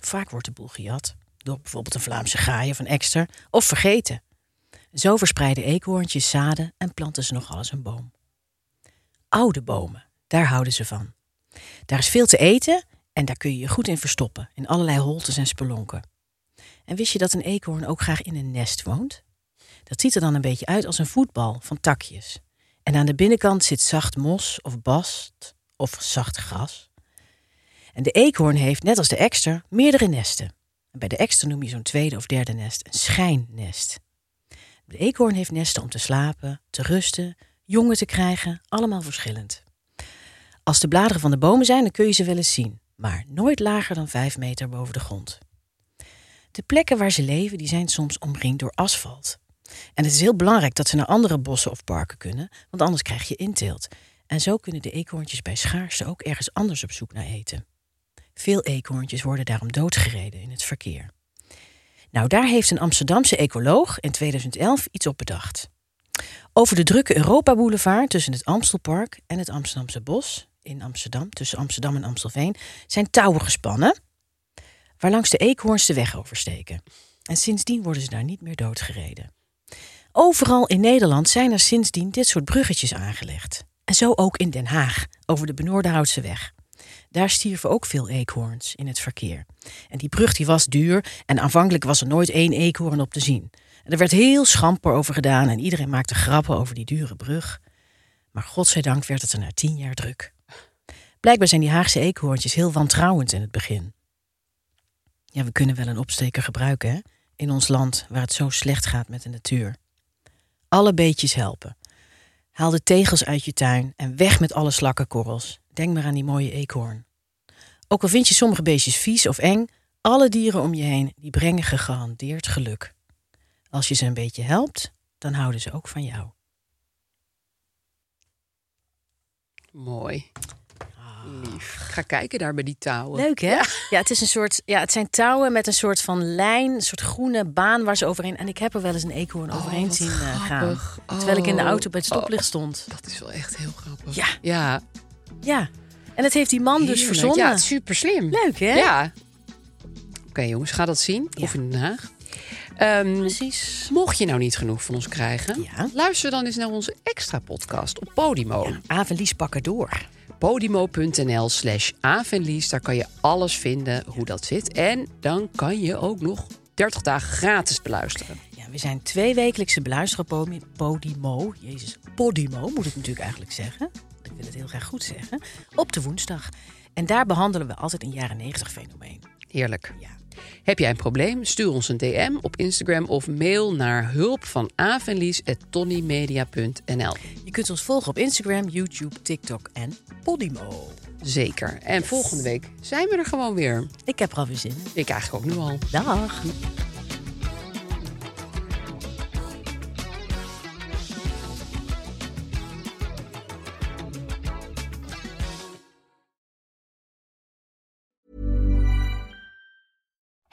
Speaker 2: Vaak wordt de boel gejat door bijvoorbeeld een Vlaamse gaai of een ekster of vergeten. Zo verspreiden eekhoorntjes zaden en planten ze nogal eens een boom. Oude bomen, daar houden ze van. Daar is veel te eten en daar kun je je goed in verstoppen, in allerlei holtes en spelonken. En wist je dat een eekhoorn ook graag in een nest woont? Dat ziet er dan een beetje uit als een voetbal van takjes. En aan de binnenkant zit zacht mos of bast of zacht gras. En de eekhoorn heeft, net als de ekster, meerdere nesten. En bij de ekster noem je zo'n tweede of derde nest een schijnnest. De eekhoorn heeft nesten om te slapen, te rusten, jongen te krijgen, allemaal verschillend. Als de bladeren van de bomen zijn, dan kun je ze wel eens zien, maar nooit lager dan vijf meter boven de grond. De plekken waar ze leven, die zijn soms omringd door asfalt. En het is heel belangrijk dat ze naar andere bossen of parken kunnen, want anders krijg je inteelt. En zo kunnen de eekhoorntjes bij schaarste ook ergens anders op zoek naar eten. Veel eekhoorntjes worden daarom doodgereden in het verkeer. Nou, daar heeft een Amsterdamse ecoloog in 2011 iets op bedacht. Over de drukke Europa-boulevard tussen het Amstelpark en het Amsterdamse Bos in Amsterdam, tussen Amsterdam en Amstelveen, zijn touwen gespannen waarlangs de eekhoorns de weg oversteken. En sindsdien worden ze daar niet meer doodgereden. Overal in Nederland zijn er sindsdien dit soort bruggetjes aangelegd. En zo ook in Den Haag, over de Benoordenhoutse weg. Daar stierven ook veel eekhoorns in het verkeer. En die brug die was duur en aanvankelijk was er nooit één eekhoorn op te zien. En er werd heel schamper over gedaan en iedereen maakte grappen over die dure brug. Maar godzijdank werd het er na tien jaar druk. Blijkbaar zijn die Haagse eekhoorntjes heel wantrouwend in het begin. Ja, we kunnen wel een opsteker gebruiken, hè? In ons land waar het zo slecht gaat met de natuur. Alle beetjes helpen. Haal de tegels uit je tuin en weg met alle slakkenkorrels. Denk maar aan die mooie eekhoorn. Ook al vind je sommige beestjes vies of eng, alle dieren om je heen die brengen gegarandeerd geluk. Als je ze een beetje helpt, dan houden ze ook van jou.
Speaker 3: Mooi.
Speaker 2: Ah.
Speaker 3: Lief. Ga kijken daar bij die touwen.
Speaker 2: Leuk hè? Ja. het is een soort, ja, het zijn touwen met een soort van lijn, een soort groene baan waar ze overheen. En ik heb er wel eens een eekhoorn overheen
Speaker 3: wat
Speaker 2: zien eh, gaan.
Speaker 3: grappig.
Speaker 2: Terwijl ik in de
Speaker 3: Oh.
Speaker 2: auto bij het stoplicht stond.
Speaker 3: Dat is wel echt heel grappig.
Speaker 2: Ja.
Speaker 3: Ja.
Speaker 2: Ja. En dat heeft die man dus
Speaker 3: Heerlijk.
Speaker 2: verzonnen.
Speaker 3: Ja, super slim.
Speaker 2: Leuk hè?
Speaker 3: Ja. Oké jongens, ga dat zien. Of in Den Haag. Ehm,
Speaker 2: Precies.
Speaker 3: mocht je nou niet genoeg van ons krijgen,
Speaker 2: Ja.
Speaker 3: luister dan eens naar onze extra podcast op Podimo.
Speaker 2: Avenlies pakken door.
Speaker 3: Podimo.nl slash avenlies. Daar kan je alles vinden hoe dat zit. En dan kan je ook nog 30 dagen gratis beluisteren.
Speaker 2: Ja, we zijn twee wekelijkse beluisteren op Pomi- Podimo. Jezus, Podimo moet ik natuurlijk eigenlijk zeggen. Ik wil het heel graag goed zeggen. Op de woensdag. En daar behandelen we altijd een jaren negentig fenomeen.
Speaker 3: Heerlijk.
Speaker 2: Ja.
Speaker 3: Heb jij een probleem? Stuur ons een DM op Instagram of mail naar hulp van
Speaker 2: Je kunt ons volgen op Instagram, YouTube, TikTok en Podimo.
Speaker 3: Zeker. En volgende week zijn we er gewoon weer.
Speaker 2: Ik heb er alweer zin in.
Speaker 3: Ik eigenlijk ook nu al.
Speaker 2: Dag!